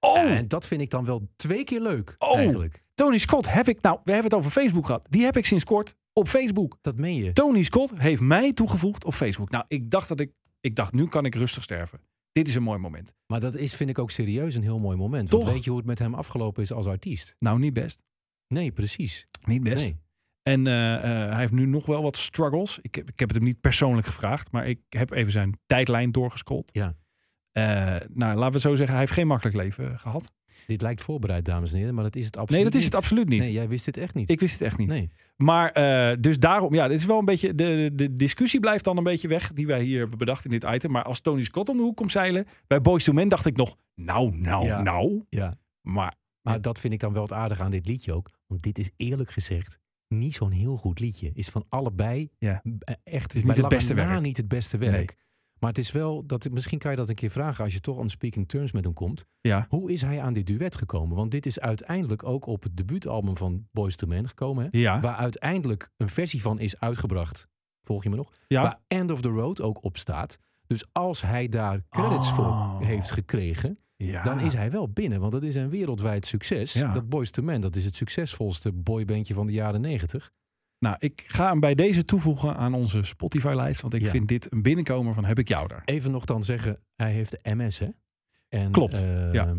[SPEAKER 3] Oh,
[SPEAKER 4] En dat vind ik dan wel twee keer leuk
[SPEAKER 3] Oh.
[SPEAKER 4] eigenlijk.
[SPEAKER 3] Tony Scott heb ik. Nou, we hebben het over Facebook gehad. Die heb ik sinds kort op Facebook.
[SPEAKER 4] Dat meen je.
[SPEAKER 3] Tony Scott heeft mij toegevoegd op Facebook. Nou, ik dacht dat ik. Ik dacht, nu kan ik rustig sterven. Dit is een mooi moment.
[SPEAKER 4] Maar dat is, vind ik ook serieus een heel mooi moment. Want
[SPEAKER 3] Toch?
[SPEAKER 4] weet je hoe het met hem afgelopen is als artiest?
[SPEAKER 3] Nou, niet best.
[SPEAKER 4] Nee, precies.
[SPEAKER 3] Niet
[SPEAKER 4] Nee.
[SPEAKER 3] En eh, eh, hij heeft nu nog wel wat struggles. Ik heb, ik heb het hem niet persoonlijk gevraagd, maar ik heb even zijn tijdlijn doorgescrollt.
[SPEAKER 4] Ja.
[SPEAKER 3] Eh, nou, laten we het zo zeggen, hij heeft geen makkelijk leven eh, gehad.
[SPEAKER 4] Dit lijkt voorbereid, dames en heren, maar dat is het absoluut
[SPEAKER 3] nee, dat is
[SPEAKER 4] niet.
[SPEAKER 3] het absoluut niet.
[SPEAKER 4] Nee, jij wist dit echt niet.
[SPEAKER 3] Ik wist het echt niet.
[SPEAKER 4] Nee.
[SPEAKER 3] Maar eh, dus daarom, ja, dit is wel een beetje. De, de discussie blijft dan een beetje weg. Die wij hier hebben bedacht in dit item. Maar als Tony Scott om de hoek komt zeilen. Bij Boys to Men dacht ik nog. Nou, nou,
[SPEAKER 4] Ja.
[SPEAKER 3] nou.
[SPEAKER 4] Ja.
[SPEAKER 3] Maar
[SPEAKER 4] Maar dat vind ik dan wel het aardige aan dit liedje ook. Want dit is eerlijk gezegd niet zo'n heel goed liedje. Is van allebei
[SPEAKER 3] Ja.
[SPEAKER 4] m- eh, echt
[SPEAKER 3] is
[SPEAKER 4] bij
[SPEAKER 3] niet het
[SPEAKER 4] lange
[SPEAKER 3] beste
[SPEAKER 4] na
[SPEAKER 3] werk.
[SPEAKER 4] niet het beste werk. Maar het is wel, dat, misschien kan je dat een keer vragen als je toch on speaking terms met hem komt.
[SPEAKER 3] ja,
[SPEAKER 4] Hoe is hij aan dit duet gekomen? Want dit is uiteindelijk ook op het debuutalbum van Boys to Men gekomen. Hè?
[SPEAKER 3] ja,
[SPEAKER 4] Waar uiteindelijk een versie van is uitgebracht. Volg je me nog?
[SPEAKER 3] ja.
[SPEAKER 4] Waar End of the Road ook op staat. Dus als hij daar credits
[SPEAKER 3] Oh.
[SPEAKER 4] voor heeft gekregen,
[SPEAKER 3] ja.
[SPEAKER 4] dan is hij wel binnen. Want dat is een wereldwijd succes.
[SPEAKER 3] Ah. Ja.
[SPEAKER 4] Dat Boys to Men, dat is het succesvolste boybandje van de jaren negentig.
[SPEAKER 3] Nou, ik ga hem bij deze toevoegen aan onze Spotify-lijst. Want ik
[SPEAKER 4] Ja.
[SPEAKER 3] vind dit een binnenkomer van heb ik jou daar.
[SPEAKER 4] Even nog dan zeggen, hij heeft MS hè? En,
[SPEAKER 3] Klopt,
[SPEAKER 4] ehm,
[SPEAKER 3] ja.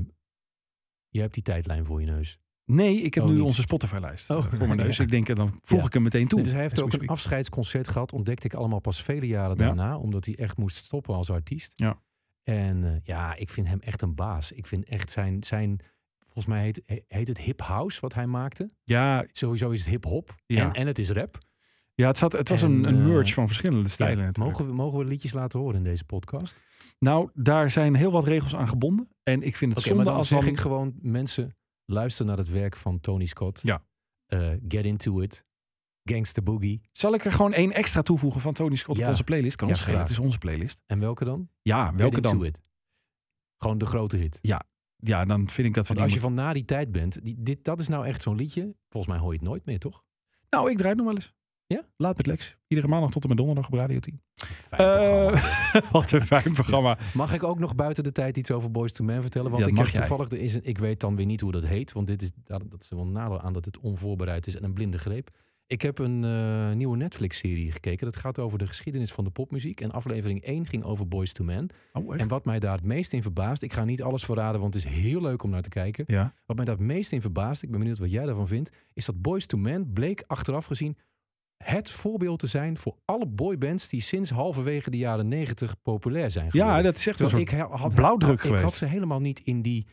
[SPEAKER 4] Je hebt die tijdlijn voor je neus.
[SPEAKER 3] Nee, ik heb
[SPEAKER 4] Oh,
[SPEAKER 3] nu
[SPEAKER 4] niet.
[SPEAKER 3] onze Spotify-lijst eh,
[SPEAKER 4] Oh,
[SPEAKER 3] voor mijn
[SPEAKER 4] *laughs* ja.
[SPEAKER 3] neus. Ik denk, dan voeg
[SPEAKER 4] Ja.
[SPEAKER 3] ik hem meteen toe.
[SPEAKER 4] dus hij heeft
[SPEAKER 3] As we
[SPEAKER 4] ook een
[SPEAKER 3] speak.
[SPEAKER 4] afscheidsconcert gehad, ontdekte ik allemaal pas vele jaren
[SPEAKER 3] Ja.
[SPEAKER 4] daarna, omdat hij echt moest stoppen als artiest.
[SPEAKER 3] Ja.
[SPEAKER 4] En eh, ja, ik vind hem echt een baas. Ik vind echt zijn, zijn volgens mij heet, he- heet het hip house wat hij maakte.
[SPEAKER 3] Ja,
[SPEAKER 4] Sowieso is het hip hop
[SPEAKER 3] Ja.
[SPEAKER 4] en, en het is rap.
[SPEAKER 3] ja het, zat, het was
[SPEAKER 4] En,
[SPEAKER 3] een, een
[SPEAKER 4] eh,
[SPEAKER 3] merge van verschillende stijlen.
[SPEAKER 4] Ja,
[SPEAKER 3] natuurlijk.
[SPEAKER 4] mogen, we, mogen we liedjes laten horen in deze podcast? Oké,
[SPEAKER 3] Nou, daar zijn heel wat regels aan gebonden. En ik vind het zonde
[SPEAKER 4] maar dan
[SPEAKER 3] als
[SPEAKER 4] zeg
[SPEAKER 3] dan-
[SPEAKER 4] ik gewoon mensen, luister naar het werk van Tony Scott.
[SPEAKER 3] Ja.
[SPEAKER 4] Eh, get into it. Gangsta Boogie.
[SPEAKER 3] Zal ik er gewoon één extra toevoegen van Tony Scott op
[SPEAKER 4] Ja.
[SPEAKER 3] onze playlist? Kan
[SPEAKER 4] Ja,
[SPEAKER 3] ons schelen, het
[SPEAKER 4] graag.
[SPEAKER 3] is onze playlist.
[SPEAKER 4] En welke dan?
[SPEAKER 3] Ja, welke
[SPEAKER 4] get into
[SPEAKER 3] dan?
[SPEAKER 4] it. Gewoon de grote hit.
[SPEAKER 3] Ja, dan vind ik dat we
[SPEAKER 4] Want
[SPEAKER 3] die
[SPEAKER 4] als je
[SPEAKER 3] moeten-
[SPEAKER 4] van na die tijd bent, die, dit, dat is nou echt zo'n liedje. Volgens mij hoor je het nooit meer, toch?
[SPEAKER 3] Nou, ik draai het nog wel eens.
[SPEAKER 4] Ja?
[SPEAKER 3] Laat met Lex. Iedere maandag tot en met donderdag op Radio 10.
[SPEAKER 4] Fijn programma.
[SPEAKER 3] Eh, *laughs* wat een fijn programma.
[SPEAKER 4] Mag ik ook nog buiten de tijd iets over Boys to Men vertellen? Want
[SPEAKER 3] Ja,
[SPEAKER 4] ik
[SPEAKER 3] mag
[SPEAKER 4] heb
[SPEAKER 3] jij.
[SPEAKER 4] toevallig, er is een, ik weet dan weer niet hoe dat heet. Want dit is, dat dat is wel een nadeel aan dat het onvoorbereid is en een blinde greep. Ik heb een eh, nieuwe Netflix-serie gekeken. Dat gaat over de geschiedenis van de popmuziek. En aflevering 1 ging over Boys to Men.
[SPEAKER 3] Oh, echt?
[SPEAKER 4] En wat mij daar het meest in verbaast... Ik ga niet alles verraden, want het is heel leuk om naar te kijken.
[SPEAKER 3] Ja.
[SPEAKER 4] Wat mij daar het meest in verbaast, ik ben benieuwd wat jij daarvan vindt, is dat Boys to Men bleek achteraf gezien het voorbeeld te zijn voor alle boybands die sinds halverwege de jaren negentig populair zijn geworden.
[SPEAKER 3] ja, dat is echt wel
[SPEAKER 4] Terwijl
[SPEAKER 3] zo'n
[SPEAKER 4] ik he- had,
[SPEAKER 3] blauwdruk
[SPEAKER 4] ik had
[SPEAKER 3] geweest.
[SPEAKER 4] ze helemaal niet in die,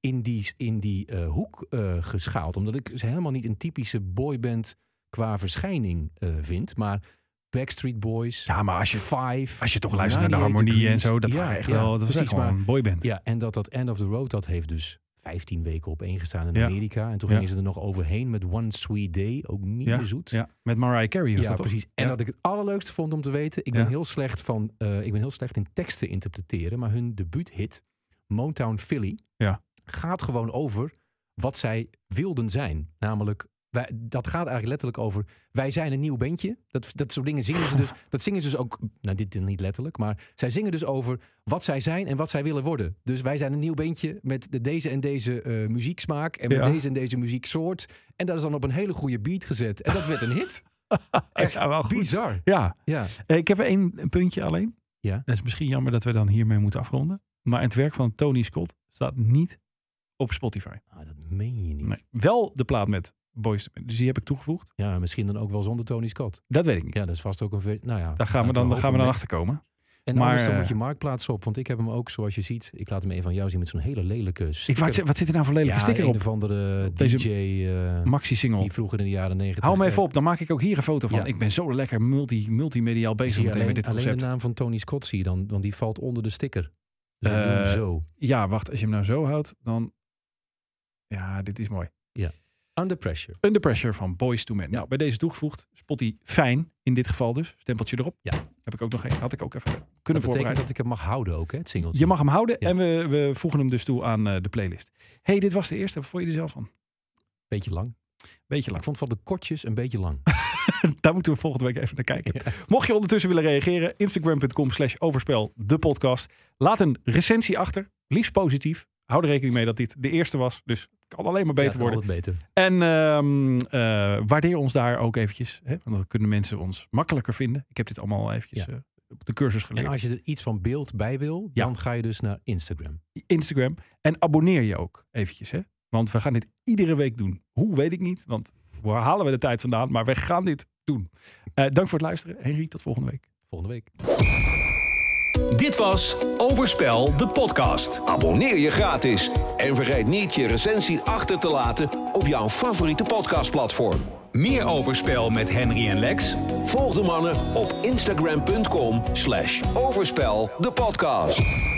[SPEAKER 4] in die, in die eh, hoek eh, geschaald, omdat ik ze helemaal niet een typische boyband qua verschijning eh, vind, maar Backstreet Boys,
[SPEAKER 3] Ja, maar als je,
[SPEAKER 4] Five,
[SPEAKER 3] als je toch luistert naar de
[SPEAKER 4] 98
[SPEAKER 3] harmonie en
[SPEAKER 4] Degrees.
[SPEAKER 3] zo, dat,
[SPEAKER 4] Ja,
[SPEAKER 3] waren echt
[SPEAKER 4] ja,
[SPEAKER 3] wel, dat was
[SPEAKER 4] precies,
[SPEAKER 3] echt gewoon
[SPEAKER 4] maar-
[SPEAKER 3] een boyband.
[SPEAKER 4] ja, en dat dat End of the Road, dat heeft dus 15 weken opeengestaan in
[SPEAKER 3] Ja.
[SPEAKER 4] Amerika. En toen
[SPEAKER 3] Ja.
[SPEAKER 4] gingen ze er nog overheen met One Sweet Day, ook niet
[SPEAKER 3] Ja,
[SPEAKER 4] zoet.
[SPEAKER 3] Ja, met Mariah Carey was
[SPEAKER 4] Ja,
[SPEAKER 3] dat toch?
[SPEAKER 4] precies. En
[SPEAKER 3] Ja.
[SPEAKER 4] wat ik het allerleukste vond om te weten, ik ben,
[SPEAKER 3] Ja.
[SPEAKER 4] heel, slecht van, eh, ik ben heel slecht in teksten interpreteren, maar hun debuuthit, Motown Philly,
[SPEAKER 3] Ja.
[SPEAKER 4] gaat gewoon over wat zij wilden zijn. Namelijk, wij, dat gaat eigenlijk letterlijk over, wij zijn een nieuw bandje. Dat, dat soort dingen
[SPEAKER 3] *laughs*
[SPEAKER 4] zingen ze dus. Dat zingen ze dus ook, nou dit niet letterlijk, maar zij zingen dus over wat zij zijn en wat zij willen worden. Dus wij zijn een nieuw bandje met de, deze en deze eh, muzieksmaak en met
[SPEAKER 3] Ja.
[SPEAKER 4] deze en deze muzieksoort. En dat is dan op een hele goede beat gezet. En dat werd een hit. Echt
[SPEAKER 3] Ja, wel goed.
[SPEAKER 4] bizar.
[SPEAKER 3] Ja,
[SPEAKER 4] Ja.
[SPEAKER 3] Eh, Ik heb één puntje alleen.
[SPEAKER 4] Ja.
[SPEAKER 3] Dat is misschien jammer dat we dan hiermee moeten afronden. Maar het werk van Tony Scott staat niet op Spotify.
[SPEAKER 4] Ah, dat meen je niet.
[SPEAKER 3] Nee. Wel de plaat met Boys. to Men. Dus die heb ik toegevoegd.
[SPEAKER 4] Ja, misschien dan ook wel zonder Tony Scott.
[SPEAKER 3] Dat weet ik niet.
[SPEAKER 4] Ja, dat is vast ook een... ver- Nou ja,
[SPEAKER 3] Daar gaan we
[SPEAKER 4] laten
[SPEAKER 3] dan, daar gaan we dan
[SPEAKER 4] hopen
[SPEAKER 3] achter komen.
[SPEAKER 4] En
[SPEAKER 3] Maar,
[SPEAKER 4] anders dan
[SPEAKER 3] eh,
[SPEAKER 4] moet je marktplaats op. Want ik heb hem ook, zoals je ziet. Ik laat hem een van jou zien met zo'n hele lelijke
[SPEAKER 3] Ik,
[SPEAKER 4] sticker.
[SPEAKER 3] wat, wat zit er nou voor lelijke
[SPEAKER 4] ja,
[SPEAKER 3] sticker
[SPEAKER 4] een
[SPEAKER 3] op?
[SPEAKER 4] of andere
[SPEAKER 3] deze
[SPEAKER 4] DJ eh,
[SPEAKER 3] Maxi-single.
[SPEAKER 4] die vroeger in de jaren negentig...
[SPEAKER 3] Hou me
[SPEAKER 4] eh,
[SPEAKER 3] even op, dan maak ik ook hier een foto van.
[SPEAKER 4] Ja.
[SPEAKER 3] Ik ben zo lekker multi, multimediaal bezig
[SPEAKER 4] zie je
[SPEAKER 3] meteen
[SPEAKER 4] alleen,
[SPEAKER 3] met dit
[SPEAKER 4] alleen
[SPEAKER 3] concept.
[SPEAKER 4] de naam van Tony Scott zie je dan. Want die valt onder de sticker. Dus we doen hem
[SPEAKER 3] Eh,
[SPEAKER 4] zo.
[SPEAKER 3] Ja, wacht, als je hem nou zo houdt, dan... Ja, dit is mooi.
[SPEAKER 4] Under pressure.
[SPEAKER 3] Under Pressure van Boys to Men. Nou, bij deze toegevoegd. Spotty fijn, in dit geval dus. Stempeltje erop.
[SPEAKER 4] Ja.
[SPEAKER 3] Heb ik ook nog een. Had ik ook even
[SPEAKER 4] Dat
[SPEAKER 3] kunnen
[SPEAKER 4] betekent
[SPEAKER 3] voorbereiden.
[SPEAKER 4] dat ik hem mag houden ook, hè, het singeltje.
[SPEAKER 3] Je mag hem houden
[SPEAKER 4] Ja.
[SPEAKER 3] en we, we voegen hem dus toe aan eh, de playlist. hey, dit was de eerste. Wat vond je er zelf van?
[SPEAKER 4] Beetje lang.
[SPEAKER 3] Beetje
[SPEAKER 4] Ik
[SPEAKER 3] lang.
[SPEAKER 4] vond van de kortjes een beetje lang.
[SPEAKER 3] Daar moeten we volgende week even naar kijken. Mocht je ondertussen willen reageren, instagram.com slash overspel de podcast. Laat een recensie achter, liefst positief. Hou er rekening mee dat dit de eerste was, dus het kan alleen maar beter
[SPEAKER 4] Ja,
[SPEAKER 3] worden.
[SPEAKER 4] altijd beter.
[SPEAKER 3] En ehm, eh, waardeer ons daar ook eventjes, hè? want dan kunnen mensen ons makkelijker vinden. Ik heb dit allemaal eventjes
[SPEAKER 4] Ja.
[SPEAKER 3] eh, op de cursus
[SPEAKER 4] En
[SPEAKER 3] geleerd.
[SPEAKER 4] als je er iets van beeld bij wil,
[SPEAKER 3] Ja.
[SPEAKER 4] dan ga je dus naar Instagram.
[SPEAKER 3] Instagram. En abonneer je ook eventjes. Hè? Want we gaan dit iedere week doen. Hoe weet ik niet, want waar halen we de tijd vandaan? Maar we gaan dit doen. Eh, dank voor het luisteren. Henry, tot volgende week.
[SPEAKER 4] Volgende week.
[SPEAKER 1] Dit was Overspel, de podcast.
[SPEAKER 2] Abonneer je gratis en vergeet niet je recensie achter te laten op jouw favoriete podcastplatform.
[SPEAKER 1] Meer Overspel met Henry en Lex
[SPEAKER 2] Volg de mannen op instagram.com slash overspel de podcast.